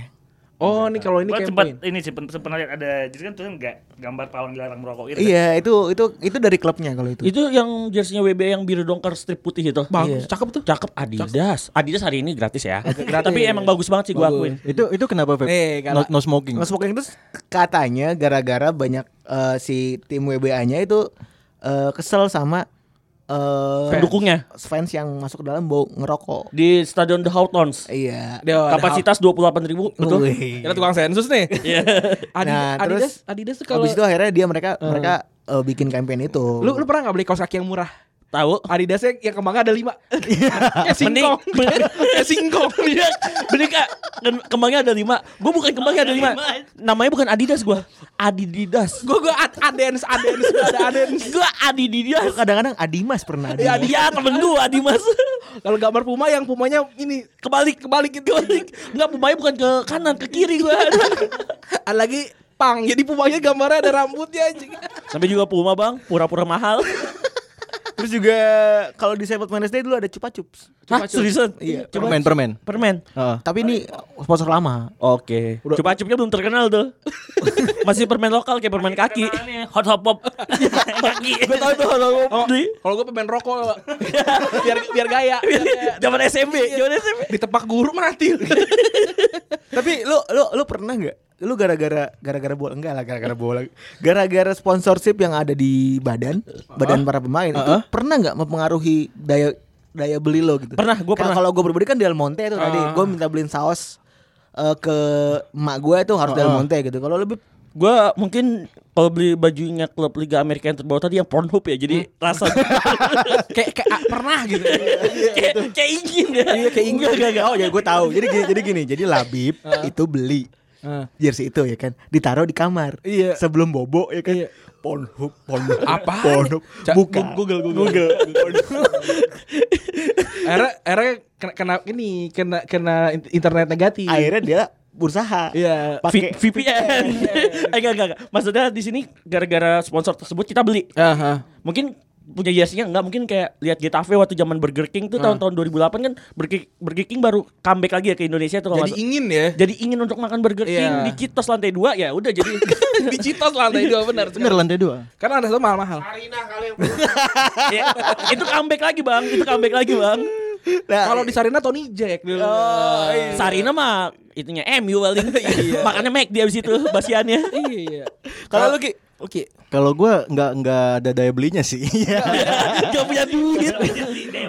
Speaker 3: Oh, nih kalau ini
Speaker 6: Gua
Speaker 3: campaign.
Speaker 6: sempat ini sih pen- sempat lihat ada jadi kan tuh enggak gambar pahlawan dilarang merokok gitu.
Speaker 4: Iya, itu itu itu dari klubnya kalau itu.
Speaker 2: Itu yang jersinya WB yang biru dongker strip putih itu.
Speaker 3: Gitu.
Speaker 2: Iya.
Speaker 3: Bagus, cakep tuh.
Speaker 2: Cakep Adidas. Adidas hari ini gratis ya.
Speaker 3: gratis.
Speaker 2: Tapi emang bagus banget sih gua
Speaker 3: Bagus.
Speaker 2: akuin.
Speaker 5: Itu itu kenapa Feb?
Speaker 3: Nih,
Speaker 5: no,
Speaker 3: karena-
Speaker 5: no smoking.
Speaker 4: No smoking itu katanya gara-gara banyak eh, si tim WBA-nya itu eh, kesel sama eh,
Speaker 2: Pendukungnya
Speaker 4: fans yang masuk ke dalam bau ngerokok.
Speaker 2: di Stadion The Hawthorns.
Speaker 4: Iya.
Speaker 3: Dia Eh, ada Oh, iya.
Speaker 2: Kapasitas 28.000 ribu betul.
Speaker 4: Wih.
Speaker 3: hak- Kira tukang sensus nih.
Speaker 2: Iya.
Speaker 3: Adi-
Speaker 4: Nah,
Speaker 3: Adidas,
Speaker 4: terus
Speaker 3: Adidas tuh kalau
Speaker 4: Habis itu akhirnya dia mereka mereka eh, bikin campaign itu.
Speaker 3: lu lu pernah nggak beli kaos kaki yang murah?
Speaker 2: Tahu?
Speaker 3: Adidasnya yang kemangga ada lima. Kayak singkong. Kayak singkong.
Speaker 2: Iya, bener kak. Dan kembangnya ada lima. Gue bukan kembangnya ada lima. Namanya bukan Adidas gue. Adididas.
Speaker 3: Gue gue ad adens adens gua ada adens.
Speaker 2: Gue
Speaker 4: Gua
Speaker 2: Adididas.
Speaker 4: kadang-kadang Adimas pernah
Speaker 2: Ya
Speaker 4: Adimas.
Speaker 2: dia temen gue Adimas.
Speaker 3: Kalau gambar puma yang pumanya ini gitu.
Speaker 2: Kebalik, kebalik, kebalik. Enggak, pemain bukan ke kanan, ke kiri gue.
Speaker 3: ada lagi pang. Jadi pumanya gambarnya ada rambutnya anjing.
Speaker 2: Sampai juga Puma bang, pura-pura mahal.
Speaker 4: Terus juga kalau di Cyber Wednesday dulu ada Cupa Cups.
Speaker 2: Hah, seriusan?
Speaker 4: Iya.
Speaker 2: Coba-
Speaker 5: permen permen.
Speaker 2: Permen.
Speaker 5: Heeh.
Speaker 4: Tapi ini sponsor lama.
Speaker 2: Oke. Coba cupnya belum terkenal tuh. Masih permen lokal kayak permen kaki.
Speaker 6: Ini hot hop pop. Kaki.
Speaker 2: Gue tau tuh kalau ngomong di
Speaker 3: Kalau gue pemain rokok biar biar gaya. biar gaya.
Speaker 2: zaman SMP, zaman SMP.
Speaker 3: Ditepak guru mati.
Speaker 4: Tapi lu lu lu pernah nggak? Lu gara-gara gara-gara bola enggak lah gara-gara bola. Gara-gara sponsorship yang ada di badan badan para pemain itu pernah nggak mempengaruhi daya daya beli lo gitu?
Speaker 2: Pernah, gua pernah.
Speaker 4: Karena Kalau gue berbeda kan Del Monte itu tadi gue minta beliin saus eh, ke emak gue itu harus Del Monte gitu. Kalau lebih
Speaker 2: Gue mungkin kalau beli bajunya klub Liga Amerika yang terbawa tadi yang Pornhub ya, jadi rasa
Speaker 3: kayak kayak ah, pernah gitu.
Speaker 2: kayak kayak ingin ya. Iya, kayak ingin. Enggak, enggak, enggak.
Speaker 4: Oh ya gue tahu. Jadi gini, jadi gini. Jadi Labib itu beli jersey itu ya kan, ditaruh di kamar.
Speaker 3: Iya.
Speaker 4: Sebelum bobo ya kan. Pornhub, Pornhub,
Speaker 3: Apa?
Speaker 4: Pornhub.
Speaker 3: Ca-
Speaker 4: Buka. Google, Google, Google.
Speaker 3: Akhirnya akhirnya kena, kena ini kena kena in- internet negatif.
Speaker 4: Akhirnya dia berusaha.
Speaker 3: Iya.
Speaker 2: V-
Speaker 4: Pakai.
Speaker 2: VPN. Eh, enggak, enggak, enggak. Maksudnya di sini gara-gara sponsor tersebut kita beli.
Speaker 3: Aha.
Speaker 2: Mungkin punya jersinya enggak mungkin kayak lihat Getafe waktu zaman Burger King tuh
Speaker 5: Nah.
Speaker 2: tahun-tahun 2008 kan Burger, Burger King baru comeback lagi ya ke Indonesia tuh kalau
Speaker 3: Jadi
Speaker 2: nggak salah.
Speaker 3: ingin ya.
Speaker 2: jadi ingin untuk makan Burger King
Speaker 3: Iya.
Speaker 2: di Kitos lantai 2 ya udah jadi
Speaker 3: Dicitos lantai dua benar.
Speaker 5: Bener lantai dua.
Speaker 3: Karena Kan ada tuh mahal-mahal.
Speaker 2: Ya, itu comeback lagi bang itu comeback lagi bang
Speaker 4: Nah,
Speaker 3: Kalau di Sarina Tony Jack dulu. Oh,
Speaker 5: Iya.
Speaker 4: iya.
Speaker 2: Sarina mah itunya MU paling makannya Mac dia abis itu basiannya
Speaker 3: iya.
Speaker 4: kalau lu Ki,
Speaker 3: Oke.
Speaker 5: Kalau gua nggak nggak ada daya belinya sih. Iya.
Speaker 2: gak punya duit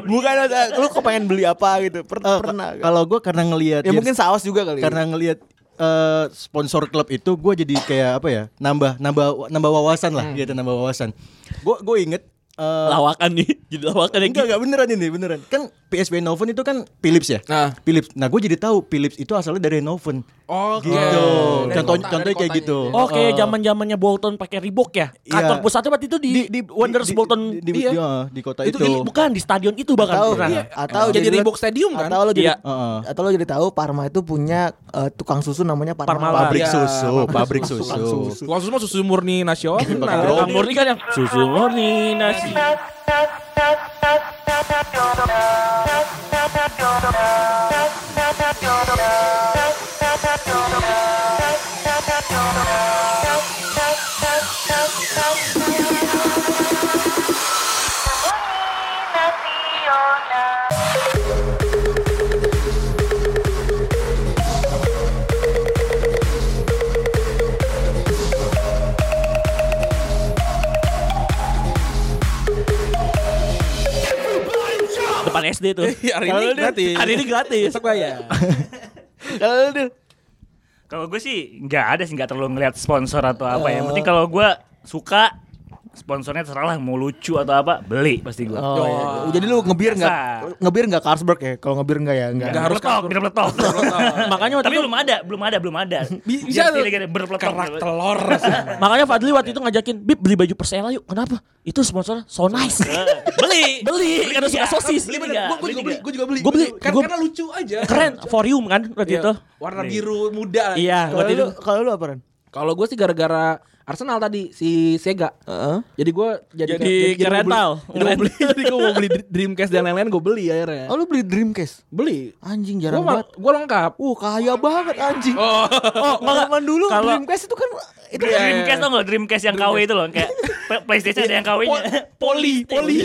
Speaker 4: bukan eh, lu kepengen beli apa gitu. Per-
Speaker 5: Eh,
Speaker 4: pernah. nggak?
Speaker 5: Kalau gua karena ngelihat
Speaker 4: ya
Speaker 5: jersey-
Speaker 4: mungkin saus juga kali.
Speaker 5: karena ngelihat eh, sponsor klub itu gue jadi kayak apa ya nambah nambah nambah wawasan lah gitu nambah wawasan gue gue inget eh,
Speaker 2: lawakan nih jadi lawakan yang
Speaker 5: enggak enggak beneran ini beneran kan PSV Eindhoven itu kan Philips ya
Speaker 3: Nah.
Speaker 5: Philips nah gue jadi tahu Philips itu asalnya dari Eindhoven
Speaker 3: Oh, Oke.
Speaker 5: gitu
Speaker 3: Dari
Speaker 5: contoh
Speaker 3: kota-
Speaker 5: contohnya
Speaker 3: dari
Speaker 5: kayak
Speaker 3: kotanya
Speaker 5: gitu
Speaker 3: gitu
Speaker 2: Oke, zaman zamannya Bolton pakai Reebok ya. Kantor
Speaker 5: Iya.
Speaker 2: pusatnya waktu itu di, di, Wonders
Speaker 5: di-
Speaker 2: Bolton.
Speaker 5: di, di-
Speaker 3: iya.
Speaker 5: di- ah, di kota
Speaker 2: itu,
Speaker 5: itu,
Speaker 2: ini bukan di stadion itu bahkan.
Speaker 4: atau
Speaker 2: pernah.
Speaker 4: iya, atau
Speaker 3: Jadi
Speaker 4: lu-
Speaker 3: Reebok Stadium kan?
Speaker 4: Atau lo jadi
Speaker 2: Iya.
Speaker 5: Heeh.
Speaker 4: atau lo jadi tahu Parma itu punya eh, tukang susu namanya Parma.
Speaker 2: Parmalat.
Speaker 5: pabrik
Speaker 3: Iya,
Speaker 5: susu pabrik
Speaker 4: Tukang
Speaker 5: susu
Speaker 4: susu.
Speaker 3: Wah, susu mah susu murni nasional.
Speaker 2: Bang Murni kan yang susu murni nasi. zaman SD tuh.
Speaker 3: Iya, Hari ini
Speaker 2: Kalau dia-
Speaker 3: gratis.
Speaker 2: Hari ini gratis.
Speaker 3: Besok Iya, bayar.
Speaker 4: Kalau lu
Speaker 6: Kalau gue sih nggak ada sih nggak terlalu ngelihat sponsor atau apa ya. Yang
Speaker 2: Oh.
Speaker 6: penting kalau gue suka sponsornya terserah lah mau lucu atau apa beli pasti gue.
Speaker 4: Oh, iya. Jadi lu ngebir nggak?
Speaker 6: Biasa.
Speaker 4: Ngebir nggak Carlsberg ya? Kalau ngebir nggak ya? Nggak.
Speaker 6: Nggak harus letok, tidak letok.
Speaker 2: Makanya waktu
Speaker 6: Tapi
Speaker 2: itu-
Speaker 6: belum ada, belum ada, belum ada.
Speaker 3: Bi- bisa
Speaker 6: Jadi kayak berpeletok.
Speaker 3: kerak telur.
Speaker 2: Makanya Fadli waktu itu ngajakin, Bib beli baju Persela yuk. Kenapa? Itu sponsor so nice.
Speaker 6: Beli.
Speaker 2: beli karena suka
Speaker 6: tiga.
Speaker 2: sosis. Iya, Beli
Speaker 6: Beli tiga.
Speaker 3: Gue juga beli, gue juga beli.
Speaker 2: Gua beli,
Speaker 3: Kan-
Speaker 2: gua-
Speaker 3: karena lucu aja.
Speaker 2: Keren, forium kan waktu
Speaker 3: Iya.
Speaker 2: itu.
Speaker 3: Warna biru muda.
Speaker 2: Iya,
Speaker 4: Kalau
Speaker 2: waktu
Speaker 4: lu
Speaker 2: itu.
Speaker 4: kalau lu apa Ren?
Speaker 3: Kalau gue sih gara-gara Arsenal tadi si Sega. Jadi gue jadi
Speaker 2: Jadi ke
Speaker 3: gua beli-
Speaker 2: rental.
Speaker 3: Jadi gue beli, jadi gua mau beli Dr- Dreamcast dan lain-lain gue beli akhirnya.
Speaker 4: Oh lu beli Dreamcast?
Speaker 3: Beli.
Speaker 4: Anjing
Speaker 3: Gue
Speaker 4: jarang banget.
Speaker 3: gue lengkap.
Speaker 4: Uh kaya banget anjing. Oh, zaman dulu Dreamcast itu kan itu
Speaker 6: Itu Dreamcast tau gak Dreamcast yang KW itu loh Kayak P- Playstation ada yang KW-nya
Speaker 3: Poli, poli.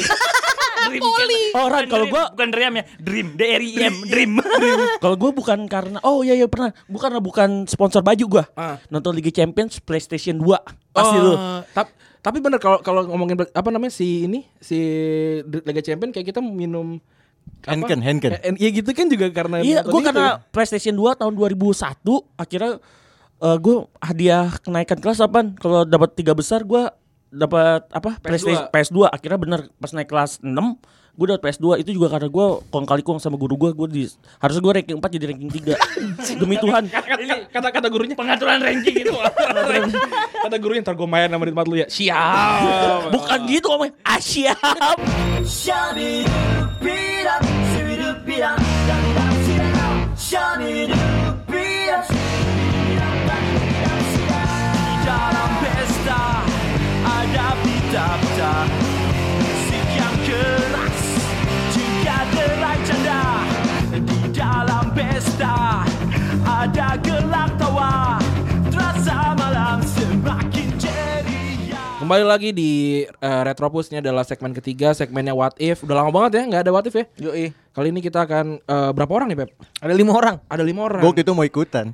Speaker 6: Poli
Speaker 2: Oh, Ran, kalau gua-
Speaker 6: Bukan Dream ya Dream D-R-I-M Dream
Speaker 2: Kalau gue bukan karena oh iya iya pernah gue karena bukan sponsor baju gue
Speaker 3: Ah. Oh.
Speaker 2: nonton Liga Champions PlayStation 2 pasti lu
Speaker 3: Tapi Eh, tapi bener kalau kalau ngomongin bel- apa namanya si ini si Dr- Liga Champion kayak kita minum apa?
Speaker 5: Henken, Henken.
Speaker 3: Eh, eh, Iya gitu kan juga karena
Speaker 2: iya
Speaker 3: nonton
Speaker 2: gue
Speaker 3: itu
Speaker 2: karena
Speaker 3: ya.
Speaker 2: PlayStation 2 tahun 2001 akhirnya gue hadiah kenaikan kelas apa kalau dapat tiga besar gue dapat apa PlayStation PS2 akhirnya bener pas naik kelas 6 gue dapat PS2 itu juga karena gue kong kali kong sama guru gue gue di harusnya gue ranking 4 jadi ranking 3 demi Tuhan
Speaker 3: Ini kata kata gurunya
Speaker 6: Pengaturan ranking itu
Speaker 3: kata gurunya ntar gue main sama di tempat lu ya siap
Speaker 2: bukan gitu ngomongnya asyap
Speaker 3: Kembali lagi di eh, Retropus ini adalah segmen ketiga, segmennya What If. Udah lama banget ya nggak ada What If ya.
Speaker 4: Yoi.
Speaker 3: Kali ini kita akan eh, berapa orang nih, Pep?
Speaker 4: Ada lima orang.
Speaker 3: Ada lima orang. Iya.
Speaker 5: Gue waktu itu mau ikutan.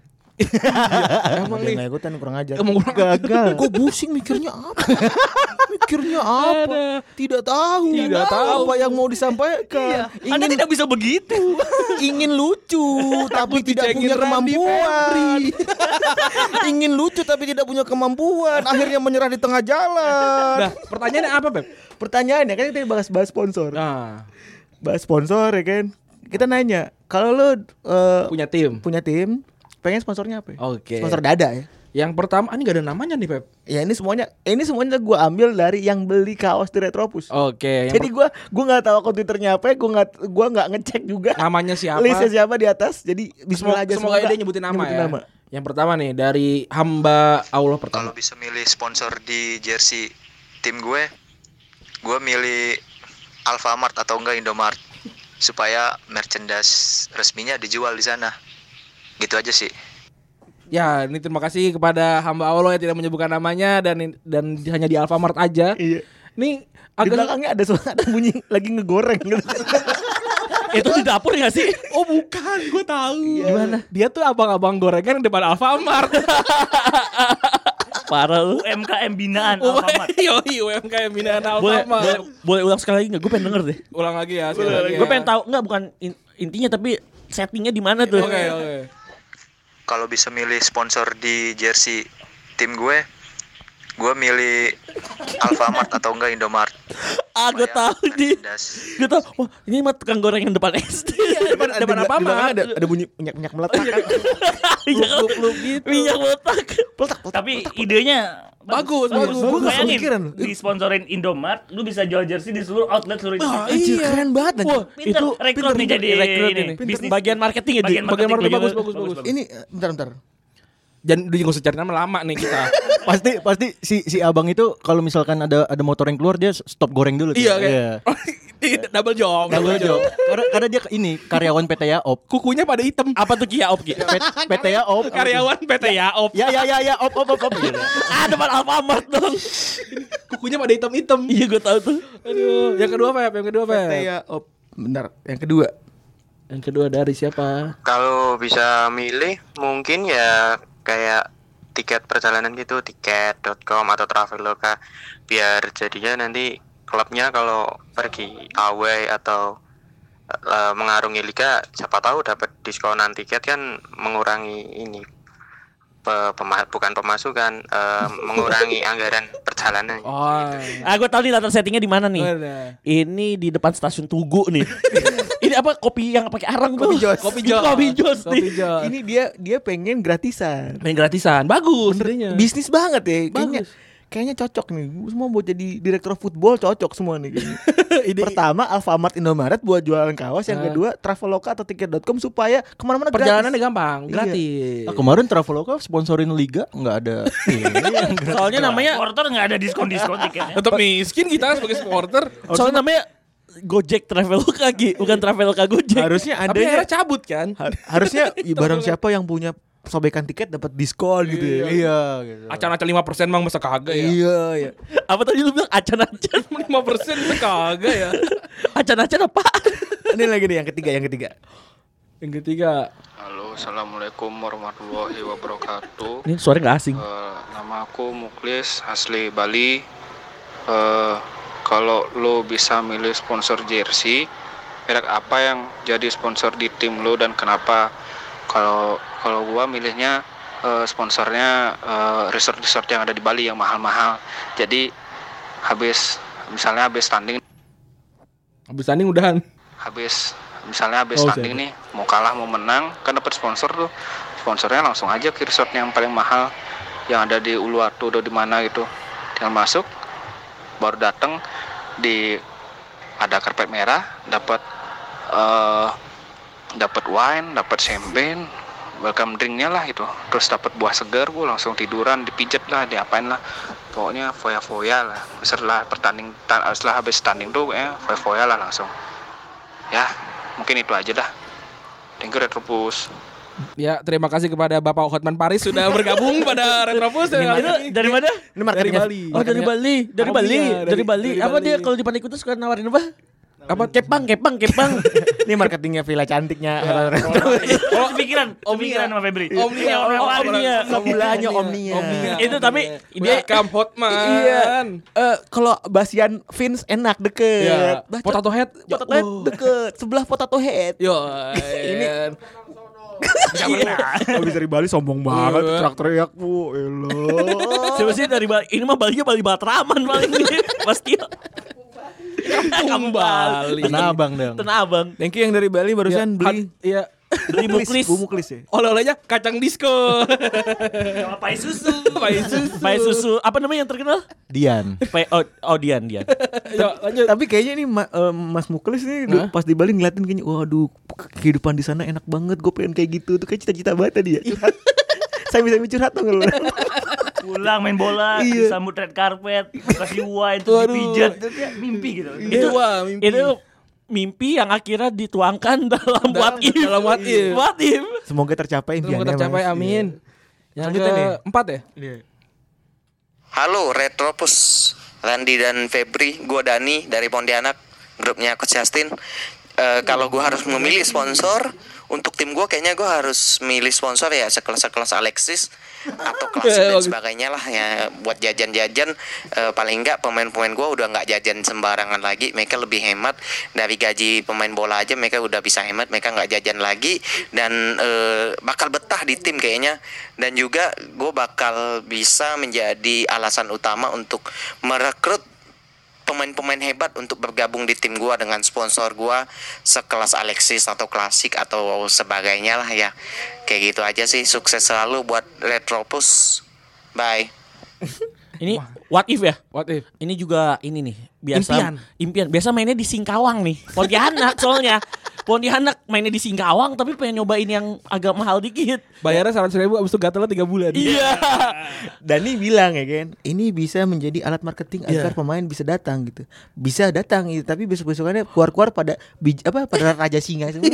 Speaker 4: Emang nih. Nggak ikutan kurang ajar.
Speaker 3: Emang kurang
Speaker 4: gagal. Gue pusing mikirnya apa? mikirnya apa? Tidak tahu. Iya.
Speaker 3: Tidak tahu.
Speaker 4: apa yang mau disampaikan.
Speaker 6: Anda tidak bisa begitu
Speaker 4: ingin lucu tapi tidak punya kemampuan. ingin lucu tapi tidak punya kemampuan, akhirnya menyerah di tengah jalan.
Speaker 3: Nah, pertanyaannya apa, Pep?
Speaker 4: Pertanyaannya kan kita bahas-bahas sponsor.
Speaker 3: Nah,
Speaker 4: Bahas sponsor ya kan. Kita nanya, kalau lu eh,
Speaker 3: punya tim.
Speaker 4: punya tim, pengen sponsornya apa? ya?
Speaker 3: Oke.
Speaker 4: Sponsor dada ya.
Speaker 3: Yang pertama, ah, ini gak ada namanya nih, Pep.
Speaker 4: Ya ini semuanya, ini semuanya gue ambil dari yang beli kaos di Retropus.
Speaker 3: Oke, Oh, yang
Speaker 4: Jadi gue gue nggak tahu akun twitternya apa, gue nggak gue nggak ngecek juga.
Speaker 3: per- namanya siapa?
Speaker 4: Listnya siapa di atas? Jadi
Speaker 3: Semoga,
Speaker 4: Bismillah aja
Speaker 3: semoga dia nyebutin nama ya. Yang pertama nih dari hamba Allah pertama.
Speaker 10: Kalau bisa milih sponsor di jersey tim gue, gue milih Alfamart atau enggak Indomart supaya merchandise resminya dijual di sana. Gitu aja sih.
Speaker 3: Ya, ini terima kasih kepada hamba Allah yang tidak menyebutkan namanya dan dan hanya di Alfamart aja.
Speaker 4: Iya. Di
Speaker 3: Ini agak Iya.
Speaker 4: belakangnya ada suara ada bunyi lagi ngegoreng gitu.
Speaker 2: itu di dapur gak sih
Speaker 3: Oh bukan, gue tahu.
Speaker 4: Iya.
Speaker 3: Gimana? Dia tuh abang-abang gorengan di depan Alfamart.
Speaker 2: parah lu Eh,
Speaker 6: UMKM binaan
Speaker 2: Oh,
Speaker 6: Alfamart
Speaker 3: Yoi, UMKM binaan
Speaker 2: boleh,
Speaker 3: Alfamart.
Speaker 2: boleh boleh ulang sekali lagi nggak? Gue pengen denger deh.
Speaker 3: Ulang lagi ya. sekali lagi
Speaker 2: Gue
Speaker 3: ya.
Speaker 2: pengen tahu nggak bukan in- intinya tapi settingnya di mana tuh?
Speaker 3: Oke, oke.
Speaker 10: Kalau bisa milih sponsor di jersey tim gue, gue milih Alfamart atau enggak Indomart.
Speaker 2: Ah gue
Speaker 10: supaya
Speaker 3: Iya.
Speaker 2: tahu di.
Speaker 10: merchandise
Speaker 2: Gue tahu. Wah ini mah tukang gorengan depan SD.
Speaker 4: depan
Speaker 3: Iya. ada- depan apa, Mak?
Speaker 4: Ada, ada bunyi minyak-minyak meletak. kan?
Speaker 2: Iya kan? Minyak letak.
Speaker 4: Peletak, peletak.
Speaker 6: Tapi idenya
Speaker 3: Bagus, bagus.
Speaker 4: Gua nggak
Speaker 6: Bayangin,
Speaker 4: kepikiran loh.
Speaker 6: Disponsorin Indomart Lu bisa jual jersey di seluruh outlet seluruh Indonesia
Speaker 4: Anjir,
Speaker 3: Iya.
Speaker 4: keren banget anjing.
Speaker 2: Wah
Speaker 6: Pinter,
Speaker 2: itu
Speaker 6: rekrut nih jadi
Speaker 2: rekrut
Speaker 6: ini,
Speaker 2: ini.
Speaker 6: bisnis.
Speaker 2: Bagian marketing ya di.
Speaker 6: Bagian marketing,
Speaker 3: marketing bagus,
Speaker 6: bagian-
Speaker 3: bagus, bagus.
Speaker 4: Ini eh, bentar bentar.
Speaker 3: Dan udah nggak usah cari nama lama nih kita.
Speaker 5: pasti pasti si si abang itu kalau misalkan ada ada motor yang keluar dia stop goreng dulu.
Speaker 3: iya, kayak.
Speaker 4: Iya.
Speaker 3: Double job,
Speaker 5: Double job. karena karena dia ini karyawan PT Yaop.
Speaker 3: Kukunya pada hitam.
Speaker 2: Apa tuh Kia Opki?
Speaker 5: P- PT Yaop.
Speaker 3: Karyawan PT Yaop.
Speaker 5: Ya ya ya ya op op op op.
Speaker 4: Iya,
Speaker 5: Gitu.
Speaker 2: ah depan Alfamart dong.
Speaker 3: Kukunya pada hitam-hitam.
Speaker 2: Iya gue tahu tuh.
Speaker 3: Aduh, yang kedua Feb, yang kedua Feb.
Speaker 4: Teh ya, op. Bentar, yang kedua.
Speaker 3: Yang kedua dari siapa?
Speaker 11: Kalau bisa milih, mungkin ya kayak tiket perjalanan gitu, tiket.com atau Traveloka biar jadinya nanti klubnya kalau pergi away atau eh, mengarungi liga siapa tahu dapat diskonan tiket kan mengurangi ini Pe- pema- bukan pemasukan eh, mengurangi anggaran perjalanan
Speaker 3: Oh.
Speaker 2: Ah, gue tahu nih latar settingnya di mana nih.
Speaker 3: Udah.
Speaker 2: Ini di depan stasiun Tugu nih. ini apa kopi yang pakai arang tuh?
Speaker 4: Kopi Jos.
Speaker 2: Kopi Jos. Ini Kopi Jos nih.
Speaker 3: Kopi Jos.
Speaker 4: Ini dia dia pengen gratisan.
Speaker 3: Main gratisan. Bagus Iya. idenya.
Speaker 4: Bisnis banget ya. Kayaknya kayaknya cocok nih. Semua buat jadi direktur football cocok semua nih. kayaknya. Pertama Alfamart Indomaret buat jualan kaos, yang
Speaker 3: Ah.
Speaker 4: kedua Traveloka atau tiket.com supaya kemana-mana gratis.
Speaker 3: Perjalanannya gampang,
Speaker 4: Iya.
Speaker 3: gratis.
Speaker 5: Ah, kemarin Traveloka sponsorin liga nggak ada.
Speaker 4: Iya,
Speaker 2: Soalnya namanya
Speaker 6: Porter Iya. nggak ada diskon diskon ya. tiketnya.
Speaker 9: Tetap miskin kita sebagai supporter.
Speaker 2: soalnya namanya Gojek Traveloka Gi, bukan Traveloka Gojek.
Speaker 4: harusnya
Speaker 3: Tapi
Speaker 4: adanya
Speaker 3: akhirnya cabut kan?
Speaker 4: har- harusnya i- barang siapa yang punya sobekan tiket dapat diskon gitu ya.
Speaker 5: iya gitu.
Speaker 9: Acan-acan 5% mang masa kagak ya.
Speaker 4: Iya, iya.
Speaker 2: Apa tadi lu bilang acan-acan?
Speaker 9: 5% masa kagak ya.
Speaker 2: Acan-acan apa?
Speaker 4: Ini lagi nih yang ketiga, yang ketiga.
Speaker 3: Yang ketiga.
Speaker 10: Halo, assalamualaikum warahmatullahi wabarakatuh.
Speaker 2: Ini suara gak asing.
Speaker 10: Eh, nama aku Muklis asli Bali. Eh, kalau lo bisa milih sponsor jersey, merek apa yang jadi sponsor di tim lo dan kenapa? Kalau kalau gua milihnya eh, sponsornya eh, resort-resort yang ada di Bali yang mahal-mahal. Jadi habis misalnya habis tanding
Speaker 3: Habis tanding udahan.
Speaker 10: habis misalnya habis
Speaker 3: Oh,
Speaker 10: tanding nih mau kalah mau menang kan dapat sponsor tuh sponsornya langsung aja ke resortnya yang paling mahal yang ada di Uluwatu atau di mana gitu tinggal masuk baru datang di ada karpet merah dapat eh dapat wine dapat champagne welcome drinknya lah itu terus dapat buah segar gue langsung tiduran dipijat lah diapain lah pokoknya foya-foya lah setelah pertanding ta- setelah habis tanding tuh ya foya-foya lah langsung ya mungkin itu aja dah thank you Retropus
Speaker 3: Ya, terima kasih kepada Bapak Hotman Paris sudah bergabung pada Retropus.
Speaker 2: Itu dari mana? Iya.
Speaker 4: Ini marketingnya
Speaker 3: Bali.
Speaker 2: Oh dari Bali, dari
Speaker 3: Arabia,
Speaker 2: Bali,
Speaker 3: dari-
Speaker 2: dari Bali.
Speaker 3: dari
Speaker 2: Apa
Speaker 3: Bali.
Speaker 2: dia kalau di Pantai Kuta suka nawarin apa? Apa kepang, kepang, kepang. Iya.
Speaker 4: Ini marketingnya Villa cantiknya.
Speaker 6: Oh, pikiran, pikiran sama Febri.
Speaker 3: Omnia,
Speaker 2: Oh,
Speaker 6: Orang-
Speaker 2: Om Nia.
Speaker 4: Sebelahnya Omnia.
Speaker 3: Omnia.
Speaker 2: Itu tapi dia
Speaker 3: Oh, iya. Welcome Hotman.
Speaker 4: Iya. Eh, kalau Basian Vince enak
Speaker 3: Ya,
Speaker 4: deket. Iya. Baca-
Speaker 3: potato head. Oh.
Speaker 4: Potato head deket. Sebelah potato head.
Speaker 3: Yo,
Speaker 4: Ini-
Speaker 3: ini
Speaker 7: Habis dari Bali sombong banget, teriak-teriak bu, elah.
Speaker 2: Siapa sih dari Bali? Ini mah Balinya Bali Batraman paling nih. Pasti. Kamu Bali.
Speaker 5: Tanah Abang dong.
Speaker 2: Tanah Abang.
Speaker 4: Thank you yang dari Bali barusan beli.
Speaker 3: Iya.
Speaker 2: Beli muklis.
Speaker 4: Bu Muklis ya.
Speaker 3: Oleh-olehnya kacang disco.
Speaker 6: Sama pai susu.
Speaker 3: Pai susu.
Speaker 2: Pakai susu. Apa namanya yang terkenal?
Speaker 5: Dian.
Speaker 2: Pakai oh, oh Dian, Dian.
Speaker 3: Yo, lanjut.
Speaker 4: Tapi kayaknya nih Ma- eh, Mas Muklis nih du- pas di Bali ngeliatin kayaknya waduh kehidupan di sana enak banget. Gue pengen kayak gitu. Itu kayak cita-cita banget tadi ya. Curhat. Saya bisa curhat dong lu.
Speaker 6: Pulang main bola,
Speaker 4: Iya.
Speaker 6: disambut red carpet, kasih wine, terus dipijat. Mimpi gitu.
Speaker 3: Itu wah mimpi.
Speaker 2: Itu mimpi yang akhirnya dituangkan dalam what if.
Speaker 3: dalam what if.
Speaker 2: What if.
Speaker 4: Semoga tercapai
Speaker 3: Semoga
Speaker 4: impiannya.
Speaker 3: tercapai
Speaker 4: Mas.
Speaker 3: amin. Yang
Speaker 4: Lanjutin
Speaker 3: ke
Speaker 4: ya?
Speaker 3: empat ya?
Speaker 11: Halo Retropus, Randy dan Febri, gue Dani dari Pontianak, grupnya Coach Justin. Eh, kalau gue harus memilih sponsor untuk tim gue, kayaknya gue harus milih sponsor ya sekelas-sekelas Alexis atau kelas dan sebagainya lah ya buat jajan-jajan. eh, paling enggak pemain-pemain gue udah nggak jajan sembarangan lagi, mereka lebih hemat dari gaji pemain bola aja, mereka udah bisa hemat, mereka nggak jajan lagi dan eh, bakal betah di tim kayaknya dan juga gue bakal bisa menjadi alasan utama untuk merekrut pemain-pemain hebat untuk bergabung di tim gua dengan sponsor gua sekelas Alexis atau Klasik atau sebagainya lah ya kayak gitu aja sih sukses selalu buat Retropus bye
Speaker 2: Ini what if ya?
Speaker 3: What if?
Speaker 2: Ini juga ini nih biasa
Speaker 3: Impian.
Speaker 2: impian. Biasa mainnya di Singkawang nih. Pontianak soalnya. Pontianak mainnya di Singkawang tapi pengen nyobain yang agak mahal dikit.
Speaker 3: Bayarnya seratus ribu, abis itu gatelnya tiga bulan.
Speaker 2: Iya.
Speaker 4: Dani bilang ya kan, ini bisa menjadi alat marketing agar pemain bisa datang gitu. Bisa datang gitu, tapi besok-besokannya keluar-keluar pada bij, apa pada raja singa semua.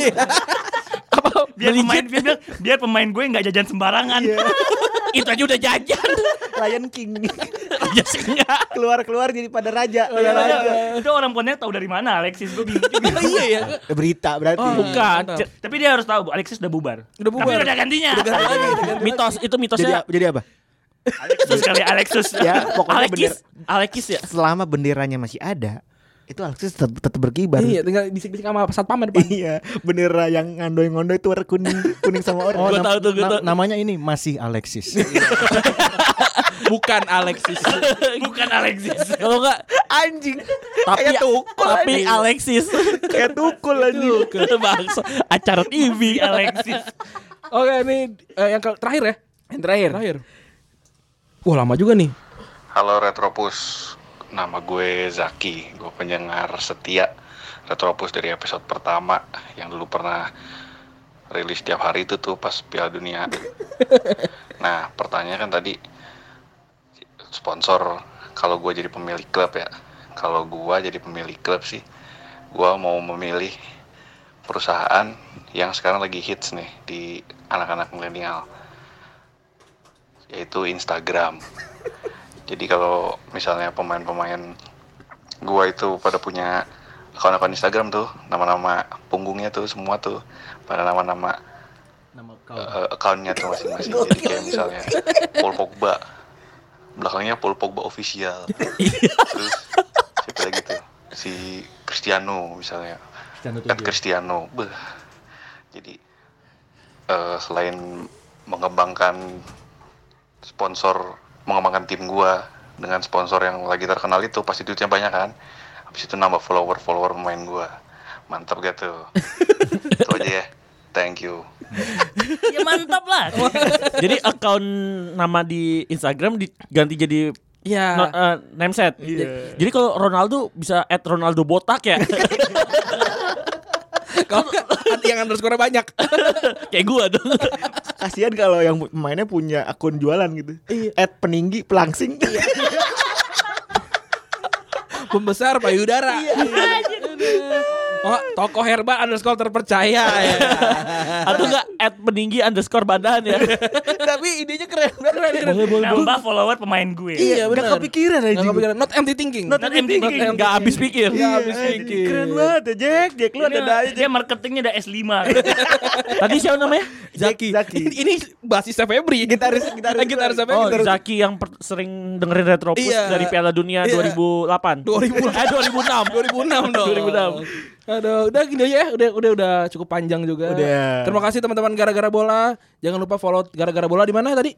Speaker 6: Biar pemain, biar, biar- biar pemain gue nggak jajan sembarangan.
Speaker 2: Itu aja udah jajan.
Speaker 4: Lion King.
Speaker 2: Aja sih enggak.
Speaker 4: Keluar-keluar jadi pada raja. Iya,
Speaker 6: Itu orang- Itu orang Pontianak tahu dari mana Alexis gue bingung juga. Nah,
Speaker 3: Iya ya.
Speaker 4: Eh, Berita berarti.
Speaker 3: Hmm,
Speaker 2: Bukan.
Speaker 3: mantap.
Speaker 6: Tapi dia harus tahu Bu, Alexis udah bubar.
Speaker 3: Udah bubar.
Speaker 6: Tapi udah ada gantinya.
Speaker 2: Mitos itu
Speaker 4: Jadi
Speaker 3: ya,
Speaker 2: mitosnya
Speaker 4: jadi apa?
Speaker 6: Alexis kali Alexis.
Speaker 4: Ya, pokoknya
Speaker 2: Alekis. Alekis ya.
Speaker 4: Selama benderanya masih ada, Itu Alexis tetap, tetap berkibar.
Speaker 3: Iya, tinggal bisik-bisik sama satpam depan.
Speaker 4: iya, bendera yang ngandoi-ngondoi itu warna kuning, kuning sama orang.
Speaker 5: Oh,
Speaker 2: Gua
Speaker 5: nam-
Speaker 2: tahu tuh, gua
Speaker 5: na-
Speaker 2: tahu.
Speaker 5: namanya ini masih Alexis.
Speaker 3: Bukan Alexis.
Speaker 6: Bukan Alexis.
Speaker 2: Kalau enggak
Speaker 4: Anjing.
Speaker 2: tapi
Speaker 4: Kayak tukul
Speaker 2: tapi
Speaker 4: anjing.
Speaker 2: Alexis
Speaker 4: Kayak tukul anjing.
Speaker 2: bangsa acara TV
Speaker 6: Alexis.
Speaker 3: Oke, ini eh, yang ke- terakhir ya.
Speaker 4: Yang terakhir.
Speaker 3: Terakhir. Wah, lama juga nih.
Speaker 12: Halo Retropus, nama gue Zaki, gue pendengar setia Retropus dari episode pertama yang dulu pernah rilis tiap hari itu tuh pas Piala Dunia. Nah, pertanyaan kan tadi sponsor kalau gue jadi pemilik klub ya, kalau gue jadi pemilik klub sih, gue mau memilih perusahaan yang sekarang lagi hits nih di anak-anak milenial, yaitu Instagram. Jadi kalau misalnya pemain-pemain gua itu pada punya akun-akun Instagram tuh, nama-nama punggungnya tuh semua tuh pada nama-nama eh, accountnya tuh masing-masing. Jadi kayak misalnya Paul Pogba, belakangnya Paul Pogba official. Terus siapa lagi tuh? Si Cristiano misalnya, at Kan
Speaker 10: ya?
Speaker 12: Cristiano. Beuh. Jadi eh, selain mengembangkan sponsor mengembangkan tim gua dengan sponsor yang lagi terkenal itu pasti duitnya banyak kan habis itu nambah follower follower pemain gua mantap gak tuh itu aja ya thank you
Speaker 6: ya mantap lah.
Speaker 2: jadi account nama di Instagram diganti jadi
Speaker 3: Iya.
Speaker 4: Ah.
Speaker 2: no- eh, name set
Speaker 4: Iya.
Speaker 2: jadi kalau Ronaldo bisa add Ronaldo botak ya
Speaker 3: Kalau nggak, yang underscore banyak.
Speaker 2: kayak gua dong
Speaker 4: Kasihan kalau yang pemainnya punya akun jualan gitu. At peninggi pelangsing.
Speaker 3: Pembesar payudara. Iya. Oh, toko herba underscore terpercaya ya.
Speaker 2: atau enggak add peninggi underscore badan ya
Speaker 4: Tapi idenya keren banget.
Speaker 2: boleh boleh
Speaker 6: Nambah follower pemain gue.
Speaker 3: Iya,
Speaker 4: Nggak
Speaker 3: benar.
Speaker 4: kepikiran
Speaker 3: Nggak
Speaker 4: aja.
Speaker 3: kepikiran. Not empty thinking.
Speaker 6: Not empty thinking.
Speaker 2: nggak habis pikir
Speaker 4: Iya,
Speaker 3: Nggak habis pikir.
Speaker 4: Keren banget ya Jack. Jack lu
Speaker 6: Ini
Speaker 4: ada daya
Speaker 6: dia marketingnya ada S5.
Speaker 2: tadi siapa namanya
Speaker 4: Zaki. Zaki.
Speaker 3: Ini- Ini basisnya Febri.
Speaker 4: Gitaris
Speaker 3: Eh,
Speaker 4: gitaris.
Speaker 3: gitaris Febri.
Speaker 2: Oh, Zaki yang per- sering dengerin Retropus
Speaker 3: Iya.
Speaker 2: dari Piala Dunia
Speaker 3: Iya.
Speaker 2: 2008.
Speaker 3: 2000
Speaker 2: eh 2006.
Speaker 3: 2006 dong.
Speaker 2: 2006.
Speaker 3: Aduh, udah gini aja ya. Udah udah udah cukup panjang juga.
Speaker 4: Udah.
Speaker 3: Terima kasih teman-teman gara-gara bola. Jangan lupa follow gara-gara bola di mana tadi?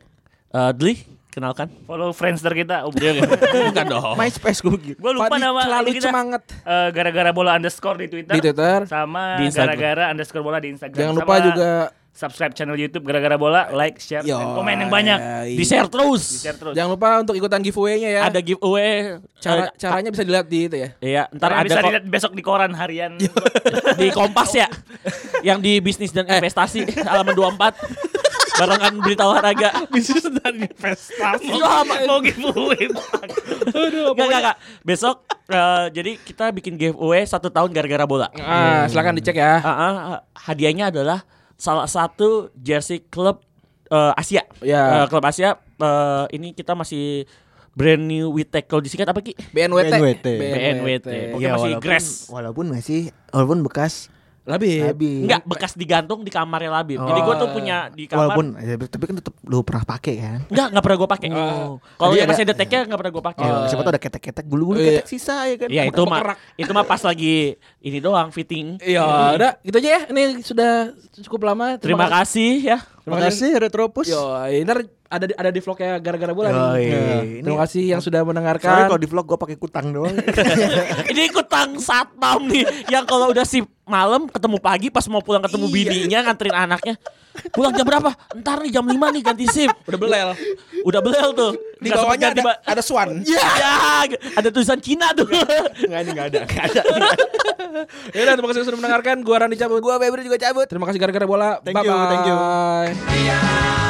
Speaker 2: Eh, Dli, kenalkan.
Speaker 6: Follow Friendster kita.
Speaker 3: Iya,
Speaker 6: Oh,
Speaker 2: Bukan dong.
Speaker 4: MySpace gue gitu.
Speaker 6: Gue lupa
Speaker 3: Padi
Speaker 6: nama
Speaker 3: selalu
Speaker 6: ini kita.
Speaker 3: semangat.
Speaker 6: Eh, gara-gara bola underscore di Twitter.
Speaker 3: Di Twitter.
Speaker 6: Sama
Speaker 2: Di Instagram.
Speaker 6: gara-gara underscore bola di Instagram.
Speaker 3: Jangan
Speaker 6: Sama
Speaker 3: lupa juga
Speaker 6: subscribe channel YouTube gara-gara bola, like, share, dan
Speaker 3: Yo,
Speaker 6: komen yang banyak.
Speaker 3: iya.
Speaker 2: Di share terus.
Speaker 6: Share terus.
Speaker 3: Jangan lupa untuk ikutan giveaway-nya ya.
Speaker 2: Ada giveaway
Speaker 3: cara
Speaker 2: eh,
Speaker 3: caranya bisa dilihat di itu ya.
Speaker 2: Iya, ntar
Speaker 6: Karena
Speaker 2: ada
Speaker 6: bisa
Speaker 2: kok
Speaker 6: dilihat besok di koran harian.
Speaker 2: di Kompas ya. Yang di bisnis
Speaker 3: Eh.
Speaker 2: dan investasi halaman 24. Barengan berita olahraga.
Speaker 3: Bisnis dan investasi.
Speaker 6: Mau- mau giveaway.
Speaker 2: Enggak, enggak, enggak. Besok eh, jadi kita bikin giveaway satu tahun gara-gara bola.
Speaker 3: Ah, silakan dicek ya.
Speaker 2: Ah, ah, ah, hadiahnya adalah salah satu jersey klub eh, Asia.
Speaker 3: Ya.
Speaker 2: Eh, klub Asia eh, ini kita masih brand new with tackle disingkat apa Ki?
Speaker 3: BNWT.
Speaker 5: BNWT.
Speaker 2: BNWT. Pokoknya
Speaker 4: Iya,
Speaker 2: masih grass.
Speaker 4: Walaupun masih walaupun bekas
Speaker 3: Labib.
Speaker 4: habis.
Speaker 2: Enggak, bekas digantung di kamarnya Labib. Jadi gua tuh punya di kamar.
Speaker 4: Walaupun ya, tapi kan tetap lu pernah pakai kan.
Speaker 2: enggak, enggak pernah gua pakai.
Speaker 4: Oh.
Speaker 2: Kalau
Speaker 4: Jadi
Speaker 2: yang
Speaker 4: ada-
Speaker 2: masih ada tag-nya enggak pernah gua pakai.
Speaker 4: Oh, siapa tau ada ketek-ketek bulu-bulu
Speaker 3: Iya.
Speaker 4: ketek sisa ya kan.
Speaker 2: Oh, Iya, itu mah itu mah pas lagi ini doang fitting.
Speaker 3: Iya, udah gitu aja ya. Ini sudah cukup lama.
Speaker 2: Terima kasih ya.
Speaker 5: Terima kasih Retropus.
Speaker 3: Yo, ntar ada di, ada di vlognya gara-gara bola.
Speaker 4: Yoi.
Speaker 3: nih. Ya.
Speaker 4: Ini-
Speaker 3: Terima kasih yang sudah
Speaker 4: Soalnya
Speaker 2: kan.
Speaker 3: mendengarkan.
Speaker 4: kalau di vlog gue pakai kutang doang.
Speaker 2: Ini kutang satpam nih yang kalau udah si malam ketemu pagi pas mau pulang ketemu
Speaker 3: Iya.
Speaker 2: bininya nganterin anaknya. Pulang jam berapa? Ntar nih jam 5 nih ganti sip.
Speaker 3: Udah belel.
Speaker 2: Udah belel tuh.
Speaker 3: Di
Speaker 2: Nggak
Speaker 3: bawahnya
Speaker 2: sempat ganti
Speaker 3: ada,
Speaker 2: ba-
Speaker 3: ada Swan.
Speaker 2: Ya, ada tulisan Cina tuh.
Speaker 3: Iya.
Speaker 4: Enggak ini enggak ada, enggak ada.
Speaker 3: Ya udah, terima kasih sudah mendengarkan. Gua Randy cabut. Gua Febri juga cabut. Terima kasih gara-gara bola.
Speaker 5: Thank
Speaker 3: Bye-bye.
Speaker 5: you, thank you.
Speaker 3: you.